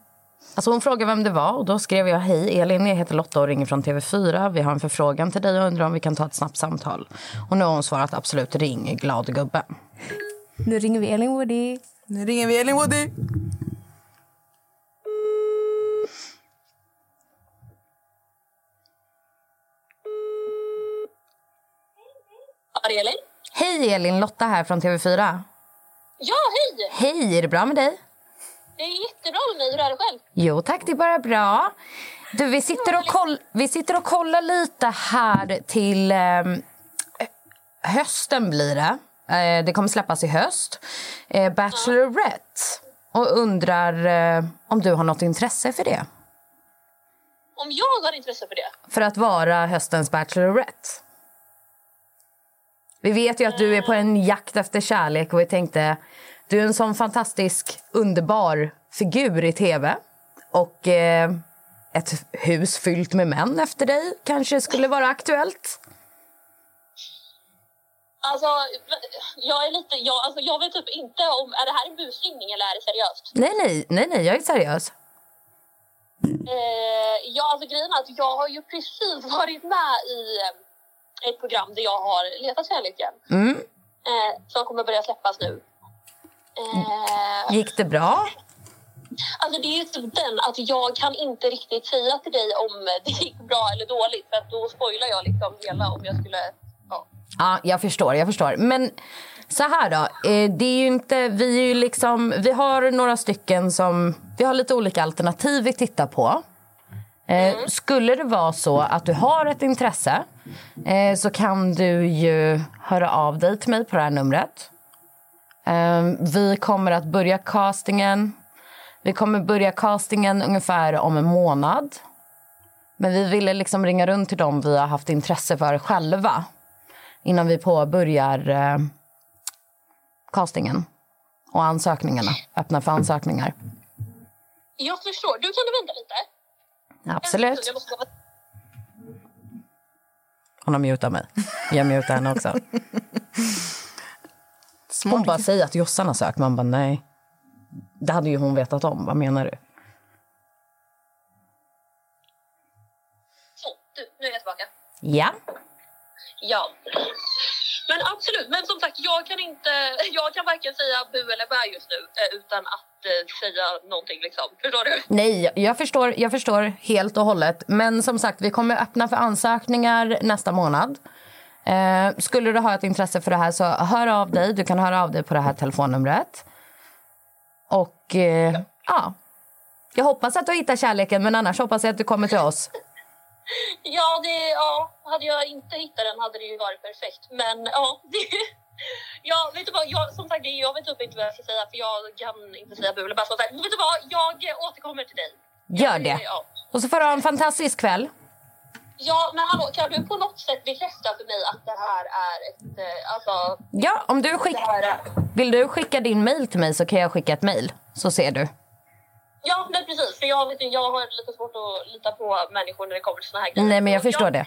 Speaker 4: Alltså hon frågade vem det var och då skrev jag hej Elin, jag heter Lotta och ringer från TV4. Vi har en förfrågan till dig och undrar om vi kan ta ett snabbt samtal. Och nu har hon svarat absolut ring, glad gubbe.
Speaker 5: Nu ringer vi Elin Woody.
Speaker 2: Nu ringer vi Elin Woody.
Speaker 8: Elin?
Speaker 4: Hej Elin, Lotta här från TV4.
Speaker 8: Ja, hej!
Speaker 4: Hej, är det bra med dig?
Speaker 8: Det är jättebra med mig. Hur är det själv?
Speaker 4: Jo tack, det är bara bra. Du, vi sitter och, koll- vi sitter och kollar lite här till ehm, hösten blir det. Eh, det kommer släppas i höst. Eh, Bachelorette. Och undrar eh, om du har något intresse för det?
Speaker 8: Om jag har intresse för det?
Speaker 4: för att vara höstens Bachelorette? Vi vet ju att du är på en jakt efter kärlek och vi tänkte du är en sån fantastisk, underbar figur i tv. Och eh, ett hus fyllt med män efter dig kanske skulle vara aktuellt.
Speaker 8: Alltså, jag är lite... Jag, alltså, jag vet typ inte om... Är det här en busringning eller är det seriöst?
Speaker 4: Nej, nej, nej, nej jag är seriös.
Speaker 8: Eh, ja, alltså grejen är att jag har ju precis varit med i eh, ett program där jag har letat kärleken.
Speaker 4: Mm.
Speaker 8: Eh, som kommer börja släppas nu. Eh,
Speaker 4: Gick det bra?
Speaker 8: alltså det är ju typ den att jag kan inte riktigt säga till dig om det gick bra eller dåligt för att då spoilar jag liksom hela om jag skulle... Ja.
Speaker 4: Ja, jag förstår, jag förstår. Men så här då, eh, det är ju inte, vi är ju liksom, vi har några stycken som, vi har lite olika alternativ vi tittar på. Eh, Skulle det vara så att du har ett intresse eh, så kan du ju höra av dig till mig på det här numret. Eh, vi kommer att börja castingen. Vi kommer börja castingen ungefär om en månad. Men vi ville liksom ringa runt till dem vi har haft intresse för själva innan vi påbörjar eh, castingen och ansökningarna. Öppna för ansökningar.
Speaker 8: Jag förstår. Du kan du vänta lite?
Speaker 4: Ja,
Speaker 8: En sekund,
Speaker 4: absolut.
Speaker 8: Jag måste bara...
Speaker 4: Hon har mutat mig. Jag mutar henne också. Hon bara säger att Jossan har sökt. Man bara nej. Det hade ju hon vetat om. Vad menar du?
Speaker 8: Så, du, nu är jag tillbaka.
Speaker 4: Ja.
Speaker 8: Ja. Men absolut, men som sagt jag kan inte, jag kan varken säga bu eller bä just nu eh, utan att eh, säga någonting liksom. Förstår du?
Speaker 4: Nej, jag förstår, jag förstår helt och hållet. Men som sagt, vi kommer öppna för ansökningar nästa månad. Eh, skulle du ha ett intresse för det här så hör av dig. Du kan höra av dig på det här telefonnumret. Och eh, ja. Jag hoppas att du hittar kärleken, men annars hoppas jag att du kommer till oss.
Speaker 8: Ja, det, ja, hade jag inte hittat den hade det ju varit perfekt. Men ja, det, ja vet du vad, jag, som sagt, jag vet typ inte vad jag ska säga för jag kan inte säga bu eller bä. så att säga. Men vet du vad, jag återkommer till dig.
Speaker 4: Gör det.
Speaker 8: Ja.
Speaker 4: Och så får du ha en fantastisk kväll.
Speaker 8: Ja, men hallå, kan du på något sätt bekräfta för mig att det här är ett... eh, Alltså,
Speaker 4: Ja, om du
Speaker 8: det
Speaker 4: skick...
Speaker 8: här är...
Speaker 4: Vill du skicka din mail till mig så kan jag skicka ett mail. Så ser du.
Speaker 8: Ja, men precis. För jag, vet, ju, jag har lite svårt att lita på människor när det kommer till såna här grejer.
Speaker 4: Nej, men jag
Speaker 8: Så
Speaker 4: förstår det.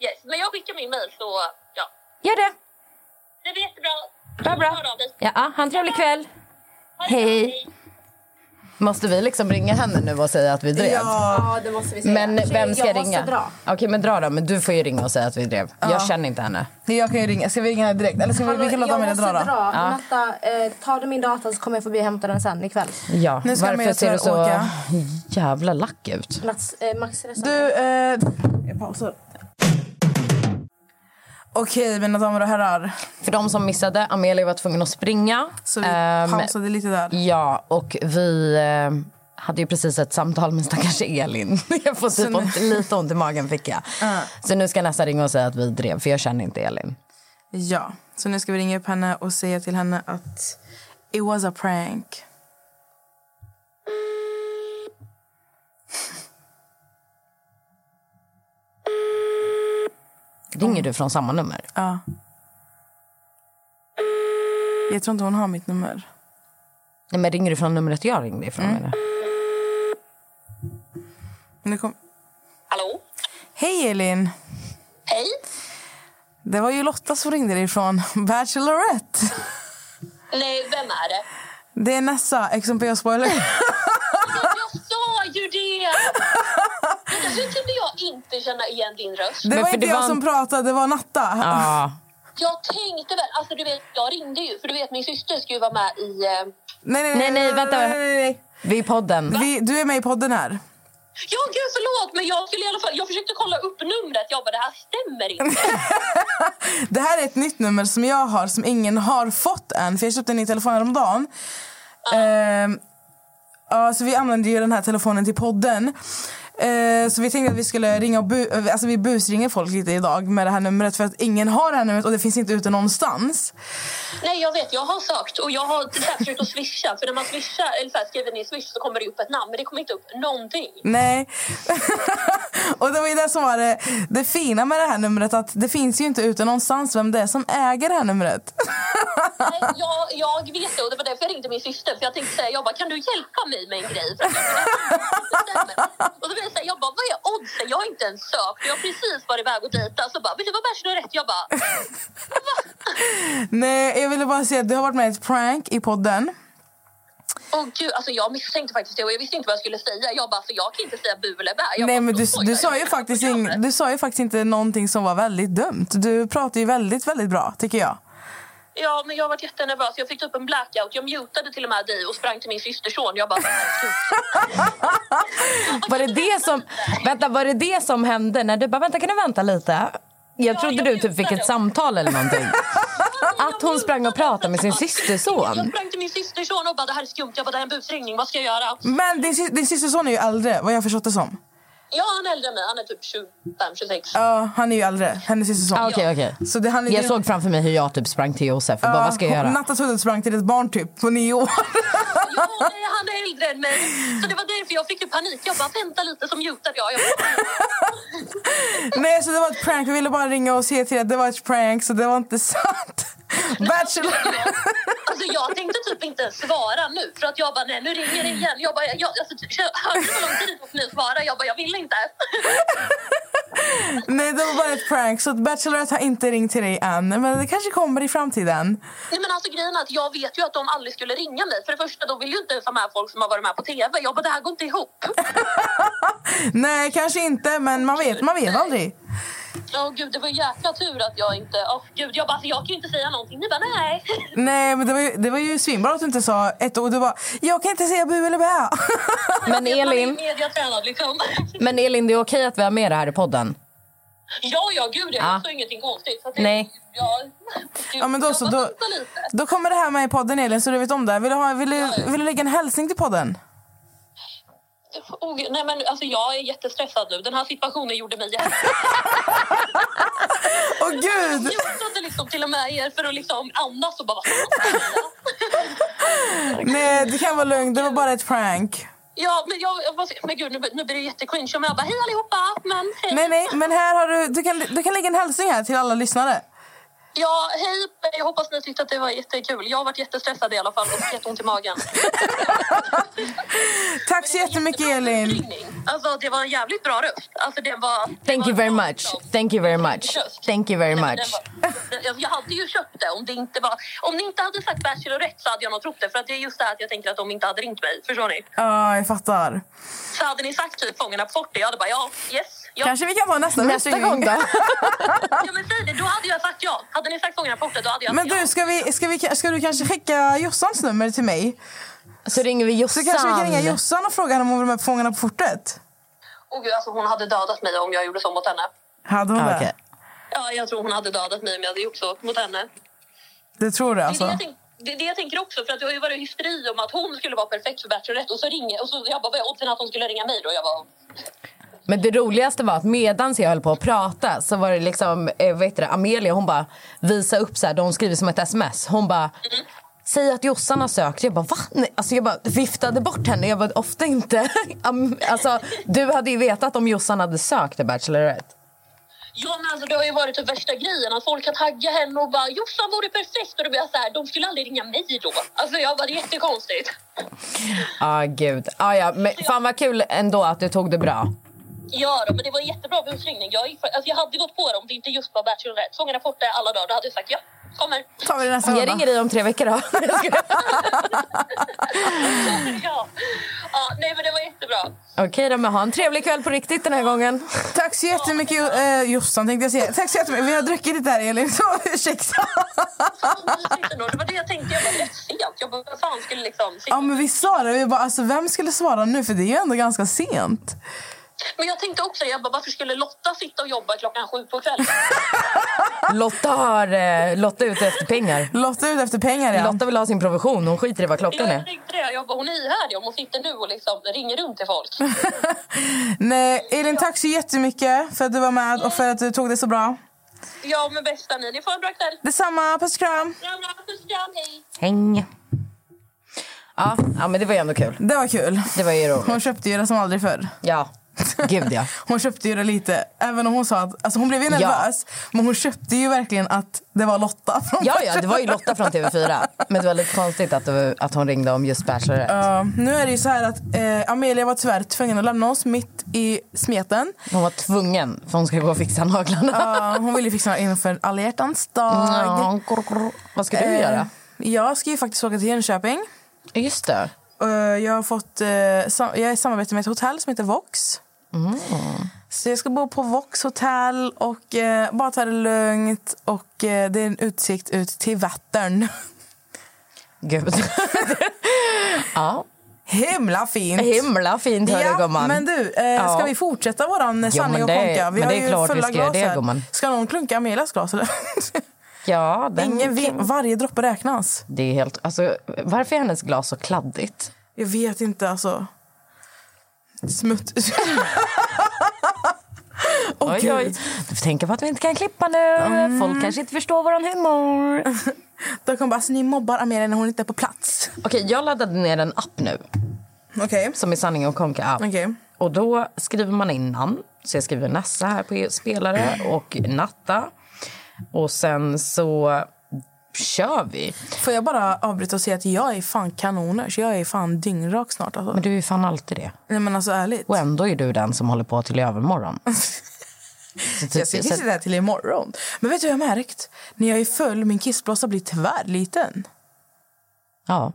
Speaker 8: Yes, men jag skickar min mejl så ja.
Speaker 4: Gör det.
Speaker 8: Det blir jättebra.
Speaker 4: Bra, bra.
Speaker 8: Hör av dig.
Speaker 4: Ja, ah, ha en trevlig kväll.
Speaker 8: Ha det bra,
Speaker 4: Hej. Måste vi liksom ringa henne nu och säga att vi drev?
Speaker 5: Ja, det måste vi säga.
Speaker 4: Men vem ska
Speaker 5: jag
Speaker 4: ringa?
Speaker 5: Måste dra.
Speaker 4: Okej, men dra då. Men du får ju ringa och säga att vi drev.
Speaker 2: Ja.
Speaker 4: Jag känner inte henne.
Speaker 2: Nej, Jag kan ju ringa. Ska vi ringa henne direkt? Eller ska vi, vi kan låta
Speaker 5: jag
Speaker 2: Amelia
Speaker 5: måste
Speaker 2: dra då?
Speaker 4: Ja.
Speaker 5: Natta, eh, tar du min data så kommer jag förbi och hämta den sen ikväll.
Speaker 4: Ja,
Speaker 2: Nu ska
Speaker 4: varför
Speaker 2: Amelia
Speaker 4: ser du så
Speaker 2: tyvärr åka.
Speaker 4: jävla lack ut?
Speaker 5: Mats, eh, Max resten.
Speaker 2: Du, eh, jag pausar. Okej mina damer och herrar.
Speaker 4: För de som missade, Amelia var tvungen att springa.
Speaker 2: Så vi
Speaker 4: Ehm,
Speaker 2: pausade lite där.
Speaker 4: Ja, och vi ehm, hade ju precis ett samtal med stackars Elin. Jag får typ
Speaker 2: nu-
Speaker 4: ont, lite ont i magen fick jag. Så nu ska jag nästan ringa och säga att vi drev, för jag känner inte Elin.
Speaker 2: Ja, så nu ska vi ringa upp henne och säga till henne att it was a prank.
Speaker 4: Ringer du från samma nummer?
Speaker 2: Mm. Ja. Jag tror inte hon har mitt nummer.
Speaker 4: Nej, men ringer du från numret jag ringde ifrån?
Speaker 2: Mm.
Speaker 4: Eller?
Speaker 2: Men det kom...
Speaker 8: Hallå?
Speaker 2: Hej Elin!
Speaker 8: Hej?
Speaker 2: Det var ju Lotta som ringde dig från Bachelorette.
Speaker 8: Nej, vem är det?
Speaker 2: Det är Nessa, XMP spoiler.
Speaker 8: Men Jag sa ju det! Men hur kunde jag inte känna igen din röst?
Speaker 2: Det
Speaker 4: Men
Speaker 2: var
Speaker 4: för
Speaker 2: inte
Speaker 4: det
Speaker 2: jag
Speaker 4: var- Ah.
Speaker 2: som pratade, det var Natta.
Speaker 4: Ja.
Speaker 8: Jag tänkte väl, alltså du vet, jag ringde ju för du vet min syster ska ju vara med i... eh,
Speaker 2: Nej, nej,
Speaker 4: Nej, nej, vänta.
Speaker 2: nej, nej, nej.
Speaker 4: Vi är i podden.
Speaker 2: Vi, du är med i podden här.
Speaker 8: Ja gud förlåt men jag skulle i alla fall, jag försökte kolla upp numret, jag bara det här stämmer inte.
Speaker 2: Det här är ett nytt nummer som jag har som ingen har fått än. För jag köpte en ny telefon häromdagen.
Speaker 4: Ah.
Speaker 2: Ehm, ja, så vi använder ju den här telefonen till podden. Eh, så vi tänkte att vi skulle ringa och bu- eh, alltså vi busringer folk lite idag med det här numret för att ingen har det här numret och det finns inte ute någonstans.
Speaker 8: Nej jag vet, jag har sökt och jag har till exempel försökt att swisha för när man swishar eller så här, skriver ner swish så kommer det upp ett namn men det kommer inte upp någonting.
Speaker 2: Nej. och det var ju det som var det, det fina med det här numret att det finns ju inte ute någonstans vem det är som äger det här numret.
Speaker 8: Nej, jag, jag vet det och det var därför jag ringde min syster för jag tänkte säga, jag bara kan du hjälpa mig med en grej? För att jag bestämmer. och då blev jag säga, jag bara vad är oddsen? Jag har inte ens sökt, jag har precis varit iväg och dejtat så bara vill du vara bachelor rätt? Jag bara
Speaker 2: Nej, jag ville bara säga att du har varit med i ett prank i podden.
Speaker 8: Åh gud, alltså jag misstänkte faktiskt det och jag visste inte vad jag skulle säga. Jag bara, för jag kan inte säga bu eller bä. Jag
Speaker 2: Nej
Speaker 8: bara,
Speaker 2: men du,
Speaker 8: så
Speaker 2: du,
Speaker 8: jag
Speaker 2: sa ju
Speaker 8: inte
Speaker 2: faktiskt
Speaker 8: vad jag
Speaker 2: ing,
Speaker 8: gör.
Speaker 2: du sa ju faktiskt inte någonting som var väldigt dumt. Du pratar ju väldigt, väldigt bra tycker jag.
Speaker 8: Ja, men jag var jättenervös. Jag fick typ en blackout. Jag mutade till och med dig och sprang till min systerson. Jag bara,
Speaker 4: Var det det som, vänta, var det det som hände när du bara vänta kan du vänta lite? Jag trodde
Speaker 8: jag
Speaker 4: du typ fick
Speaker 8: mutade.
Speaker 4: ett samtal eller någonting. Att hon sprang och pratade med sin
Speaker 8: jag
Speaker 4: systerson.
Speaker 8: sprang till min systerson och bara, det här är skumt. Jag bara, det här är en busringning. Vad ska jag göra?
Speaker 4: Mm.
Speaker 2: Men din, sy- din systerson är ju äldre vad jag har förstått det som.
Speaker 8: Ja, han är äldre än mig. Han är typ 25, 26.
Speaker 2: Ja, han är ju äldre, hennes systerson.
Speaker 4: Ah, Okej, okej.
Speaker 2: Så det, han är
Speaker 4: Jag
Speaker 2: ju-
Speaker 4: såg framför mig hur jag typ sprang till Josef och bara vad ska jag
Speaker 2: Ja, hon-
Speaker 4: göra?
Speaker 2: Natta trodde att du sprang till ett barn typ på nio år.
Speaker 8: Ja, nej, han är äldre än mig. Så det var därför jag fick ju panik. Jag bara, vänta lite, så mutade jag. jag bara,
Speaker 2: Nej så det var ett prank, vi ville bara ringa och se till att det var ett prank så det var inte sant. Bachelor.
Speaker 8: Alltså jag tänkte typ inte ens svara nu för att jag bara nej nu ringer det igen. Jag bara jag, alltså, ty- kö- hörde du hur lång tid det tog för mig att svara? Jag bara jag vill inte.
Speaker 2: Nej det var bara ett prank så att Bachelorette har inte ringt till dig än men det kanske kommer i framtiden.
Speaker 8: Nej men alltså grejen är att jag vet ju att de aldrig skulle ringa mig. För det första de vill ju inte ens ha med folk som har varit med på TV. Jag bara det här går inte ihop.
Speaker 2: Nej kanske inte men man vet, man vet aldrig.
Speaker 8: Åh gud, det var jäkla tur att jag inte... Åh gud, jag bara, alltså, jag kan ju inte säga någonting. Ni bara, nej.
Speaker 2: Nej, men det var ju, det var ju svinbra att du inte sa ett ord. Du bara, jag kan inte säga bu eller bä.
Speaker 4: Men
Speaker 8: Man
Speaker 4: Elin,
Speaker 8: är mediatränad liksom.
Speaker 4: men Elin, det är okej att vi har med det här i podden.
Speaker 8: ja, ja, gud, jag
Speaker 4: Ja.
Speaker 8: sa ingenting konstigt. Så att det,
Speaker 4: Nej.
Speaker 8: Ja, gud,
Speaker 2: Ja, men då
Speaker 8: jag
Speaker 2: så,
Speaker 8: bara
Speaker 2: då-
Speaker 8: väntar lite.
Speaker 2: Då kommer det här med i podden Elin, så du vet om det. Vill du, ha, vill du, vill du lägga en hälsning till podden?
Speaker 8: Åh, gud, nej, men alltså, jag är jättestressad nu. Den här situationen gjorde mig jätte...
Speaker 2: Åh gud!
Speaker 8: Jag mutade liksom till och med er för att liksom andas och bara... "Vad fan ska jag säga?"
Speaker 2: Nej, det kan vara lugnt. Det var bara ett prank.
Speaker 8: Ja, men, jag, jag, bara- men gud, nu, nu blir det jättecringe. Men jag bara, hej allihopa! Men, hej.
Speaker 2: Nej, nej, men här har du... Du kan, du kan lägga en hälsning här till alla lyssnare.
Speaker 8: Ja, hej! Jag hoppas ni tyckte att det var jättekul. Jag har varit jättestressad i alla fall och jätteont i magen.
Speaker 2: Tack så jättemycket Elin.
Speaker 8: Alltså, det var en jävligt bra röst. Alltså, det var, det
Speaker 4: Thank
Speaker 8: var
Speaker 4: you very
Speaker 8: bra
Speaker 4: much.
Speaker 8: liksom.
Speaker 4: Thank you very much. Thank you very
Speaker 8: Nej, men
Speaker 4: much.
Speaker 8: den var- den- Jag hade ju köpt det om det inte var... Om ni inte hade sagt Bachelorette så hade jag nog trott det. För att det är just det här att jag tänker att de inte hade ringt mig. Förstår ni?
Speaker 2: Ja, jag fattar.
Speaker 8: Så hade ni sagt typ Fångarna på fortet, jag hade bara ja, yes. Ja.
Speaker 2: Kanske vi kan ta nästa
Speaker 4: Nästa gång då?
Speaker 8: ja men säg det, då hade jag sagt ja. Hade ni sagt Fångarna på fortet, då hade jag
Speaker 2: Men
Speaker 8: sagt
Speaker 2: du, ska, vi, ska, vi, ska du kanske skicka Jossans nummer till mig?
Speaker 4: Så ringer vi
Speaker 2: Så kanske vi kan ringa
Speaker 4: Jossan.
Speaker 2: Jossan och fråga henne om hon vill med på Fångarna på fortet?
Speaker 8: ja. Oh, gud, alltså, hon hade dödat mig om jag gjorde så mot henne.
Speaker 2: Hade hon
Speaker 4: Ja,
Speaker 2: det?
Speaker 4: Ah, okej.
Speaker 8: Ja, jag tror hon hade dödat mig om jag hade gjort så mot henne.
Speaker 2: Det tror du
Speaker 8: Det är
Speaker 2: alltså?
Speaker 8: det, jag tänk, det är det jag tänker också, för att det har ju varit hysteri om att hon skulle vara perfekt för Bachelorette och så ringer och så jag bara, vad är oddsen att hon skulle ringa mig då? Jag bara,
Speaker 4: Men det roligaste var att medan jag höll på att prata så var det liksom, eh, vad heter det, Amelia hon bara visa upp så här, de skriver som ett sms. Hon bara Säg att Jossan har sökt. Jag bara, va? Nej. Alltså jag bara viftade bort henne. Jag bara, ofta inte. Am- alltså, du hade ju vetat om Jossan hade sökt till Bachelorette.
Speaker 8: ja men alltså det har ju varit den värsta grejen att folk har taggat henne och bara, Jossan vore perfekt och då blir jag så här, de skulle aldrig ringa mig då. Alltså jag bara, det är jättekonstigt.
Speaker 4: Ah, gud. Ah, ja. Men fan vad kul ändå att du tog det bra.
Speaker 8: Ja då, men det var en jättebra busringning. Jag, gick för- alltså, jag hade gått på dem om det inte just var Bachelorette. Fångarna forte alla dagar, då hade jag sagt ja, kommer.
Speaker 2: tar vi det nästa
Speaker 4: Jag
Speaker 2: gång
Speaker 4: ringer
Speaker 2: då.
Speaker 4: dig om tre veckor då.
Speaker 8: ja. ja, nej men det var jättebra.
Speaker 4: Okej då, men ha en trevlig kväll på riktigt den här gången.
Speaker 2: Tack så jättemycket Jo- eh, Jossan tänkte jag säga. Tack så jättemycket. Vi har druckit lite här Elin, så ursäkta.
Speaker 8: Mysigt ändå. Det var det jag tänkte, jag bara, rätt sent. Jag bara, vad fan skulle liksom... sitta-
Speaker 2: Ja men vi sa det, vi bara alltså vem skulle svara nu för det är ju ändå ganska sent.
Speaker 8: Men jag tänkte också jag bara, varför skulle Lotta sitta och jobba klockan sju på kvällen?
Speaker 4: Lotta har eh, Lotta är ute efter pengar.
Speaker 2: Lotta är ute efter pengar ja.
Speaker 4: Lotta vill ha sin provision. Hon skiter i vad klockan
Speaker 8: jag
Speaker 4: är.
Speaker 8: tänkte det. Jag bara, hon är ihärdig om hon sitter nu och liksom ringer runt till folk.
Speaker 2: Nej, Elin tack så jättemycket för att du var med och för att du tog det så bra.
Speaker 8: Ja, men bästa ni, ni får en bra kväll.
Speaker 2: Detsamma, puss och kram.
Speaker 8: Bra, bra, puss och kram, hej!
Speaker 4: Häng. Ja, ja, men det var ju ändå kul.
Speaker 2: Det var kul.
Speaker 4: Det var ju roligt.
Speaker 2: Hon köpte ju det som aldrig förr.
Speaker 4: Ja. Gud, ja.
Speaker 2: Hon köpte ju det lite, även om hon sa att alltså hon blev ju
Speaker 4: Ja.
Speaker 2: nervös. Men hon köpte ju verkligen att det var Lotta. från
Speaker 4: Ja, ja,
Speaker 2: början.
Speaker 4: det var ju Lotta från TV4. Men det var lite konstigt att, du, att hon ringde om just Bachelorette.
Speaker 2: Ja, nu är det ju så här att eh, Amelia var tyvärr tvungen att lämna oss mitt i smeten.
Speaker 4: Hon var tvungen, för hon skulle gå och fixa naglarna.
Speaker 2: Ja, hon ville ju fixa inför alla hjärtans dag.
Speaker 4: Ja, grr, grr. Vad ska du
Speaker 2: Eh,
Speaker 4: göra?
Speaker 2: Jag ska ju faktiskt åka till Jönköping.
Speaker 4: Just det.
Speaker 2: Eh, jag, har fått, eh, sam- jag är i samarbete med ett hotell som heter Vox. Så jag ska bo på Vox hotell och eh, bara ta det lugnt. Och eh, det är en utsikt ut till Vättern.
Speaker 4: Gud. ja,
Speaker 2: Himla fint!
Speaker 4: himla fint hör du,
Speaker 2: Ja,
Speaker 4: gumman.
Speaker 2: men du, eh,
Speaker 4: Ja.
Speaker 2: ska vi fortsätta våran eh,
Speaker 4: Ja,
Speaker 2: sanning
Speaker 4: men
Speaker 2: och
Speaker 4: det-
Speaker 2: konka? Vi
Speaker 4: men
Speaker 2: har
Speaker 4: det är
Speaker 2: ju
Speaker 4: klart vi
Speaker 2: fulla
Speaker 4: ska göra
Speaker 2: glas
Speaker 4: det,
Speaker 2: här.
Speaker 4: gumman.
Speaker 2: Ska någon klunka Amelias glas eller?
Speaker 4: Ja, den...
Speaker 2: Ingen vet, varje droppe räknas.
Speaker 4: Det är helt... Alltså, varför är hennes glas så kladdigt?
Speaker 2: Jag vet inte alltså. Smutt. Åh
Speaker 4: Oj,
Speaker 2: gud.
Speaker 4: oj. Du får tänka på att vi inte kan klippa nu. Folk kanske inte förstår våran humor.
Speaker 2: De kommer bara, alltså, ni mobbar Amelia när hon inte är på plats.
Speaker 4: Okej, jag laddade ner en app nu
Speaker 2: Okej.
Speaker 4: som är Sanning och Konka app.
Speaker 2: Okej.
Speaker 4: Och då skriver man in namn. Så jag skriver Nessa här på e- spelare och Natta. Och sen så kör vi.
Speaker 2: Får jag bara avbryta och säga att jag är fan kanoners. Jag är fan dyngrak snart. Alltså.
Speaker 4: Men du är ju fan alltid det.
Speaker 2: Nej men alltså ärligt.
Speaker 4: Och ändå är du den som håller på till i övermorgon. Så typ-
Speaker 2: Jag ska
Speaker 4: så-
Speaker 2: kissa det här till imorgon. Men vet du vad jag har märkt? När jag är full, min kissblåsa blir tvärliten.
Speaker 4: ja.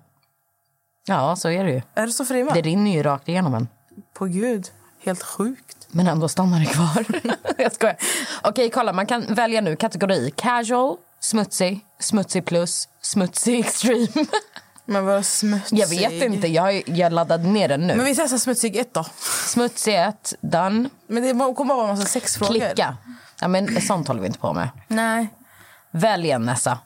Speaker 4: ja, så är det ju.
Speaker 2: Är det så för dig med?
Speaker 4: Det rinner ju rakt igenom en.
Speaker 2: På gud. Helt sjukt.
Speaker 4: Men ändå stannar det kvar. jag skojar. Okej, kolla. Man kan välja nu kategori casual, smutsig, smutsig plus, smutsig extreme.
Speaker 2: Men vad smutsig.
Speaker 4: Jag vet inte. Jag, har- jag laddade ner den nu.
Speaker 2: Men vi testar smutsig ett då.
Speaker 4: Smutsig 1, done.
Speaker 2: Men det kommer bara vara en massa sexfrågor.
Speaker 4: Klicka. Ja, men sånt håller vi inte på med.
Speaker 2: Nej.
Speaker 4: Välj en, Nessa.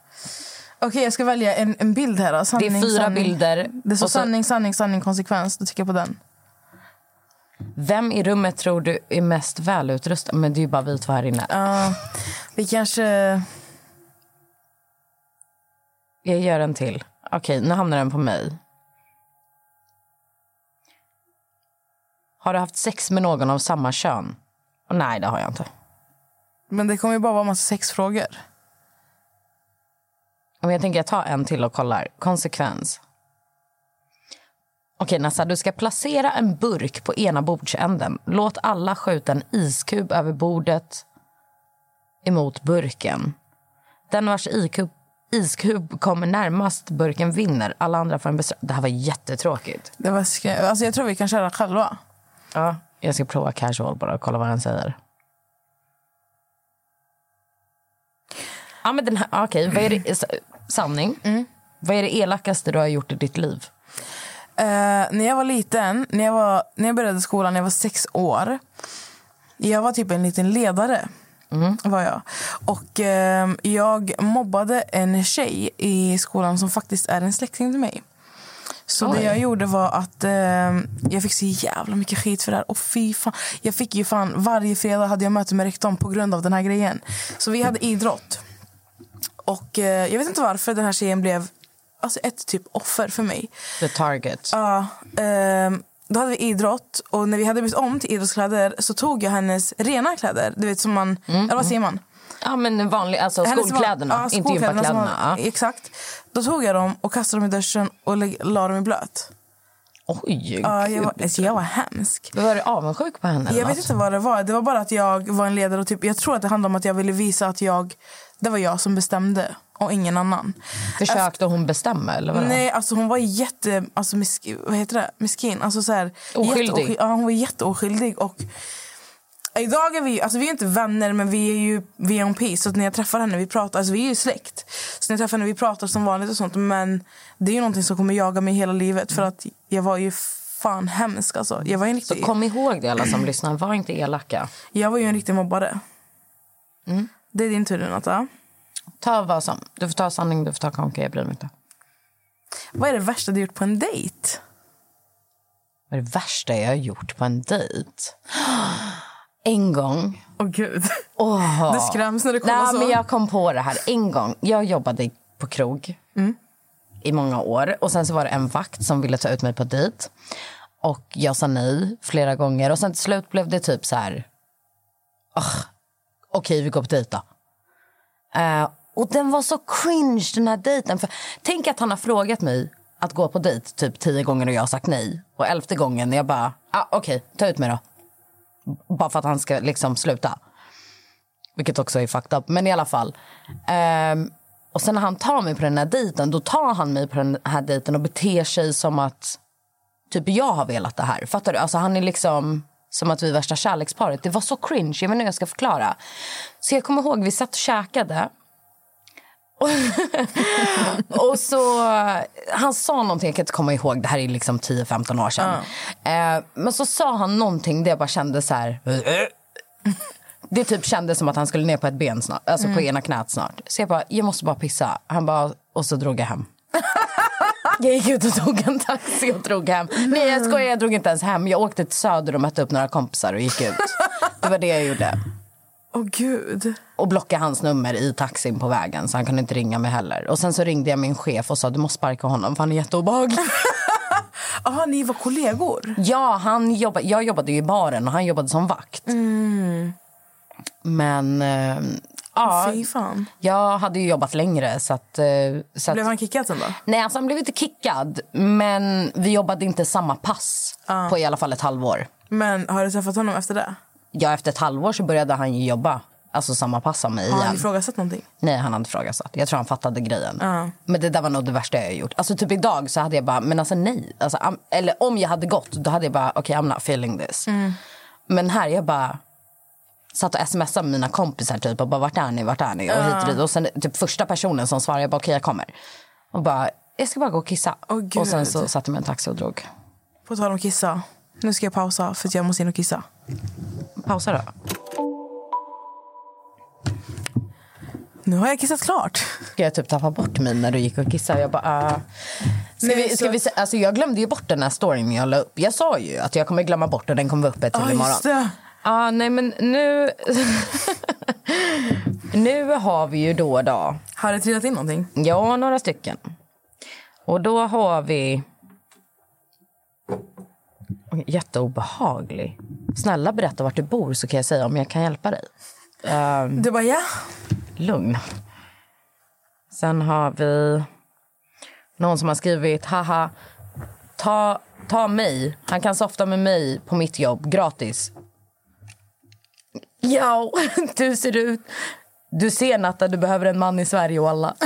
Speaker 2: Okej, jag ska välja en, en bild här då.
Speaker 4: Det
Speaker 2: Sanning,
Speaker 4: är fyra
Speaker 2: sanning.
Speaker 4: bilder.
Speaker 2: Det står
Speaker 4: och så,
Speaker 2: sanning, sanning, sanning, konsekvens. Då tycker jag på den.
Speaker 4: vem i rummet tror du är mest välutrustad? Men det är ju bara vi två här inne.
Speaker 2: Ja, vi kanske...
Speaker 4: Jag gör en till. Okej, nu hamnar den på mig. Har du haft sex med någon av samma kön? Åh, nej, det har jag inte.
Speaker 2: Men det kommer ju bara vara en massa sexfrågor.
Speaker 4: Men jag tänker jag tar en till och kollar. Konsekvens. Okej, Nassa, du ska placera en burk på ena bordsänden. Låt alla skjuta en iskub över bordet emot burken. Den vars ikub, iskub kommer närmast burken vinner. Alla andra får en besvär. Det här var jättetråkigt.
Speaker 2: Det var skrä... alltså, jag tror vi kan köra själva.
Speaker 4: Ja. Jag ska prova casual bara och kolla vad den säger. Ja, men den här, okej, vad är det, s- sanning.
Speaker 2: Mm.
Speaker 4: Vad är det elakaste du har gjort i ditt liv?
Speaker 2: Eh, när jag var liten, när jag, var, när jag började skolan, när jag var sex år. Jag var typ en liten ledare. Var jag. Och eh, jag mobbade en tjej i skolan som faktiskt är en släkting till mig. Så det jag gjorde var att eh, jag fick så jävla mycket skit för det här. Och fy fan. Jag fick ju fan, varje fredag hade jag möte med rektorn på grund av den här grejen. Så vi hade idrott. Och eh, jag vet inte varför den här tjejen blev alltså, ett typ offer för mig.
Speaker 4: The target.
Speaker 2: Ja, ehm, då hade vi idrott och när vi hade bytt om till idrottskläder så tog jag hennes rena kläder. Du vet som man, eller vad säger man?
Speaker 4: Ja, men vanlig, alltså
Speaker 2: Hennes
Speaker 4: Mm, skolkläderna,
Speaker 2: van- ja,
Speaker 4: inte
Speaker 2: skolkläderna som
Speaker 4: gympakläderna.
Speaker 2: man-
Speaker 4: Ja.
Speaker 2: Exakt. Då tog jag dem och kastade dem i duschen och lä- la dem i blöt.
Speaker 4: Oj,
Speaker 2: Ja, jag,
Speaker 4: gud.
Speaker 2: var, alltså, jag var hemsk.
Speaker 4: Var du avundsjuk på henne? eller
Speaker 2: Jag vet
Speaker 4: något?
Speaker 2: inte vad det var. Det var bara att jag var en ledare. Och typ, jag tror att det handlade om att jag ville visa att jag, det var jag som bestämde och ingen annan.
Speaker 4: Försökte hon bestämma? Eller vad det var?
Speaker 2: Nej, alltså hon var jätte... Alltså, misk, vad heter det? Miskin. Alltså, så här,
Speaker 4: Oskyldig.
Speaker 2: jätteosky- Ja, hon var jätteoskyldig. Och idag är vi ju- alltså, vi är inte vänner, men vi är ju vi är on peace. Så att när jag träffar henne, vi pratar, alltså, vi är ju släkt. Så när jag träffar henne, vi pratar som vanligt och sånt. Men det är ju någonting som kommer jaga mig hela livet. För att jag var ju fan hemsk alltså. Jag var ju en riktig,
Speaker 4: Så kom ihåg det alla som lyssnar, var inte elaka.
Speaker 2: jag var ju en riktig mobbare.
Speaker 4: Mm.
Speaker 2: Det är din tur nu, Natta.
Speaker 4: Ta vad som. Du får ta sanning, du får ta konka, jag bryr mig inte.
Speaker 2: Vad är det värsta du gjort på en dejt?
Speaker 4: Vad är det värsta jag har gjort på en dejt? En gång.
Speaker 2: Åh gud.
Speaker 4: Åh.
Speaker 2: Du skräms när du kollar
Speaker 4: Nej,
Speaker 2: så.
Speaker 4: Men jag kom på det här en gång. Jag jobbade på krog i många år. Och Sen så var det en vakt som ville ta ut mig på dejt. Och jag sa nej flera gånger. Och sen till slut blev det typ så här... "Ugh, Okej, vi går på dejt då. Eh, och den var så cringe, den här dejten. För, tänk att han har frågat mig att gå på dejt typ tio gånger och jag har sagt nej. Och elfte gången när jag bara, ah, okej, ta ut mig då. Bara för att han ska liksom sluta. Vilket också är fucked up, men i alla fall. Ehm, och sen när han tar mig på den här dejten, då tar han mig på den här dejten och beter sig som att typ jag har velat det här. Fattar du? Alltså han är liksom som att vi är värsta kärleksparet. Det var så cringe, jag vet inte hur jag ska förklara. Så jag kommer ihåg, vi satt och käkade. Och, och så, han sa någonting, jag kan inte komma ihåg, det här är liksom 10-15 år sedan. Eh, men så sa han någonting där jag bara kände så här... "Äh, Det typ kändes som att han skulle ner på ett ben snart, alltså på ena knät snart. Så jag bara, jag måste bara pissa. Han bara, och så drog jag hem. Jag gick ut och tog en taxi och drog hem. Nej jag skojar, jag drog inte ens hem. Jag åkte till Söder och mötte upp några kompisar och gick ut. Det var det jag gjorde.
Speaker 2: Åh gud.
Speaker 4: Och blockade hans nummer i taxin på vägen så han kunde inte ringa mig heller. Och sen så ringde jag min chef och sa du måste sparka honom för han är jätteobehaglig.
Speaker 2: Jaha, ni var kollegor?
Speaker 4: Ja, han jobba, jag jobbade ju i baren och han jobbade som vakt. Men... Eh, ja,
Speaker 2: Fy fan.
Speaker 4: Jag hade ju jobbat längre. Så att, eh, så att,
Speaker 2: Blev han kickad sen då?
Speaker 4: Nej, alltså han blev inte kickad, men vi jobbade inte samma pass
Speaker 2: Ah.
Speaker 4: på i alla fall ett halvår.
Speaker 2: Men har du träffat honom efter det?
Speaker 4: Ja, efter ett halvår så började han ju jobba alltså samma pass som mig
Speaker 2: Har han
Speaker 4: igen.
Speaker 2: ifrågasatt någonting?
Speaker 4: Nej, han hade ifrågasatt. Jag tror han fattade grejen. Men det där var nog det värsta jag har gjort. Alltså typ idag så
Speaker 2: Mm.
Speaker 4: hade jag bara, men alltså nej. Alltså, am- eller om jag hade gått, då hade jag bara, okej I'm not feeling this. Men här, jag bara satt och smsade med mina kompisar typ och bara vart är ni, vart är ni och hit och dit. Och sen typ första personen som svarade, jag bara okej jag kommer. Och bara, jag ska bara gå och kissa.
Speaker 2: Åh,
Speaker 4: och sen
Speaker 2: gud.
Speaker 4: så satte jag mig i en taxi och drog.
Speaker 2: På tal om kissa. Nu ska jag pausa för att jag måste in och kissa.
Speaker 4: Pausa då.
Speaker 2: Nu har jag kissat klart.
Speaker 4: Ska jag typ tappa bort mig när du gick och kissade? Jag bara, ah. Ska
Speaker 2: Nej,
Speaker 4: vi, ska
Speaker 2: så-
Speaker 4: vi, se- alltså jag glömde ju bort den här storyn jag la upp. Jag sa ju att jag kommer glömma bort och den kommer vara uppe till
Speaker 2: Ja,
Speaker 4: imorgon.
Speaker 2: just det.
Speaker 4: Ja, nej men nu... nu har vi ju då då,
Speaker 2: Har det trillat in någonting?
Speaker 4: ja några stycken. Och då har vi... Oj, Jätteobehaglig. Snälla berätta vart du bor så kan jag säga om jag kan hjälpa dig. Ehm,
Speaker 2: Du bara ja.
Speaker 4: lugn. Sen har vi någon som har skrivit haha, ta, ta mig. Han kan softa med mig på mitt jobb gratis. Ja, du ser ut. Du ser Natta, du behöver en man i Sverige och alla.